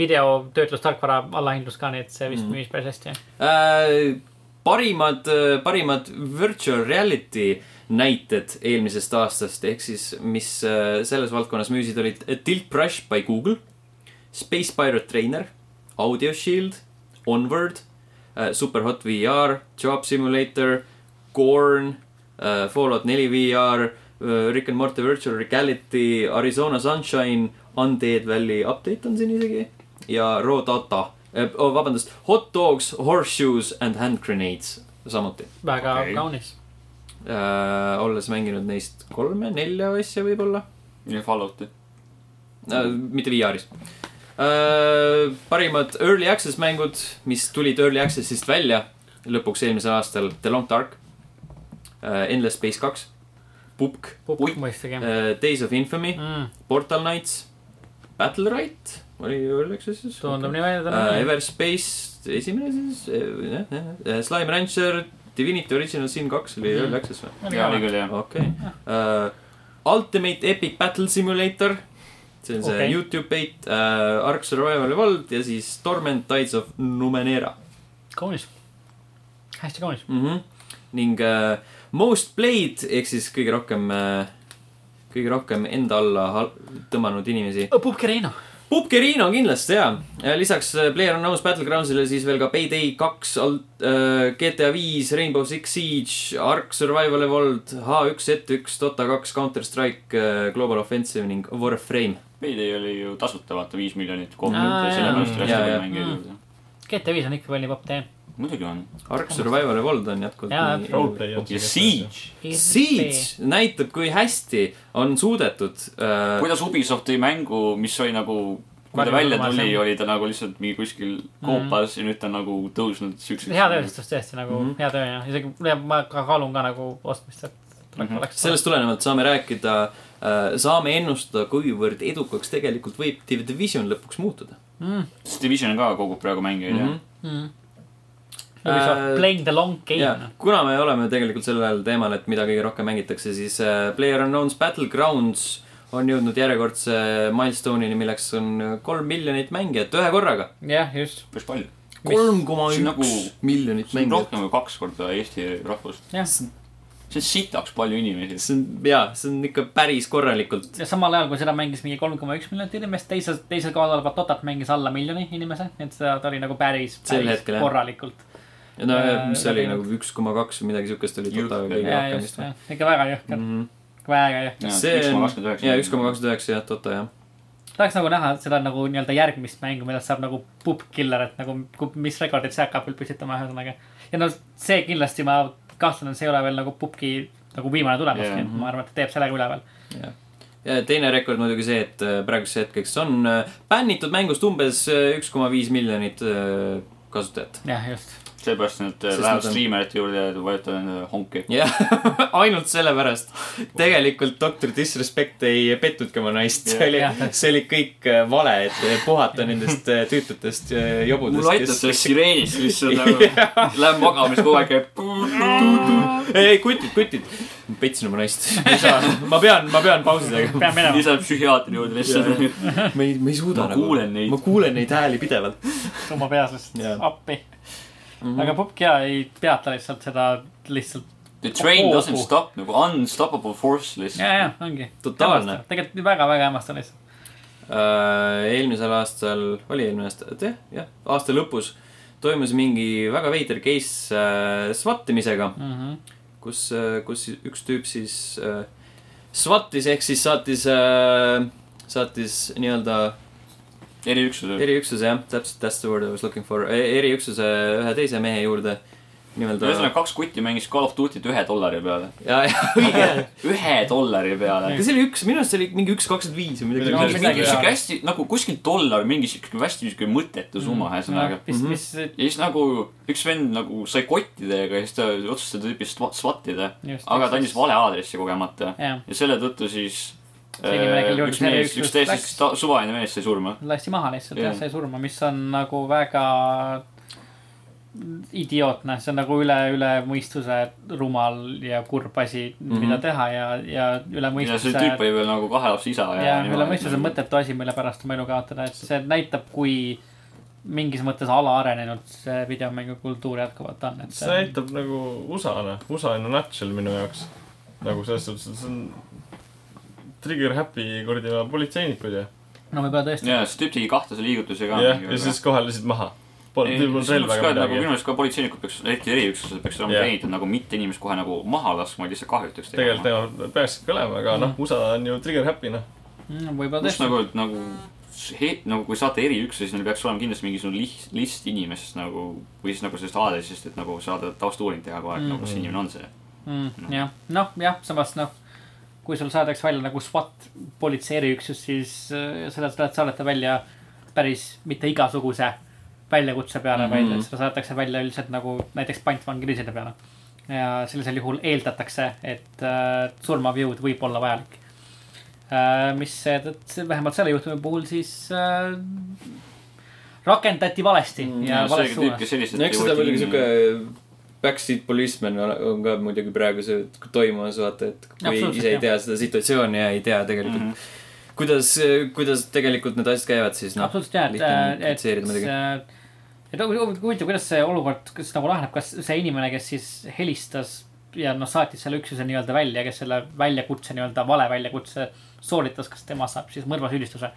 [SPEAKER 3] videotöötlustarkvara allahindlus ka , nii et see vist
[SPEAKER 2] Mhm.
[SPEAKER 1] Mm.
[SPEAKER 3] müüs päris hästi .
[SPEAKER 1] Äh, parimad , parimad virtual reality näited eelmisest aastast , ehk siis mis äh, selles valdkonnas müüsid , olid Tilt Brush by Google , Space Pirate Trainer , Audio Shield , Onward , Superhot VR , Job Simulator , Gorn , Fallout neli VR , Rick and Morty Virtual Reality , Arizona Sunshine , Undead Valley update on siin isegi ja Raw Data , vabandust , Hot Dogs , Horseshoes and Hand Grenades samuti .
[SPEAKER 3] väga
[SPEAKER 2] Okei.
[SPEAKER 3] kaunis .
[SPEAKER 1] olles mänginud neist kolme-nelja asja võib-olla ,
[SPEAKER 2] ja Fallouti .
[SPEAKER 1] mitte VR-is . parimad early access mängud , mis tulid early access'ist välja lõpuks eelmisel aastal , The Long Dark , Endless Space kaks , Pupk ,
[SPEAKER 2] Ui. Äh.
[SPEAKER 3] pukk mõistagi . Mm,
[SPEAKER 1] Days of Infamy ,
[SPEAKER 3] tundub
[SPEAKER 1] Portal Knights , Battle Right oli early access'is .
[SPEAKER 3] nii
[SPEAKER 2] Äh,
[SPEAKER 3] välja
[SPEAKER 1] uh,
[SPEAKER 3] täna .
[SPEAKER 1] Everspace , esimene siis uh, , jah , jah , Slime Rancher , Divinity Original Sin kaks oli
[SPEAKER 3] Mhm.
[SPEAKER 1] Early Access või ?
[SPEAKER 2] jaa , oli küll jah .
[SPEAKER 1] okei uh, . Ultimate Epic Battle Simulator , see on see
[SPEAKER 3] Okei.
[SPEAKER 1] okay. Youtube bait uh, , Ark Survival Evolved ja siis Torment Tides of Numenera
[SPEAKER 3] kaunis . hästi kaunis .
[SPEAKER 1] mm . -hmm. ning uh, Most Played ehk siis kõige rohkem uh, kõige rohkem enda alla hal- tõmmanud inimesi .
[SPEAKER 2] Äh,
[SPEAKER 3] Pupkeriino .
[SPEAKER 1] Pupkeriin on kindlasti jaa , lisaks äh, PlayerUnknown's Battlegroundsile siis veel ka Payday kaks , äh, GTA viis , Rainbow Six Siege , Ark Survival Evolved , H1Z1 , Dota kaks , Counter Strike , Global Offensive ning Warframe .
[SPEAKER 2] Payday oli ju tasuta , vaata viis miljonit
[SPEAKER 3] Aa,
[SPEAKER 2] kohvrit ja sellepärast oli
[SPEAKER 1] jaa,
[SPEAKER 2] hästi
[SPEAKER 1] jaa.
[SPEAKER 2] palju mänge .
[SPEAKER 3] GTA viis on ikka veel nii popp tee .
[SPEAKER 2] muidugi on .
[SPEAKER 1] Ark Survival Evolved on jätkuvalt
[SPEAKER 3] Jaa,
[SPEAKER 1] nii- Oh,
[SPEAKER 4] Roleplay on
[SPEAKER 2] ja . Siege .
[SPEAKER 1] Siege näitab , kui hästi on suudetud äh,
[SPEAKER 2] kuidas Ubisoft tõi mängu , mis oli nagu , kui ta
[SPEAKER 3] Varju-
[SPEAKER 2] välja
[SPEAKER 3] varju-
[SPEAKER 2] tuli , oli ta nagu lihtsalt mingi kuskil koopas ja nüüd ta on nagu tõusnud siukseks .
[SPEAKER 3] hea tööstus tõesti nagu mm
[SPEAKER 1] Mhm.
[SPEAKER 3] -hmm. hea töö ja isegi ja ma ka kaalun ka nagu ostmist , et
[SPEAKER 2] Mhm.
[SPEAKER 3] oleks .
[SPEAKER 1] sellest tulenevalt saame rääkida , saame ennustada , kuivõrd edukaks tegelikult võib The Division lõpuks muutuda .
[SPEAKER 3] mm .
[SPEAKER 2] sest Division ka kogub praegu mängijaid
[SPEAKER 1] Mhm.
[SPEAKER 2] mm -hmm.
[SPEAKER 3] -hmm. Ubisoft
[SPEAKER 1] Äh,
[SPEAKER 3] uh, playing the long
[SPEAKER 1] ja
[SPEAKER 3] game .
[SPEAKER 1] kuna me oleme tegelikult sellel teemal , et mida kõige rohkem mängitakse , siis äh, PlayerUnknown's Battlegrounds on jõudnud järjekordse milstonini , milleks on kolm miljonit mängijat ühe korraga .
[SPEAKER 3] jah , just .
[SPEAKER 2] päris palju .
[SPEAKER 3] Mis-
[SPEAKER 1] kolm koma
[SPEAKER 2] see on nagu-
[SPEAKER 1] üks miljonit
[SPEAKER 2] see on
[SPEAKER 1] mängijat .
[SPEAKER 2] rohkem kui kaks korda Eesti rahvust .
[SPEAKER 3] jah ,
[SPEAKER 2] see on sitaks palju inimesi .
[SPEAKER 1] see on , jaa , see on ikka päris korralikult .
[SPEAKER 3] ja samal ajal kui seda mängis mingi kolm koma üks miljonit inimest , teisel , teisel kohal olevat Totat mängis alla miljoni inimese , et seda ta oli nagu päris ,
[SPEAKER 1] Sel
[SPEAKER 3] päris
[SPEAKER 1] hetkel, jah.
[SPEAKER 3] korralikult .
[SPEAKER 1] no
[SPEAKER 3] Äh,
[SPEAKER 1] mis see oli
[SPEAKER 3] läbinud.
[SPEAKER 1] nagu üks koma kaks või midagi siukest oli
[SPEAKER 2] Jõhker.
[SPEAKER 1] totaal kõige
[SPEAKER 3] ja
[SPEAKER 1] rohkem
[SPEAKER 3] just
[SPEAKER 1] vist , Mm. või ?
[SPEAKER 3] ikka väga jõhker , väga jõhker .
[SPEAKER 1] see on , jaa , üks koma
[SPEAKER 2] kakskümmend
[SPEAKER 1] kakskümmend üheksa jah , tota jah .
[SPEAKER 3] tahaks nagu näha seda nagu nii-öelda järgmist mängu , millest saab nagu pup killer , et nagu ku- mis rekordid see hakkab veel püstitama , ühesõnaga . ja no see kindlasti ma kahtlen , see ei ole veel nagu pupki nagu viimane tulemus
[SPEAKER 2] Jah.
[SPEAKER 3] yeah. , ma arvan , et ta teeb sellega üleval .
[SPEAKER 1] ja teine rekord muidugi see , et äh, praeguseks hetkeks on äh, bännitud mängust umbes üks koma viis miljonit äh, kasutajat .
[SPEAKER 3] jah , just .
[SPEAKER 2] üheksa . seepärast nad äh,
[SPEAKER 1] Sest nad
[SPEAKER 2] lähevad
[SPEAKER 1] on-
[SPEAKER 2] striimerite juurde ja vajutavad endale honki .
[SPEAKER 1] jah , [laughs] ainult sellepärast . tegelikult doktor Disrespect ei petnudki oma naist , see oli
[SPEAKER 3] Jah. ,
[SPEAKER 1] see oli kõik äh, vale , et puhata nendest äh, tüütutest äh,
[SPEAKER 2] mul
[SPEAKER 1] jobudest ,
[SPEAKER 2] aitab sellest sireenist
[SPEAKER 1] [laughs]
[SPEAKER 2] lihtsalt nagu , läheb magama , siis kogu aeg käib .
[SPEAKER 1] ei , ei kutid , kutid . ma petsin oma naist . ma ei saa , ma pean , ma pean pausi tegema .
[SPEAKER 3] pean minema .
[SPEAKER 2] siis läheb psühhiaatri juurde lihtsalt .
[SPEAKER 1] ma ei , ma ei suuda nagu-
[SPEAKER 2] Ma kuulen neid.
[SPEAKER 1] ma kuulen neid hääli pidevalt .
[SPEAKER 3] oma peas lihtsalt
[SPEAKER 1] Jaa.
[SPEAKER 3] appi .
[SPEAKER 1] Mhm.
[SPEAKER 3] aga Pupk ja ei peata lihtsalt seda lihtsalt .
[SPEAKER 2] The train doesn't stop nagu unstoppable force
[SPEAKER 3] ja ,
[SPEAKER 2] lihtsalt .
[SPEAKER 3] ja ongi .
[SPEAKER 1] Totaalne. .
[SPEAKER 3] tegelikult väga-väga hämmastav lihtsalt .
[SPEAKER 1] Äh, eelmisel aastal , oli eelmine aasta , jah , jah , aasta lõpus toimus mingi väga veider case äh, svattimisega , kus , kus üks tüüp siis äh, svattis ehk siis saatis äh, , saatis nii-öelda
[SPEAKER 2] eriüksused .
[SPEAKER 1] eriüksuse jah , täpselt that's the word I was looking for , eriüksuse ühe teise mehe juurde . nimelt .
[SPEAKER 2] ühesõnaga , kaks kutti mängis Call of Duty't ühe dollari peale .
[SPEAKER 1] ja , ja [laughs] õige .
[SPEAKER 2] [laughs] ühe dollari peale .
[SPEAKER 1] aga see oli üks , minu arust see oli mingi üks kakskümmend viis või midagi
[SPEAKER 4] Midagi
[SPEAKER 1] sellist .
[SPEAKER 4] sellist.
[SPEAKER 2] mingi
[SPEAKER 3] midagi
[SPEAKER 2] sihuke hästi nagu kuskil dollar , mingi sihuke hästi sihuke mõttetu
[SPEAKER 3] Mm,
[SPEAKER 2] summa ühesõnaga .
[SPEAKER 3] mis ,
[SPEAKER 1] Mhm.
[SPEAKER 3] mis ,
[SPEAKER 2] ja siis nagu üks vend nagu sai kottidega ja siis ta otsustas seda tüüpi sva- svattida .
[SPEAKER 3] Just,
[SPEAKER 2] aga
[SPEAKER 3] just.
[SPEAKER 2] ta andis vale aadressi kogemata .
[SPEAKER 3] jah ,
[SPEAKER 2] ja selle tõttu siis
[SPEAKER 3] See inimene, kelle
[SPEAKER 2] äh,
[SPEAKER 3] juurde
[SPEAKER 2] üks
[SPEAKER 3] see
[SPEAKER 2] mees ,
[SPEAKER 3] eriüksus
[SPEAKER 2] üks täiesti
[SPEAKER 3] läks.
[SPEAKER 2] sta- suvaline mees sai surma .
[SPEAKER 3] lasti maha lihtsalt
[SPEAKER 2] Jah.
[SPEAKER 3] jah , sai surma , mis on nagu väga idiootne , see on nagu üle , üle mõistuse rumal ja kurb asi mm , -hmm. mida teha ja , ja üle
[SPEAKER 2] Mhm. ja see
[SPEAKER 3] mõistuse .
[SPEAKER 2] tüüp oli veel nagu kahe lapse isa .
[SPEAKER 3] ja üle mõistuse . mõttetu asi , mille pärast oma elu kaotada , et see näitab , kui mingis mõttes alaarenenud see videomängukultuur jätkuvalt on , et
[SPEAKER 4] see näitab nagu USA-na , USA in a nutshell minu jaoks . nagu selles suhtes , et see on trigger happy kuradi politseinikud ja .
[SPEAKER 3] no võib-olla tõesti .
[SPEAKER 2] ja see tüüp tegi kahtlase liigutuse ka .
[SPEAKER 4] jah , ja siis kohe lasid maha . Polnud , tüüp polnud relva ega
[SPEAKER 2] nagu, minu
[SPEAKER 4] midagi .
[SPEAKER 2] meelest ka politseinikud peaks , eriti eriüksused peaks olema
[SPEAKER 4] Jah.
[SPEAKER 2] treenitud nagu mitte inimest kohe nagu maha laskma , lihtsalt kahjutaks
[SPEAKER 4] tegelikult . nemad peaksidki olema , aga noh , USA on ju trigger happy noh .
[SPEAKER 3] Mm, võib-olla
[SPEAKER 2] pluss
[SPEAKER 3] tõesti ,
[SPEAKER 2] nagu , et nagu see , nagu kui saate eriüksuse , siis neil peaks olema kindlasti mingisugune list , list inimesest nagu või siis nagu sellest aadressist , et nagu saada taustauuring teha kogu aeg mm. , nagu kas see inimene on see .
[SPEAKER 3] jah , noh , jah , samas noh , kui sul saadakse välja nagu SWAT politsei eriüksus , siis äh, seda sa saadate välja päris mitte igasuguse väljakutse peale mm , -hmm. vaid et seda saadetakse välja üldiselt nagu näiteks pantvangiliside peale . ja sellisel juhul eeldatakse , et äh, surmav jõud võib olla vajalik . mis seetõttu , vähemalt selle juhtumi puhul siis äh, rakendati valesti mm, ja vales suunas .
[SPEAKER 1] no eks seda muidugi sihuke backseat policeman on- on ka muidugi praegu see toimumas vaata , et kui
[SPEAKER 3] Absoluutselt,
[SPEAKER 1] ise ei
[SPEAKER 3] jah.
[SPEAKER 1] tea seda situatsiooni ja ei tea tegelikult mm , -hmm. kuidas , kuidas tegelikult need asjad käivad , siis noh .
[SPEAKER 3] absoluutselt jah , et , et ,
[SPEAKER 1] kritiseerida muidugi .
[SPEAKER 3] et , et huvi- huvi- huvitav , kuidas see olukord , kas nagu laheneb , kas see inimene , kes siis helistas ja noh , saatis selle üksuse nii-öelda välja , kes selle väljakutse nii-öelda vale väljakutse sooritas , kas tema saab siis mõrvasüüdistuse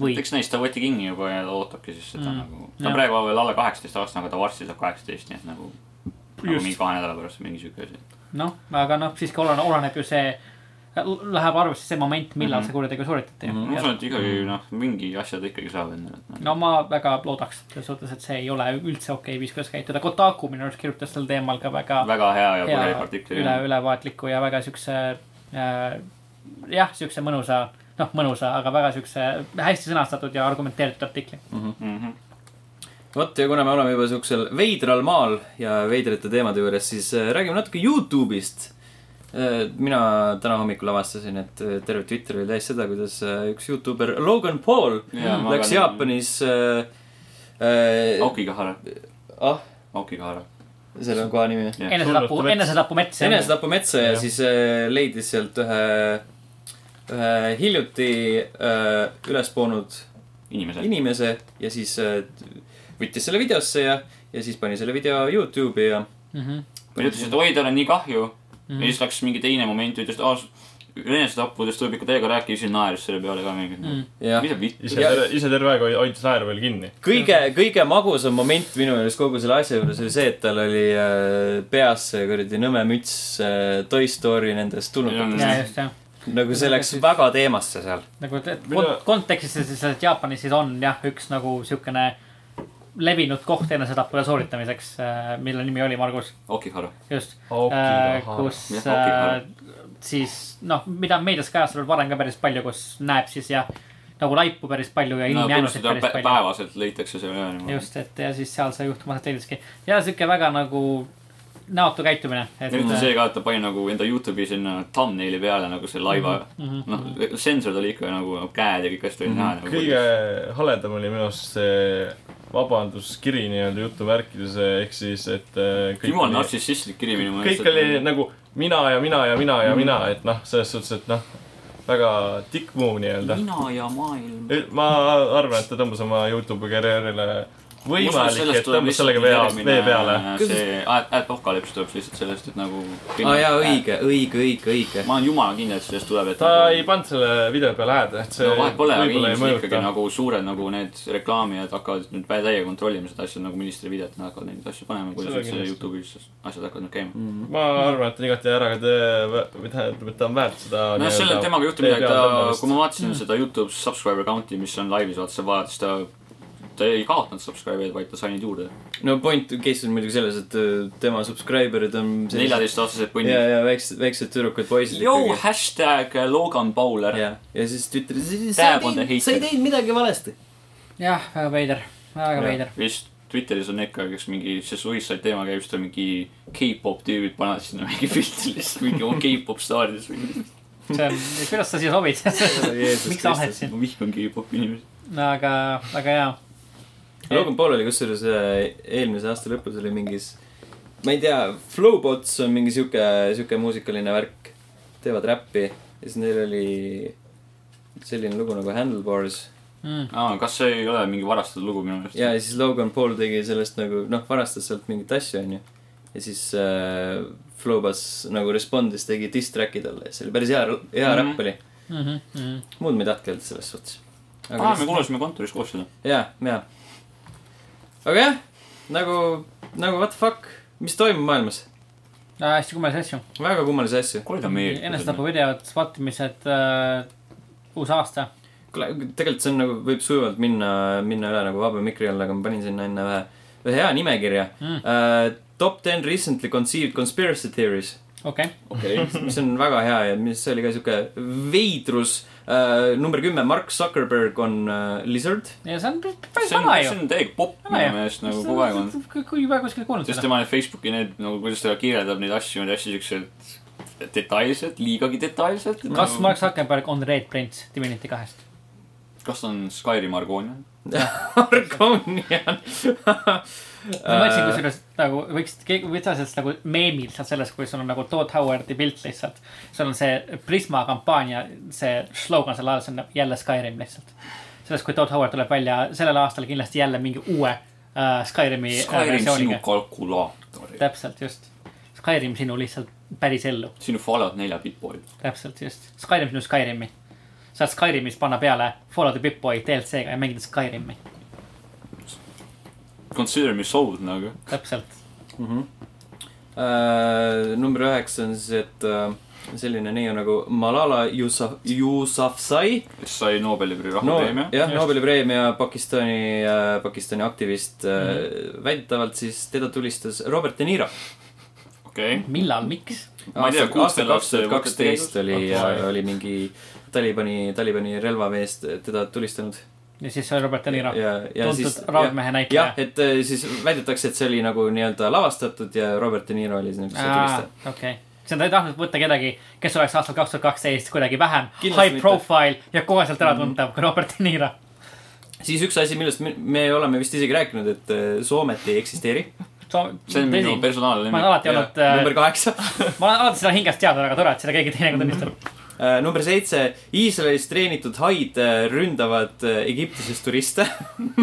[SPEAKER 3] või ?
[SPEAKER 2] eks neist ta võeti kinni juba ja ta ootabki siis seda mm. nagu , ta
[SPEAKER 3] jah.
[SPEAKER 2] on praegu veel alla kaheksateist aastane , aga ta varsti saab kaheksateist , nii et nagu . nagu
[SPEAKER 3] Just.
[SPEAKER 2] mingi kahe nädala pärast või mingi sihuke asi .
[SPEAKER 3] noh , aga noh , siiski oleneb , oleneb ju see , läheb arvesse see moment , millal mm -hmm. see kuritegu sooritati mm .
[SPEAKER 2] ma usun , et ikkagi noh , mingi asja ta ikkagi saab endale . noh.
[SPEAKER 3] no ma väga loodaks selles suhtes , et see ei ole üldse okei okay, viis , kuidas käituda . Kotaku minu arust kirjutas sel teemal ka väga
[SPEAKER 2] väga hea ja
[SPEAKER 3] ja
[SPEAKER 2] põhjalik artikkel .
[SPEAKER 3] üle , ülevaatliku ja väga siukse äh, , jah , siukse mõnusa , noh , mõnusa , aga väga siukse hästi sõnastatud ja argumenteeritud artikli .
[SPEAKER 1] vot ja kuna me oleme juba siuksel veidral maal ja veidrate teemade juures , siis äh, räägime natuke Youtube'ist . mina täna hommikul avastasin , et äh, terve Twitter oli täis seda , kuidas äh, üks Youtuber Logan Paul
[SPEAKER 2] Jaa, ma
[SPEAKER 1] läks
[SPEAKER 2] ka-
[SPEAKER 1] Jaapanis äh, . Äh,
[SPEAKER 2] aukikahara ,
[SPEAKER 1] ah ,
[SPEAKER 2] aukikahara .
[SPEAKER 1] selle on koha nimi .
[SPEAKER 2] Jah.
[SPEAKER 3] enesetapu ,
[SPEAKER 4] Surnud
[SPEAKER 3] enesetapu mets .
[SPEAKER 1] enesetapumetsa ja
[SPEAKER 4] Jah.
[SPEAKER 1] siis äh, leidis sealt ühe , ühe hiljuti äh, üles poonud
[SPEAKER 2] inimesed .
[SPEAKER 1] inimese ja siis äh, võttis selle videosse ja , ja siis pani selle video Youtube'i ja .
[SPEAKER 3] Mhm.
[SPEAKER 2] ta ütles , et oi , tal on nii kahju mm. . ja siis läks mingi teine moment ja ütles , et aa , enesetappudest võib ikka teiega rääkida , siis naeris selle peale ka mingi mm. .
[SPEAKER 1] jah ,
[SPEAKER 2] mis see vitt .
[SPEAKER 4] ise
[SPEAKER 1] Ja-
[SPEAKER 4] terve , ise terve aeg hoi- hoidis naeru veel kinni .
[SPEAKER 1] kõige , kõige magusam moment minu meelest kogu selle asja juures oli see , et tal oli äh, peas see kuradi nõme müts äh, Toy Story nendest tulnukatest .
[SPEAKER 3] ja just jah ,
[SPEAKER 1] nagu see läks väga teemasse seal .
[SPEAKER 3] nagu te-
[SPEAKER 4] Mina-
[SPEAKER 3] kont- kontekstis siis , et Jaapanis siis on jah , üks nagu siukene levinud koht enesetappude sooritamiseks , mille nimi oli , Margus ,
[SPEAKER 2] Okihara .
[SPEAKER 3] just .
[SPEAKER 4] Okihara.
[SPEAKER 3] kus
[SPEAKER 2] Jah,
[SPEAKER 3] äh,
[SPEAKER 2] okihara.
[SPEAKER 3] siis noh , mida on meedias kajastatud varem ka päris palju , kus näeb siis jah , nagu laipu päris palju ja
[SPEAKER 2] no
[SPEAKER 3] inimjäänuseid
[SPEAKER 2] põhimõtteliselt
[SPEAKER 3] päris
[SPEAKER 2] Nagu pä-
[SPEAKER 3] palju .
[SPEAKER 2] päevaselt leitakse see üle niimoodi .
[SPEAKER 3] just , et ja siis seal see juhtum aset leidiski ja sihuke väga nagu näotu käitumine .
[SPEAKER 2] eriti see ka , et ta pani nagu enda Youtube'i sinna thumbnaili peale nagu see laiva , noh , sensorid oli ikka nagu käed ja kõik asjad olid näha nagu .
[SPEAKER 4] Mhm. kõige haledam oli minu arust see vabanduskiri nii-öelda jutumärkides , ehk siis , et äh, kõik
[SPEAKER 2] jumal
[SPEAKER 4] oli-
[SPEAKER 2] nartsissistlik kiri minu meelest .
[SPEAKER 4] kõik oli nagu mina ja mina ja mina ja mina , et noh , selles suhtes , et noh , väga tikk muu nii-öelda .
[SPEAKER 2] mina ja maailm .
[SPEAKER 4] ma arvan , et ta tõmbas oma Youtube'i karjäärile võimalik , et tõmbas sellega vea , vee peale .
[SPEAKER 2] äh, see ad- apokalüps tuleb lihtsalt sellest , et nagu .
[SPEAKER 1] aa Ah, jaa ,. õige , õige , õige , õige .
[SPEAKER 2] ma olen jumala kindel , et sellest tuleb , et .
[SPEAKER 4] ta ei pannud selle video peale häält , et see
[SPEAKER 2] no vahet pole , aga
[SPEAKER 4] võib-olla ei
[SPEAKER 2] inimesed ikkagi
[SPEAKER 4] mõjuta .
[SPEAKER 2] nagu suured nagu need reklaamijad hakkavad nüüd vä- täiega kontrollima seda asja nagu ministri videot , nad hakkavad neid asju panema , kuidas
[SPEAKER 4] Seda
[SPEAKER 2] üldse
[SPEAKER 4] kindlasti.
[SPEAKER 2] Youtube'is asjad hakkavad nüüd käima .
[SPEAKER 4] ma arvan , et ta igati ära ka tee , või tähendab , et ta on väärt seda .
[SPEAKER 2] nojah , Noh, selle temaga ei juhtu midagi , ta , kui ma vaatasin seda Youtube subscriber count'i , mis on laivis , vaata sa vaatad , siis ta , ta ei kaotanud subscriber'id , vaid ta sai neid juurde .
[SPEAKER 1] no point case on muidugi selles , et öö, tema subscriber'id on sellised
[SPEAKER 2] neljateistaastased
[SPEAKER 1] ja ,
[SPEAKER 2] punnid .
[SPEAKER 1] ja väiksed , väiksed tüdrukud , poisid
[SPEAKER 2] Yo , hashtag Logan Bowler .
[SPEAKER 1] ja , ja siis ta ütles , sa
[SPEAKER 2] Tab on the
[SPEAKER 1] ei
[SPEAKER 2] hater.
[SPEAKER 1] teinud , sa ei teinud midagi valesti .
[SPEAKER 3] jah , väga veider , väga veider .
[SPEAKER 2] vist Twitteris on ikka , kes mingi , see suicide teema käib , siis ta mingi K-pop tüübid panevad sinna mingi pilti lihtsalt mingi oma K-pop staaridest või .
[SPEAKER 3] see on , [laughs] kuidas sa
[SPEAKER 2] [laughs]
[SPEAKER 3] siia sobid ? miks sa ahed siin ?
[SPEAKER 2] ma vihkan K-popi inimesi .
[SPEAKER 3] aga , aga jaa .
[SPEAKER 1] Logan Paul oli kusjuures äh, eelmise aasta lõpus oli mingis , ma ei tea , Flowbots on mingi sihuke , sihuke muusikaline värk . teevad räppi ja siis neil oli selline lugu nagu Handlebars .
[SPEAKER 3] Mm.
[SPEAKER 2] aa , kas see ei ole mingi varastatud lugu minu meelest ?
[SPEAKER 1] ja , ja siis Logan Paul tegi sellest nagu noh , varastas sealt mingeid asju , onju . ja siis äh, Flowbots nagu respondis , tegi diss track'i talle ja see oli päris hea , hea
[SPEAKER 2] Mhm.
[SPEAKER 1] räpp oli .
[SPEAKER 3] Mm -hmm, mm -hmm.
[SPEAKER 1] muud ma ei tahtnud öelda selles suhtes .
[SPEAKER 2] aa , me kuulasime kontoris koos seda .
[SPEAKER 1] ja , ja . aga jah , nagu , nagu what the fuck , mis toimub maailmas ?
[SPEAKER 3] hästi kummalisi asju .
[SPEAKER 1] väga kummalisi asju .
[SPEAKER 2] kuule , ta meeldib .
[SPEAKER 3] enesetapuvideod , spottimised äh, , uus aasta .
[SPEAKER 1] kuule , tegelikult see on nagu , võib sujuvalt minna , minna üle nagu vaba mikri alla , aga ma panin sinna enne ühe , ühe hea nimekirja
[SPEAKER 3] Mm.
[SPEAKER 1] uh, . Top ten recently conceived conspiracy theories ,
[SPEAKER 3] okei okay. ,
[SPEAKER 2] okei .
[SPEAKER 1] [laughs] mis on väga hea ja mis oli ka sihuke veidrus uh, . number kümme , Mark Zuckerberg on uh, lizard . [laughs]
[SPEAKER 3] ja see on päris- päris
[SPEAKER 2] see on
[SPEAKER 3] vana ,
[SPEAKER 2] see
[SPEAKER 3] ju .
[SPEAKER 2] on täiega popp minu meelest nagu kogu aeg on ..
[SPEAKER 3] kui juba kuskil kuulnud
[SPEAKER 2] sest
[SPEAKER 3] seda .
[SPEAKER 2] tema need Facebooki need nagu , kuidas ta kirjeldab neid asju , need hästi siuksed detailsed , liigagi detailsed . Nagu,
[SPEAKER 3] kas Mark Zuckerberg on Red Prince Divinity kahest ?
[SPEAKER 2] kas ta on Skyrim Argonian ?
[SPEAKER 1] Argonian .
[SPEAKER 3] ma mõtlesin
[SPEAKER 1] Äh,
[SPEAKER 3] kusjuures nagu võiks , võta sellest nagu meemid sealt sellest , kui sul on nagu Todd Howardi pilt lihtsalt . sul on see Prisma kampaania , see slogan seal all , see on nagu jälle Skyrim lihtsalt . sellest , kui Todd Howard tuleb välja sellel aastal kindlasti jälle mingi uue äh, Skyrimi äh,
[SPEAKER 2] Skyrim sinu
[SPEAKER 3] versiooniga .
[SPEAKER 2] kalkulaator .
[SPEAKER 3] täpselt , just . Skyrim sinu lihtsalt päris ellu ,
[SPEAKER 2] sinu Fallout nelja Bitboy .
[SPEAKER 3] täpselt , just . Skyrim sinu Skyrimi . saad Skyrimis panna peale Follow the Bitboy DLC-ga ja mängida Skyrimi ,
[SPEAKER 2] Consider me sold nagu .
[SPEAKER 3] täpselt .
[SPEAKER 1] Äh, number üheksa on siis , et äh, selline neiu nagu Malala Yousaf- Yousafzai .
[SPEAKER 2] kes sai Nobeli pri-
[SPEAKER 1] no
[SPEAKER 2] rahupreemia no, .
[SPEAKER 1] jah , Nobeli preemia Pakistani , Pakistani aktivist mm .
[SPEAKER 2] Mhm.
[SPEAKER 1] -hmm. väidetavalt siis teda tulistas Robert De Niro .
[SPEAKER 2] okei okay. .
[SPEAKER 3] millal , miks ?
[SPEAKER 2] Ma ei tea, kuus
[SPEAKER 1] aastal
[SPEAKER 2] selle
[SPEAKER 1] kaks
[SPEAKER 2] aasta
[SPEAKER 1] tuhat kaksteist
[SPEAKER 2] võtete
[SPEAKER 1] oli äh,
[SPEAKER 4] käigus? ,
[SPEAKER 1] oli mingi Talibani , Talibani relvameest teda tulistanud .
[SPEAKER 3] ja siis oli Robert De Niro .
[SPEAKER 1] ja , ja
[SPEAKER 3] tuntud
[SPEAKER 1] siis .
[SPEAKER 3] raudmehe näitleja.
[SPEAKER 1] jah , et äh, siis väidetakse , et see oli nagu nii-öelda lavastatud ja Robert De Niro oli see nagu see tulistaja .
[SPEAKER 3] Ah, okei , see on , ta ei tahtnud võtta kedagi , kes oleks aastal kaks tuhat kaksteist kuidagi vähem
[SPEAKER 1] Kindlasti
[SPEAKER 3] high
[SPEAKER 1] mitte.
[SPEAKER 3] profile ja koheselt ära tuntav kui Robert De Niro .
[SPEAKER 1] siis üks asi , millest me, me oleme vist isegi rääkinud , et äh, Soomet ei eksisteeri .
[SPEAKER 2] see on minu
[SPEAKER 3] ma
[SPEAKER 2] personaalne
[SPEAKER 3] olen
[SPEAKER 2] nimi .
[SPEAKER 3] alati olnud , ma
[SPEAKER 1] number
[SPEAKER 3] olen
[SPEAKER 1] kaheksa .
[SPEAKER 3] alati seda hingest teadnud , aga tore , et seda keegi teine ka
[SPEAKER 2] [laughs]
[SPEAKER 3] tunnistab .
[SPEAKER 1] Äh, number seitse , Iisraelis treenitud haid äh, ründavad äh, Egiptuses turiste .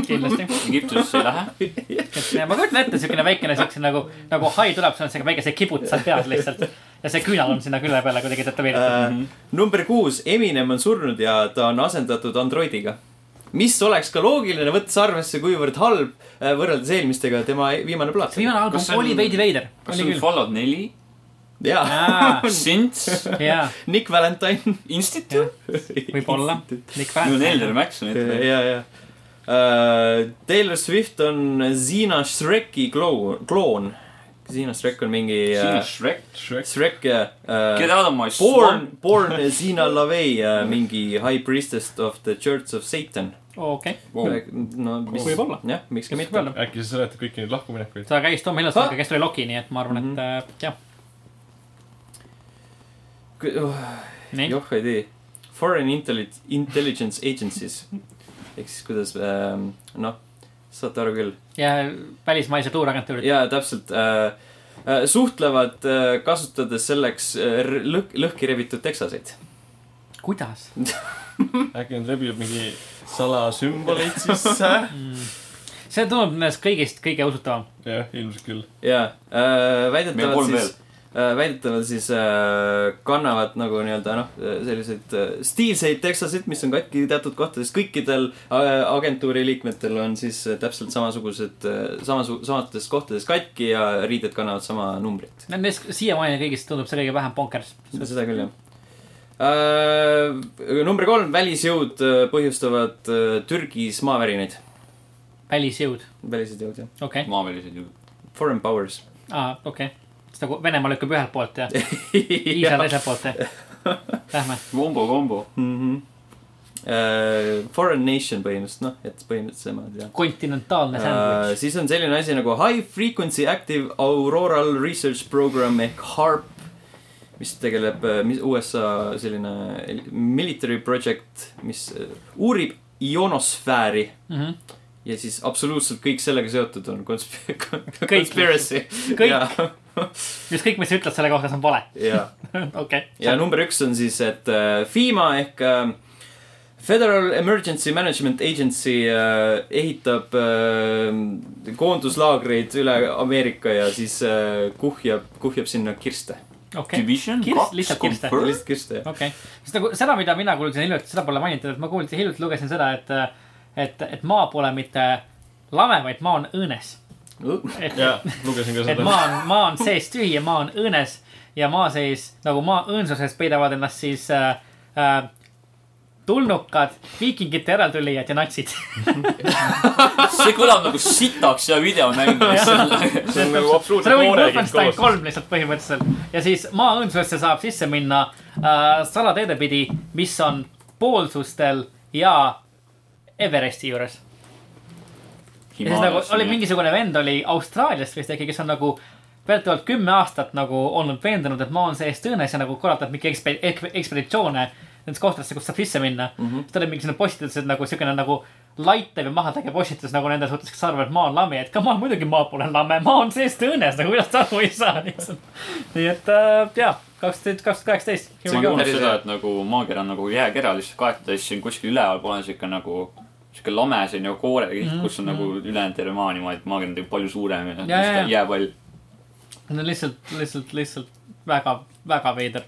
[SPEAKER 3] kindlasti .
[SPEAKER 2] Egiptusesse ei
[SPEAKER 3] [laughs]
[SPEAKER 2] lähe .
[SPEAKER 3] ma kujutan ette , siukene väikene siukse nagu , nagu hai tuleb , sul on siuke väike see kibut seal peas lihtsalt . ja see küünal on sinna külje peale kuidagi tätoveeritud .
[SPEAKER 2] Äh,
[SPEAKER 1] Äh, number kuus , Eminem on surnud ja ta on asendatud androidiga . mis oleks ka loogiline , võttes arvesse , kuivõrd halb äh, võrreldes eelmistega tema viimane plaat
[SPEAKER 3] see . viimane
[SPEAKER 2] Kas see
[SPEAKER 3] album
[SPEAKER 2] on-
[SPEAKER 3] oli veidi veider .
[SPEAKER 2] kas
[SPEAKER 3] oli
[SPEAKER 2] see on
[SPEAKER 3] küll .
[SPEAKER 2] Fallout
[SPEAKER 3] [laughs]
[SPEAKER 2] neli ?
[SPEAKER 1] jaa .
[SPEAKER 2] Sints ?
[SPEAKER 3] jaa ,
[SPEAKER 1] [laughs] Nick Valentine .
[SPEAKER 2] Instituut ? [laughs]
[SPEAKER 3] võib-olla .
[SPEAKER 2] nüüd on Elder Max on
[SPEAKER 1] ja ,
[SPEAKER 2] ette .
[SPEAKER 1] Äh, ja , ja . Äh, Taylor Swift on Zina Shreki kloon , kloon . Casino Shrek on mingi
[SPEAKER 2] siin on
[SPEAKER 1] äh,
[SPEAKER 2] Shrek .
[SPEAKER 4] Shrek .
[SPEAKER 1] Shrek ja
[SPEAKER 2] Get
[SPEAKER 1] äh,
[SPEAKER 2] out of my
[SPEAKER 1] Born
[SPEAKER 2] swamp .,
[SPEAKER 1] Born
[SPEAKER 2] [laughs]
[SPEAKER 1] Zina LaVey äh, mingi High Priestess of the Church of Satan .
[SPEAKER 3] okei ,
[SPEAKER 2] Wow.
[SPEAKER 1] no mis
[SPEAKER 3] Võib-olla.
[SPEAKER 1] jah , miks ka
[SPEAKER 3] kes
[SPEAKER 1] mitte
[SPEAKER 3] peab . olema .
[SPEAKER 4] äkki sa seletad kõiki neid lahkuminekuid ?
[SPEAKER 3] ta käis Tom
[SPEAKER 1] Ah.
[SPEAKER 3] Hiddlestoniga , kes tuli Loki , nii et ma arvan ,
[SPEAKER 2] Mhm.
[SPEAKER 3] et äh, jah , nii .
[SPEAKER 1] oh, joh ei tee . Foreign Intelli- , Intelligence Agencies ehk siis kuidas ähm, , noh , saate aru küll .
[SPEAKER 3] ja välismaised luureagentuurid .
[SPEAKER 1] jaa , täpselt äh, . äh, suhtlevad äh, kasutades selleks äh, r- lõh- , lõhki rebitud
[SPEAKER 2] [laughs]
[SPEAKER 1] teksaseid .
[SPEAKER 3] kuidas ?
[SPEAKER 4] äkki nad rebivad mingi [laughs] salasümboleid sisse ?
[SPEAKER 2] äh?
[SPEAKER 3] Mm. see tundub nendest kõigist kõige usutavam .
[SPEAKER 4] jah , ilmselt küll .
[SPEAKER 1] jaa äh, ,
[SPEAKER 2] meil on
[SPEAKER 1] väidetavalt
[SPEAKER 2] kolm veel
[SPEAKER 1] siis .. väidetavalt siis äh, kannavad nagu nii-öelda noh , selliseid äh, stiilseid teksasid , mis on katki teatud kohtades . kõikidel äh, agentuuri liikmetel on siis äh, täpselt samasugused äh, , samasu- , samades kohtades katki ja riided kannavad sama numbrit .
[SPEAKER 3] Nendest siiamaani kõigist tundub see kõige vähem bonkers .
[SPEAKER 1] seda küll , jah . Uh, number kolm , välisjõud äh, põhjustavad uh, Türgis maavärinaid .
[SPEAKER 3] välisjõud ,
[SPEAKER 1] välised jõud , jah .
[SPEAKER 3] okei okay. ,
[SPEAKER 2] maavälised ju .
[SPEAKER 1] Foreign powers .
[SPEAKER 3] aa , okei okay. . siis nagu Venemaa lükkab ühelt poolt
[SPEAKER 2] [laughs]
[SPEAKER 3] ja
[SPEAKER 1] [laughs]
[SPEAKER 3] Iisrael teiselt poolt ja . Lähme ,
[SPEAKER 2] Wombo , Wombo .
[SPEAKER 1] mm . -hmm. Uh, foreign nation põhimõtteliselt , noh , et põhimõtteliselt niimoodi jah
[SPEAKER 2] Äh,
[SPEAKER 3] kontinentaalne
[SPEAKER 1] uh, .
[SPEAKER 3] sandwich .
[SPEAKER 1] siis on selline asi nagu High Frequency Active Auroral Research Program ehk HARP , mis tegeleb , mis USA selline military project , mis äh, uurib ionosfääri
[SPEAKER 3] Mhm.
[SPEAKER 1] ja siis absoluutselt kõik sellega seotud on konsp- , [laughs] conspiracy .
[SPEAKER 3] Kõik.
[SPEAKER 1] ja ,
[SPEAKER 3] ükskõik , mis sa ütled selle kohta , see on vale .
[SPEAKER 1] ja
[SPEAKER 3] okei
[SPEAKER 1] ja . number üks on siis , et äh, FEMA ehk äh, Federal Emergency Management Agency äh, ehitab äh, koonduslaagreid üle Ameerika ja siis äh, kuhjab , kuhjab sinna kirste .
[SPEAKER 3] okei ,
[SPEAKER 2] Division
[SPEAKER 3] Kirst-
[SPEAKER 2] kaks
[SPEAKER 3] lihtsalt kirste.
[SPEAKER 2] confirmed .
[SPEAKER 1] lihtsalt kirste , jah .
[SPEAKER 3] okei . sest nagu seda , mida mina kuulsin hiljuti , seda pole mainitud , et ma kuulsin hiljuti , lugesin seda , et , et , et maa pole mitte lame , vaid maa on õõnes . et ,
[SPEAKER 4] jaa , lugesin ka
[SPEAKER 3] et
[SPEAKER 4] seda .
[SPEAKER 3] maa on , maa on sees tühi ja maa on õõnes ja maa sees nagu maa õõnsuses peidavad ennast siis äh, äh, tulnukad , viikingite järeltulijad ja natsid .
[SPEAKER 2] see kõlab nagu sitaks ja videomäng .
[SPEAKER 4] see on nagu
[SPEAKER 3] see on
[SPEAKER 4] absoluutselt
[SPEAKER 3] mingi
[SPEAKER 4] noorekind
[SPEAKER 3] Wolfenstein
[SPEAKER 4] koos .
[SPEAKER 3] kolm lihtsalt põhimõtteliselt ja siis maa õõnsusesse saab sisse minna äh, salateede pidi , mis on poolsustel ja Everesti juures . ja siis nagu oli . mingisugune vend oli Austraaliast vist äkki , kes on nagu vältuvalt kümme aastat nagu olnud veendunud , et maa on sees tõenes ja nagu korraldab mingi ekspe- , ek- , ekspeditsioone nendesse kohtadesse , kust saab sisse minna mm . -hmm. siis ta oli mingisugune postitus , et nagu siukene nagu laitev ja mahatäge postitus nagu nende suhtes , kes arvavad , et maa on lame , et come on , muidugi maa pole lame , maa on sees tõenes , nagu kuidas ta aru ei saa lihtsalt . nii et äh, jaa , kaks tuhat , kaks tuhat kaheksateist .
[SPEAKER 2] ma olen kuulnud
[SPEAKER 1] Päris
[SPEAKER 2] seda
[SPEAKER 1] hea. ,
[SPEAKER 2] et nagu maakera on nagu jääkera lihtsalt kaetud ja siis siin kuskil ülevalpool on siuke nagu , siuke lame selline koore , kus on nagu ülejäänud terve maa niimoodi , et maakera on tegelikult palju suurem ja
[SPEAKER 3] Mm-hmm. Jaa, jaa,
[SPEAKER 2] siis ta
[SPEAKER 3] jaa.
[SPEAKER 2] jääpall .
[SPEAKER 3] no lihtsalt , lihtsalt , lihtsalt väga , väga veider .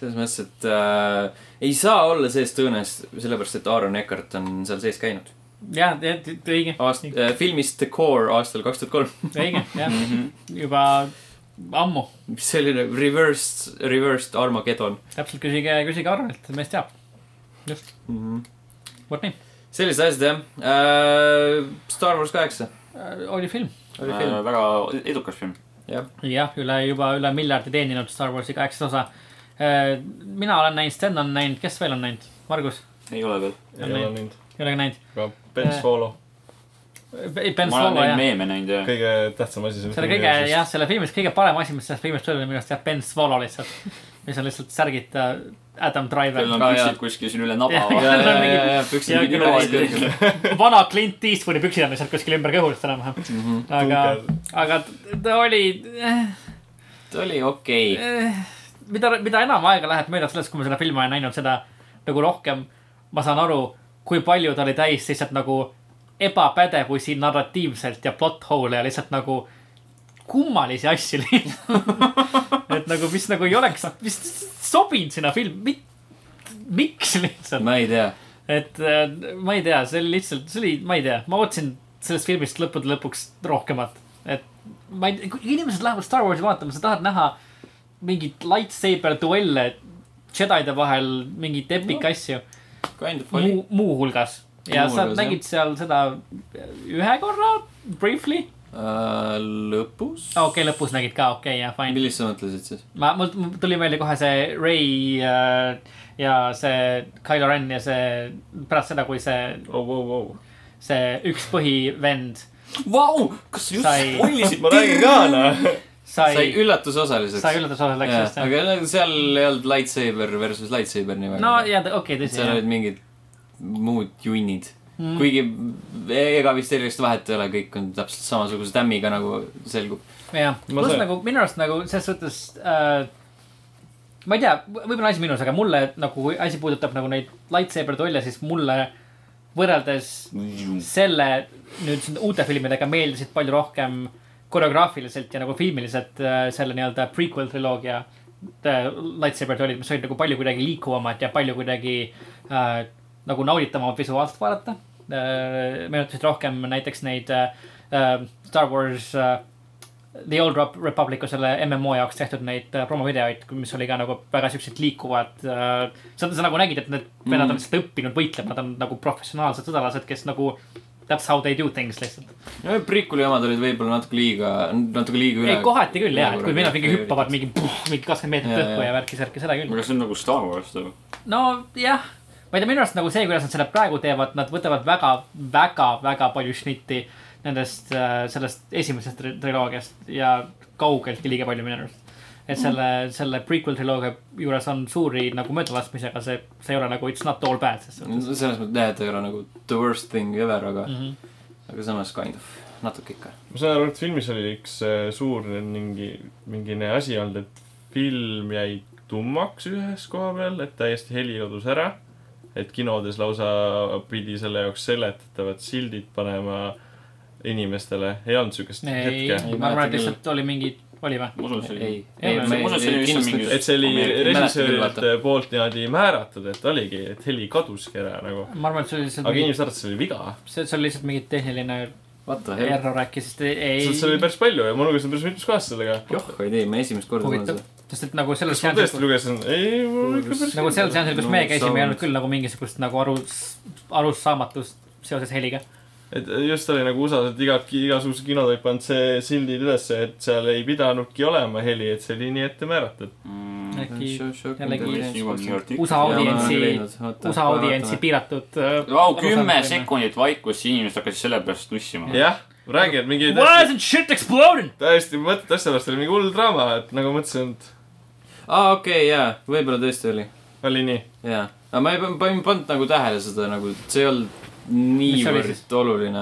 [SPEAKER 1] selles mõttes , et äh, ei saa olla sees tõõnes , sellepärast et Aaron Eckart on seal sees käinud .
[SPEAKER 3] jah , õige ,
[SPEAKER 1] aast- , äh, filmis The Core aastal kaks tuhat kolm .
[SPEAKER 3] õige , jah ,
[SPEAKER 2] Mhm.
[SPEAKER 3] juba ammu .
[SPEAKER 1] mis selline reversed , reversed Armageddon
[SPEAKER 3] täpselt küsige , küsige Arvelt , mees teab . just ,
[SPEAKER 1] mm . -hmm.
[SPEAKER 4] Mhm.
[SPEAKER 3] vot nii ,
[SPEAKER 1] sellised asjad jah äh, . Star Wars kaheksa
[SPEAKER 3] Äh, oli film .
[SPEAKER 1] oli film äh, ,
[SPEAKER 2] väga edukas film .
[SPEAKER 1] jah .
[SPEAKER 3] jah , üle juba üle miljardi teeninud Star Warsi kaheksas osa . mina olen näinud , Sten on näinud , kes veel on näinud ? Margus ,
[SPEAKER 2] ei ole veel .
[SPEAKER 4] ei ole nüüd .
[SPEAKER 3] ei ole ka näinud .
[SPEAKER 4] aga Ben Solo ,
[SPEAKER 3] Ben
[SPEAKER 2] ma olen
[SPEAKER 3] Solo
[SPEAKER 2] neid
[SPEAKER 3] jah ,
[SPEAKER 2] meeme näinud ja .
[SPEAKER 4] kõige tähtsam asi selle
[SPEAKER 3] selle kõige jah , selle filmis kõige parem asi , mis sellest filmist tuli , oli minu arust jah , Ben Solo lihtsalt , mis on lihtsalt särgid äh, Adam Driver .
[SPEAKER 2] Teil on püksid kuskil siin üle naba .
[SPEAKER 3] Jah, jah, jah, jah, jah,
[SPEAKER 1] Äh, püksid
[SPEAKER 3] jah,
[SPEAKER 1] on
[SPEAKER 3] küll oli.
[SPEAKER 1] niimoodi kõrgel .
[SPEAKER 3] vana Clint Eastwoodi püksid on lihtsalt kuskil ümber kõhu lihtsalt enam-vähem .
[SPEAKER 2] Mhm.
[SPEAKER 3] aga , aga t- ta oli eh, ,
[SPEAKER 1] ta [laughs] oli okei okay. .
[SPEAKER 3] eh, mida , mida enam aega läheb mööda sellest , kui ma seda filmi olen näinud , seda nagu rohkem ma saan aru , kui palju ta oli täis lihtsalt nagu ebapädevusi narratiivselt ja plot hole'e ja lihtsalt nagu kummalisi asju lihtsalt . et nagu , mis nagu ei oleks , mis sobinud sinna filmi , miks lihtsalt .
[SPEAKER 1] ma ei tea .
[SPEAKER 3] et äh, ma ei tea , see oli lihtsalt , see oli , ma ei tea , ma ootasin sellest filmist lõppude lõpuks rohkemat . et ma ei , kui inimesed lähevad Star Warsi vaatama , sa tahad näha mingeid lightsaber duelle Jedide vahel , mingeid epic asju
[SPEAKER 1] Kind of oli .
[SPEAKER 3] muu , muuhulgas . ja sa
[SPEAKER 1] Muuhulgas, jah.
[SPEAKER 3] nägid seal seda ühe korra briefly
[SPEAKER 1] Äh, lõpus .
[SPEAKER 3] okei okay, , lõpus nägid ka , okei okay, , jaa , fine .
[SPEAKER 1] millist sa mõtlesid siis ?
[SPEAKER 3] ma , mul mul tuli meelde kohe see Ray äh, ja see Kylo Ren ja see pärast seda , kui see ,
[SPEAKER 4] oh, . Oh, oh.
[SPEAKER 3] see üks põhivend
[SPEAKER 2] Vau , kas sa just
[SPEAKER 3] Sai-
[SPEAKER 2] spoilisid
[SPEAKER 4] ma räägin ka , noh .
[SPEAKER 1] sai
[SPEAKER 3] sai ,
[SPEAKER 1] üllatusosaliseks .
[SPEAKER 3] sai üllatusosaliseks, just, jah.
[SPEAKER 1] aga no seal ei olnud lightsaber versus lightsaber nii väga .
[SPEAKER 3] no ja okei , tõsi
[SPEAKER 1] seal . olid mingid muud junnid
[SPEAKER 3] Mhm.
[SPEAKER 1] mm. . kuigi e-, ega vist erilist vahet ei ole , kõik on täpselt samasuguse tämmiga , nagu selgub .
[SPEAKER 3] jah ,
[SPEAKER 4] Ma
[SPEAKER 3] pluss
[SPEAKER 4] sain-
[SPEAKER 3] nagu minu arust nagu selles suhtes äh, . ma ei tea , võib-olla on asi minus , aga mulle nagu kui asi puudutab nagu neid lightsaber tolle , siis mulle võrreldes
[SPEAKER 4] noh.
[SPEAKER 3] selle nüüd siin uute filmidega meeldisid palju rohkem koreograafiliselt ja nagu filmiliselt äh, selle nii-öelda prequel triloogia äh, lightsaber tollid , mis olid nagu palju kuidagi liikuvamad ja palju kuidagi äh, nagu nauditavamad visuaalselt vaadata äh, . meenutasid rohkem näiteks neid äh, äh, Star Wars äh, The Old Rep- Republicu selle MMO jaoks tehtud neid äh, promovideoid , mis oli ka nagu väga siuksed liikuvad äh, . sa , sa nagu nägid , et need vennad on lihtsalt õppinud võitlema , nad on nagu professionaalsed sõdalased , kes nagu . That's how they do things lihtsalt .
[SPEAKER 1] no prequel'i omad olid võib-olla natuke liiga , natuke liiga üle
[SPEAKER 3] ei ,. kohati küll jaa , et kui vennad mingi hüppavad mingi , mingi kakskümmend meetrit
[SPEAKER 1] Jaa,
[SPEAKER 3] õhku
[SPEAKER 1] jaa.
[SPEAKER 3] ja värki-särki , seda küll .
[SPEAKER 2] aga see on nagu Star Wars ju .
[SPEAKER 3] nojah , ma ei tea , minu arust nagu see , kuidas nad selle praegu teevad , nad võtavad väga , väga , väga palju šnitti nendest , sellest esimesest tri- triloogiast ja kaugeltki liiga palju minu arust . et selle , selle prequel triloogia juures on suuri nagu möödalaskmisi , aga see , see ei ole nagu it's not all bad , sest
[SPEAKER 1] selles mõttes jah , et ei ole nagu the worst thing ever , aga mm ,
[SPEAKER 4] Mhm.
[SPEAKER 1] -hmm. aga samas kind of , natuke ikka .
[SPEAKER 4] ma saan aru , et filmis oli üks äh, suur mingi , mingine asi olnud , et film jäi tummaks ühes koha peal , et täiesti heli kadus ära . et kinodes lausa pidi selle jaoks seletatavad sildid panema inimestele , ei olnud siukest
[SPEAKER 3] ei ,
[SPEAKER 4] hetke .
[SPEAKER 3] ma arvan , et lihtsalt oli mingi , oli või ?
[SPEAKER 2] ma usun , et see oli .
[SPEAKER 1] ei , ei ,
[SPEAKER 3] ma-
[SPEAKER 1] ma
[SPEAKER 2] ma usun, see oli
[SPEAKER 1] ei ,
[SPEAKER 2] lihtsalt mingi-
[SPEAKER 1] kindlasti .
[SPEAKER 4] et see oli
[SPEAKER 2] Ma ei- ei
[SPEAKER 1] mäleta
[SPEAKER 4] režissöörilt
[SPEAKER 1] küll,
[SPEAKER 4] poolt niimoodi määratud , et oligi , et heli kaduski ära nagu .
[SPEAKER 3] ma arvan , et see oli lihtsalt
[SPEAKER 4] aga
[SPEAKER 3] mingi ,
[SPEAKER 4] inimesed arvasid , et see oli viga .
[SPEAKER 3] see , see oli lihtsalt mingi tehniline
[SPEAKER 1] What the hell ?
[SPEAKER 3] error äkki , sest ei- ei .
[SPEAKER 4] sest seal oli päris palju ja ma lugesin päris mitmes kohas sellega .
[SPEAKER 1] joh , ei tee , ma esimest korda saan
[SPEAKER 3] huvitav
[SPEAKER 1] seda .,
[SPEAKER 3] sest et nagu selles
[SPEAKER 4] kas ma tõesti lugesin ? ei , mul ikka päris
[SPEAKER 3] nagu seal seansil , kus meie
[SPEAKER 1] No,
[SPEAKER 3] käisime , ei olnud
[SPEAKER 1] sound.
[SPEAKER 3] küll nagu mingisugust nagu aru , arusaamatust seoses heliga .
[SPEAKER 4] et just oli nagu USA-s , et iga , igasugused kinod olid pannud see sildid ülesse , et seal ei pidanudki olema heli , et see oli nii ette määratud .
[SPEAKER 2] Mm.
[SPEAKER 3] äkki jällegi
[SPEAKER 2] jällegi
[SPEAKER 3] USA audientsi ,
[SPEAKER 1] Äh,
[SPEAKER 3] USA audientsi . piiratud . äh,
[SPEAKER 2] Vau , kümme . sekundit vaikust ja inimesed hakkasid selle pärast nussima .
[SPEAKER 4] jah , räägi , et mingi
[SPEAKER 3] Why
[SPEAKER 4] täiesti ,
[SPEAKER 3] isn't shit exploding ?
[SPEAKER 4] täiesti mõttetu asja pärast oli mingi hull draama , et nagu mõtlesin , et
[SPEAKER 1] aa , Ah, okei , jaa , võib-olla tõesti oli ,
[SPEAKER 4] oli nii .
[SPEAKER 1] jaa . aga ma ei pan- pa- ei pannud nagu tähele seda nagu , see ei olnud
[SPEAKER 3] Mis oli
[SPEAKER 1] niivõrd
[SPEAKER 3] siis?
[SPEAKER 1] oluline .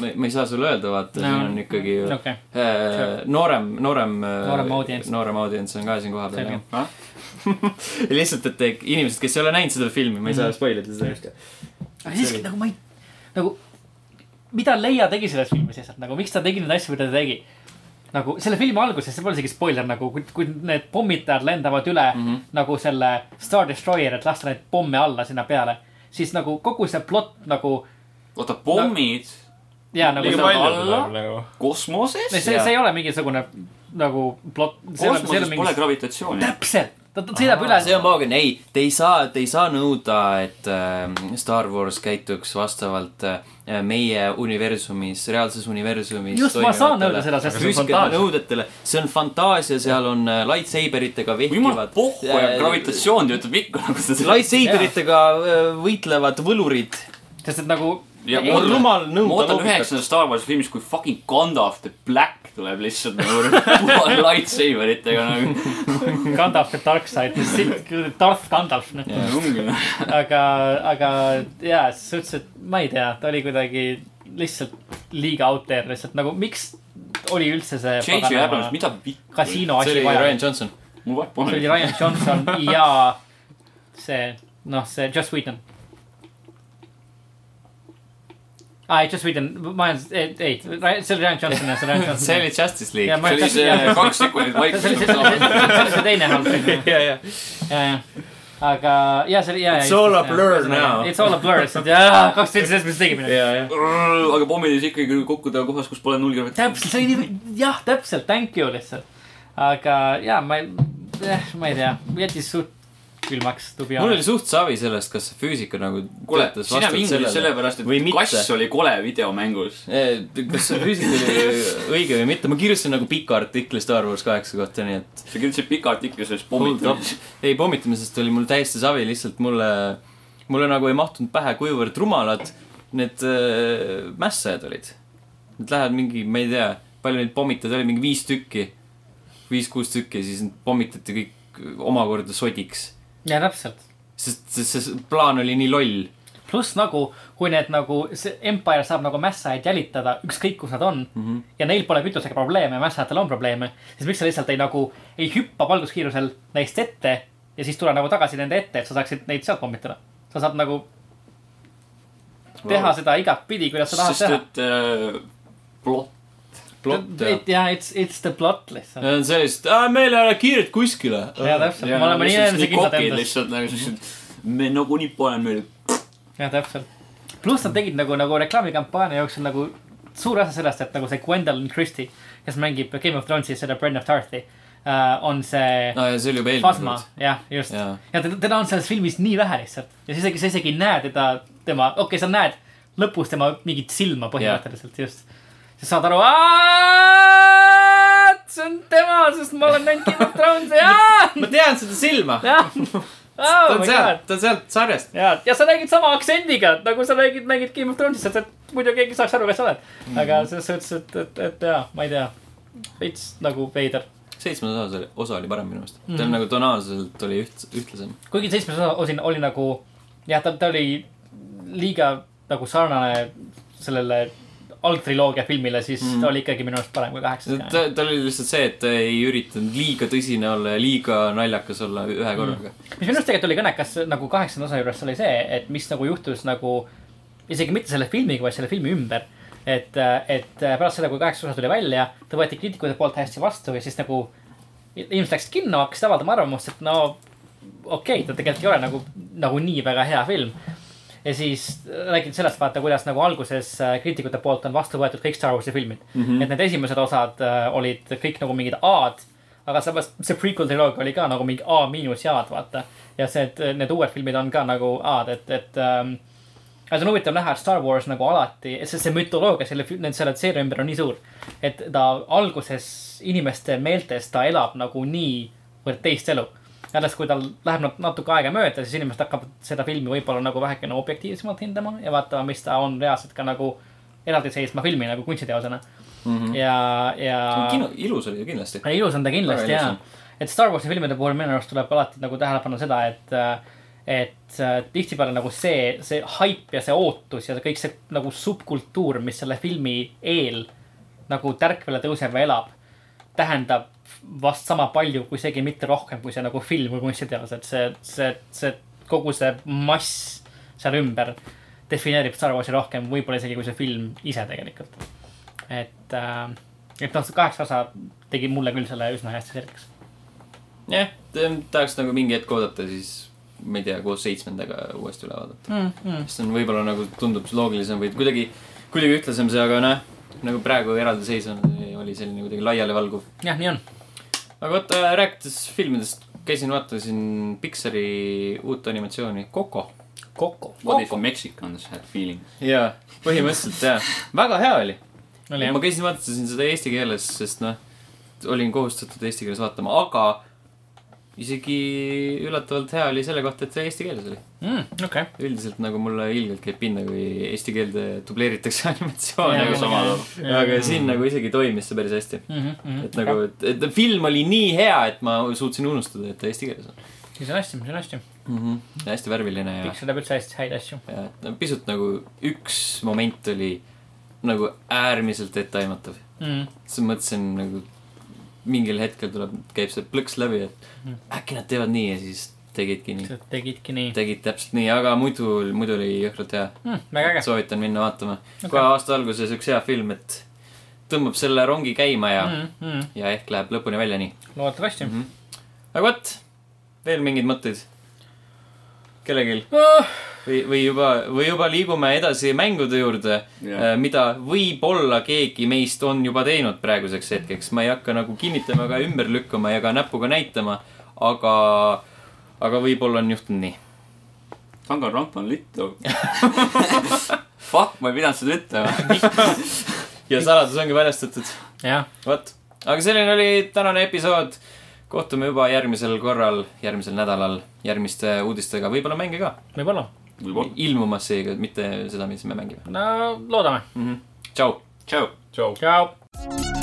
[SPEAKER 1] ma ei , ma ei saa sulle öelda , vaata no. , siin on ikkagi ju
[SPEAKER 3] okei ,
[SPEAKER 1] äh, noorem , noorem .
[SPEAKER 3] Noorem audients.
[SPEAKER 1] noorem audients on ka siin kohapeal ,
[SPEAKER 3] Selge.
[SPEAKER 1] jah . [laughs] lihtsalt , et te- inimesed , kes ei ole näinud seda filmi , ma ei saa
[SPEAKER 3] Mhm.
[SPEAKER 1] spoil ida seda .
[SPEAKER 3] aga siiski nagu ma ei , nagu , mida Leia tegi selles filmis lihtsalt nagu , miks ta tegi neid asju , mida ta tegi ? nagu selle filmi alguses , see pole isegi spoiler nagu , kui , kui need pommitajad lendavad üle mm -hmm. nagu selle Star Destroyer , et lasta neid pomme alla sinna peale , siis nagu kogu see plott nagu
[SPEAKER 2] oota , pommid
[SPEAKER 3] ja nagu
[SPEAKER 4] liiga
[SPEAKER 3] see,
[SPEAKER 2] saab
[SPEAKER 4] palju
[SPEAKER 2] alla?
[SPEAKER 4] tuleb nagu .
[SPEAKER 3] see ,
[SPEAKER 2] kosmoses ?
[SPEAKER 3] see ,
[SPEAKER 1] jaa.
[SPEAKER 3] see ei ole mingisugune nagu plott .
[SPEAKER 2] kosmoses pole gravitatsiooni .
[SPEAKER 3] täpselt , ta ta sõidab üle .
[SPEAKER 1] see on paagen , ei , te ei saa , te ei saa nõuda , et äh, Star Wars käituks vastavalt äh, meie universumis , reaalses universumis .
[SPEAKER 3] Just, ma saan nõuda seda, sest-
[SPEAKER 1] see on fantaasia . nõudetele , see on fantaasia , seal on äh, lightsabritega
[SPEAKER 2] jumal
[SPEAKER 1] vehkivad . äh,
[SPEAKER 2] pohhu ja gravitatsioon töötab ikka nagu seda .
[SPEAKER 1] lightsabritega äh, võitlevad võlurid .
[SPEAKER 3] sest et nagu .
[SPEAKER 2] Ja
[SPEAKER 1] on
[SPEAKER 2] Oota,
[SPEAKER 1] rumal
[SPEAKER 2] ma
[SPEAKER 1] nõuda
[SPEAKER 2] ootan . üheksandas Star Warsi filmis , kui fucking Gandalf the Black tuleb lihtsalt nagu [laughs] lightsaber itega nagu .
[SPEAKER 3] Gandalf the dark side , Darth Gandalf , noh .
[SPEAKER 2] ongi noh .
[SPEAKER 3] aga , aga jaa , selles suhtes , et ma ei tea , ta oli kuidagi lihtsalt liiga out there lihtsalt nagu , miks oli üldse see .
[SPEAKER 2] J.J. Abrams , mida vittu ?
[SPEAKER 3] kasiino
[SPEAKER 1] see
[SPEAKER 3] asi
[SPEAKER 1] oli
[SPEAKER 3] vaja
[SPEAKER 1] Ryan . Johnson .
[SPEAKER 2] mul vahet
[SPEAKER 3] see oli
[SPEAKER 2] pole .
[SPEAKER 3] Ryan Johnson ja see , noh , see Just Whedon . aa , Ah, ei , Just Whedon , ma olen , ei , ei , see oli Ryan Johnson ja see Ryan Johnson .
[SPEAKER 1] see oli Justice League .
[SPEAKER 3] Ja ma-
[SPEAKER 2] see oli see kaks sekundit
[SPEAKER 3] see oli see , see
[SPEAKER 2] vaikselt .
[SPEAKER 3] oli see teine halb film .
[SPEAKER 1] [laughs] ja , ja .
[SPEAKER 3] ja , ja , aga ja see oli , ja , ja .
[SPEAKER 1] It's all a blur now.
[SPEAKER 3] It's all a blur , sest jaa , kaks tundi sellest , mis tegime .
[SPEAKER 1] ja , ja .
[SPEAKER 2] aga pommid siis ikkagi kokku tulevad kohas , kus pole null gravitatsiooni .
[SPEAKER 3] täpselt , see oli nii , jah , täpselt , thank you lihtsalt . aga ja ma , eh, ma ei tea , jättis suht külmaks tubi
[SPEAKER 1] mul
[SPEAKER 3] all
[SPEAKER 1] oli . suht savi sellest , kas see füüsika nagu
[SPEAKER 2] kuule ,
[SPEAKER 1] töötas
[SPEAKER 2] sina
[SPEAKER 1] vastavalt
[SPEAKER 2] vingusid sellepärast ,
[SPEAKER 1] või
[SPEAKER 2] et
[SPEAKER 1] mitte.
[SPEAKER 2] kass oli kole videomängus .
[SPEAKER 1] Eh, kas see füüsika oli õige või mitte , ma kirjutasin nagu pika artikli Star Wars kaheksa kohta , nii et
[SPEAKER 2] sa kirjutasid pika artikli sellest
[SPEAKER 1] Hold up.
[SPEAKER 2] pommitamisest .
[SPEAKER 1] ei , pommitamisest oli mul täiesti savi , lihtsalt mulle , mulle nagu ei mahtunud pähe , kuivõrd rumalad need äh, mässajad olid . Nad lähevad mingi , ma ei tea , palju neid pommitajaid oli , mingi viis tükki , viis-kuus tükki , siis nad pommitati kõik omakorda sodiks .
[SPEAKER 3] ja täpselt .
[SPEAKER 1] sest see, see plaan oli nii loll .
[SPEAKER 3] pluss nagu , kui need nagu , see Empire saab nagu mässajaid jälitada , ükskõik kus nad on mm . -hmm. ja neil pole kütusega probleeme , mässajatel on probleeme . siis miks sa lihtsalt ei nagu , ei hüppa valguskiirusel neist ette ja siis tule nagu tagasi nende ette , et sa saaksid neid sealt pommitada . sa saad nagu teha
[SPEAKER 1] Wow.
[SPEAKER 3] wow. seda igatpidi , kuidas sa tahad
[SPEAKER 2] sest
[SPEAKER 3] teha .
[SPEAKER 2] et äh, plott .
[SPEAKER 1] plott ja
[SPEAKER 3] et jah , it's , it's the plot lihtsalt .
[SPEAKER 1] Ja on sellist , meil ei ole kiiret kuskile .
[SPEAKER 3] ja täpselt , me oleme nii enesekindlad endas .
[SPEAKER 2] lihtsalt nagu siuksed , me nagunii paneme üle .
[SPEAKER 3] jah , täpselt . pluss nad tegid nagu , nagu reklaamikampaania jooksul nagu suur osa sellest , et nagu see Gwendolyn Christie , kes mängib Game of Thrones'is seda Brenda Tarthi uh, , on see no,
[SPEAKER 1] aa , ja see oli juba
[SPEAKER 3] Fasma
[SPEAKER 1] eelmine ,
[SPEAKER 3] jah , just .
[SPEAKER 1] Jaa.
[SPEAKER 3] ja teda, teda on selles filmis nii vähe lihtsalt ja sa isegi , sa isegi ei näe teda , tema , okei okay, , sa näed lõpus tema mingit silma põhimõtteliselt , just . sa saad aru , see on tema , sest ma olen näinud Game of Thrones'i ,
[SPEAKER 1] [laughs]
[SPEAKER 3] jaa ,
[SPEAKER 1] ma tean seda silma .
[SPEAKER 3] jah .
[SPEAKER 1] ta
[SPEAKER 3] oh
[SPEAKER 1] on
[SPEAKER 3] my god
[SPEAKER 1] sealt , ta on sealt sarjast .
[SPEAKER 3] ja , ja sa räägid sama aktsendiga , nagu sa räägid , mängid Game of Thrones'is , et , et muidu keegi saaks aru , kes sa oled . aga selles suhtes , et , et , et jaa , ma ei tea . veits nagu veider .
[SPEAKER 1] seitsmes osa oli , osa oli parem minu meelest mm . -hmm.
[SPEAKER 3] Mhm.
[SPEAKER 1] ta on nagu tonaalselt oli üht- , ühtlasem .
[SPEAKER 3] kuigi seitsmes osa osin oli nagu , jah , ta , ta oli liiga nagu sarnane sellele algtriloogia filmile , siis mm. ta oli ikkagi minu arust parem kui kaheksas .
[SPEAKER 1] ta , tal oli lihtsalt see , et ta ei üritanud liiga tõsine olla ja liiga naljakas olla
[SPEAKER 3] Mhm.
[SPEAKER 1] ühe korraga mm. .
[SPEAKER 3] mis minu arust tegelikult oli kõnekas nagu kaheksanda osa juures oli see , et mis nagu juhtus nagu isegi mitte selle filmiga , vaid selle filmi ümber . et , et pärast seda , kui kaheksas osa tuli välja , ta võeti kriitikute poolt hästi vastu ja siis nagu inimesed läksid kinno , hakkasid avaldama arvamust , et no okei okay, , ta tegelikult ei ole nagu , nagu nii väga hea film . ja siis äh, räägid sellest vaata , kuidas nagu alguses äh, kriitikute poolt on vastu võetud kõik Star Warsi filmid mm . -hmm. et need esimesed osad äh, olid kõik nagu mingid A-d . aga samas see prequel triloogia oli ka nagu mingi A miinus ja A-d vaata . ja see , et äh, need uued filmid on ka nagu A-d , et , et ähm, aga see on huvitav näha , et Star Wars nagu alati , sest see mütoloogia selle , selle seeria ümber on nii suur , et ta alguses inimeste meeltes ta elab nagu niivõrd teist elu . alles kui tal läheb nat- natuke aega mööda , siis inimesed hakkavad seda filmi võib-olla nagu vähekene objektiivsemalt hindama ja vaatama , mis ta on reaalselt ka nagu eraldiseisva filmi nagu kunstiteosena mm . -hmm. ja , ja .
[SPEAKER 1] kino , ilus oli ju kindlasti .
[SPEAKER 3] Ja ilus on ta kindlasti
[SPEAKER 1] Väga ilus
[SPEAKER 3] jaa
[SPEAKER 1] on. .
[SPEAKER 3] et Star Warsi filmide puhul minu arust tuleb alati nagu tähele panna seda , et , et äh, tihtipeale nagu see , see haip ja see ootus ja kõik see nagu subkultuur , mis selle filmi eel nagu tärkvele tõuseb ja elab , tähendab vast sama palju , kui isegi mitte rohkem , kui see nagu film või kunstiteos , et see , see , see kogu see mass seal ümber defineerib Star Warsi rohkem , võib-olla isegi kui see film ise tegelikult et , et noh , see kaheksa osa tegi mulle küll selle üsna hästi selgeks .
[SPEAKER 1] jah , tahaks nagu mingi hetk oodata , siis ma ei tea , koos seitsmendaga uuesti üle vaadata
[SPEAKER 3] Mhm,
[SPEAKER 1] mm . -hmm. see on võib-olla nagu tundub loogilisem või kuidagi , kuidagi ühtlasem see , aga noh , nagu praegu eraldiseisvana oli selline kuidagi laialivalguv .
[SPEAKER 3] jah , nii on .
[SPEAKER 1] aga vot , rääkides filmidest , käisin vaatasin Pixari uut animatsiooni Coco
[SPEAKER 3] Coco .
[SPEAKER 2] What if Mexicans had feelings ?
[SPEAKER 1] jaa , põhimõtteliselt jaa , väga hea oli .
[SPEAKER 3] oli
[SPEAKER 1] ma
[SPEAKER 3] jah ,
[SPEAKER 1] käisin vaatasin seda eesti keeles , sest noh , olin kohustatud eesti keeles vaatama , aga isegi üllatavalt hea oli selle kohta , et see eesti keeles oli .
[SPEAKER 3] Mm, okei .
[SPEAKER 1] üldiselt nagu mulle ilgelt käib pinda , kui eesti keelde dubleeritakse [laughs]
[SPEAKER 3] Jaa,
[SPEAKER 1] animatsioone ,
[SPEAKER 2] nagu
[SPEAKER 3] jaa,
[SPEAKER 1] aga,
[SPEAKER 2] sama
[SPEAKER 3] jaa.
[SPEAKER 1] aga siin nagu isegi toimis see päris hästi .
[SPEAKER 3] Mhm,
[SPEAKER 1] et nagu , et, et film oli nii hea , et ma suutsin unustada , et ta eesti keeles on
[SPEAKER 3] siis on hästi , siis on hästi .
[SPEAKER 1] mm . -hmm. hästi värviline ja ,
[SPEAKER 3] Pixel teeb üldse hästi häid asju .
[SPEAKER 1] ja et no pisut nagu üks moment oli nagu äärmiselt etteaimatav
[SPEAKER 3] Mhm,
[SPEAKER 1] siis ma mõtlesin nagu mingil hetkel tuleb , käib see plõks läbi , et äkki nad teevad nii ja siis tegidki nii .
[SPEAKER 3] tegidki Mhm. nii .
[SPEAKER 1] tegid täpselt nii , aga muidu , muidu oli jõhkralt hea .
[SPEAKER 3] väga äge .
[SPEAKER 1] soovitan minna vaatama okay. . kohe aasta alguses üks hea film , et tõmbab selle rongi käima ja
[SPEAKER 3] Mhm.
[SPEAKER 1] mm. , ja ehk läheb lõpuni välja nii .
[SPEAKER 3] loodetavasti .
[SPEAKER 1] aga vot , veel mingeid mõtteid ? kellelgi või , või juba , või juba liigume edasi mängude juurde
[SPEAKER 2] Jah.
[SPEAKER 1] yeah. , mida võib-olla keegi meist on juba teinud praeguseks hetkeks . ma ei hakka nagu kinnitama ega ümber lükkama ega näpuga näitama , aga , aga võib-olla on juhtunud nii .
[SPEAKER 2] Danganronpa on littu . [laughs] Fuck , ma ei pidanud seda ütlema .
[SPEAKER 1] ja saladus ongi väljastatud .
[SPEAKER 3] jah ,
[SPEAKER 1] vot , aga selline oli tänane episood . kohtume juba järgmisel korral , järgmisel nädalal , järgmiste uudistega , võib-olla mänge ka .
[SPEAKER 3] võib-olla .
[SPEAKER 2] võib-olla .
[SPEAKER 1] ilmumas seega , mitte seda , mis me mängime
[SPEAKER 3] no loodame .
[SPEAKER 1] mm . -hmm. tšau .
[SPEAKER 2] tšau .
[SPEAKER 4] tšau .
[SPEAKER 3] tšau .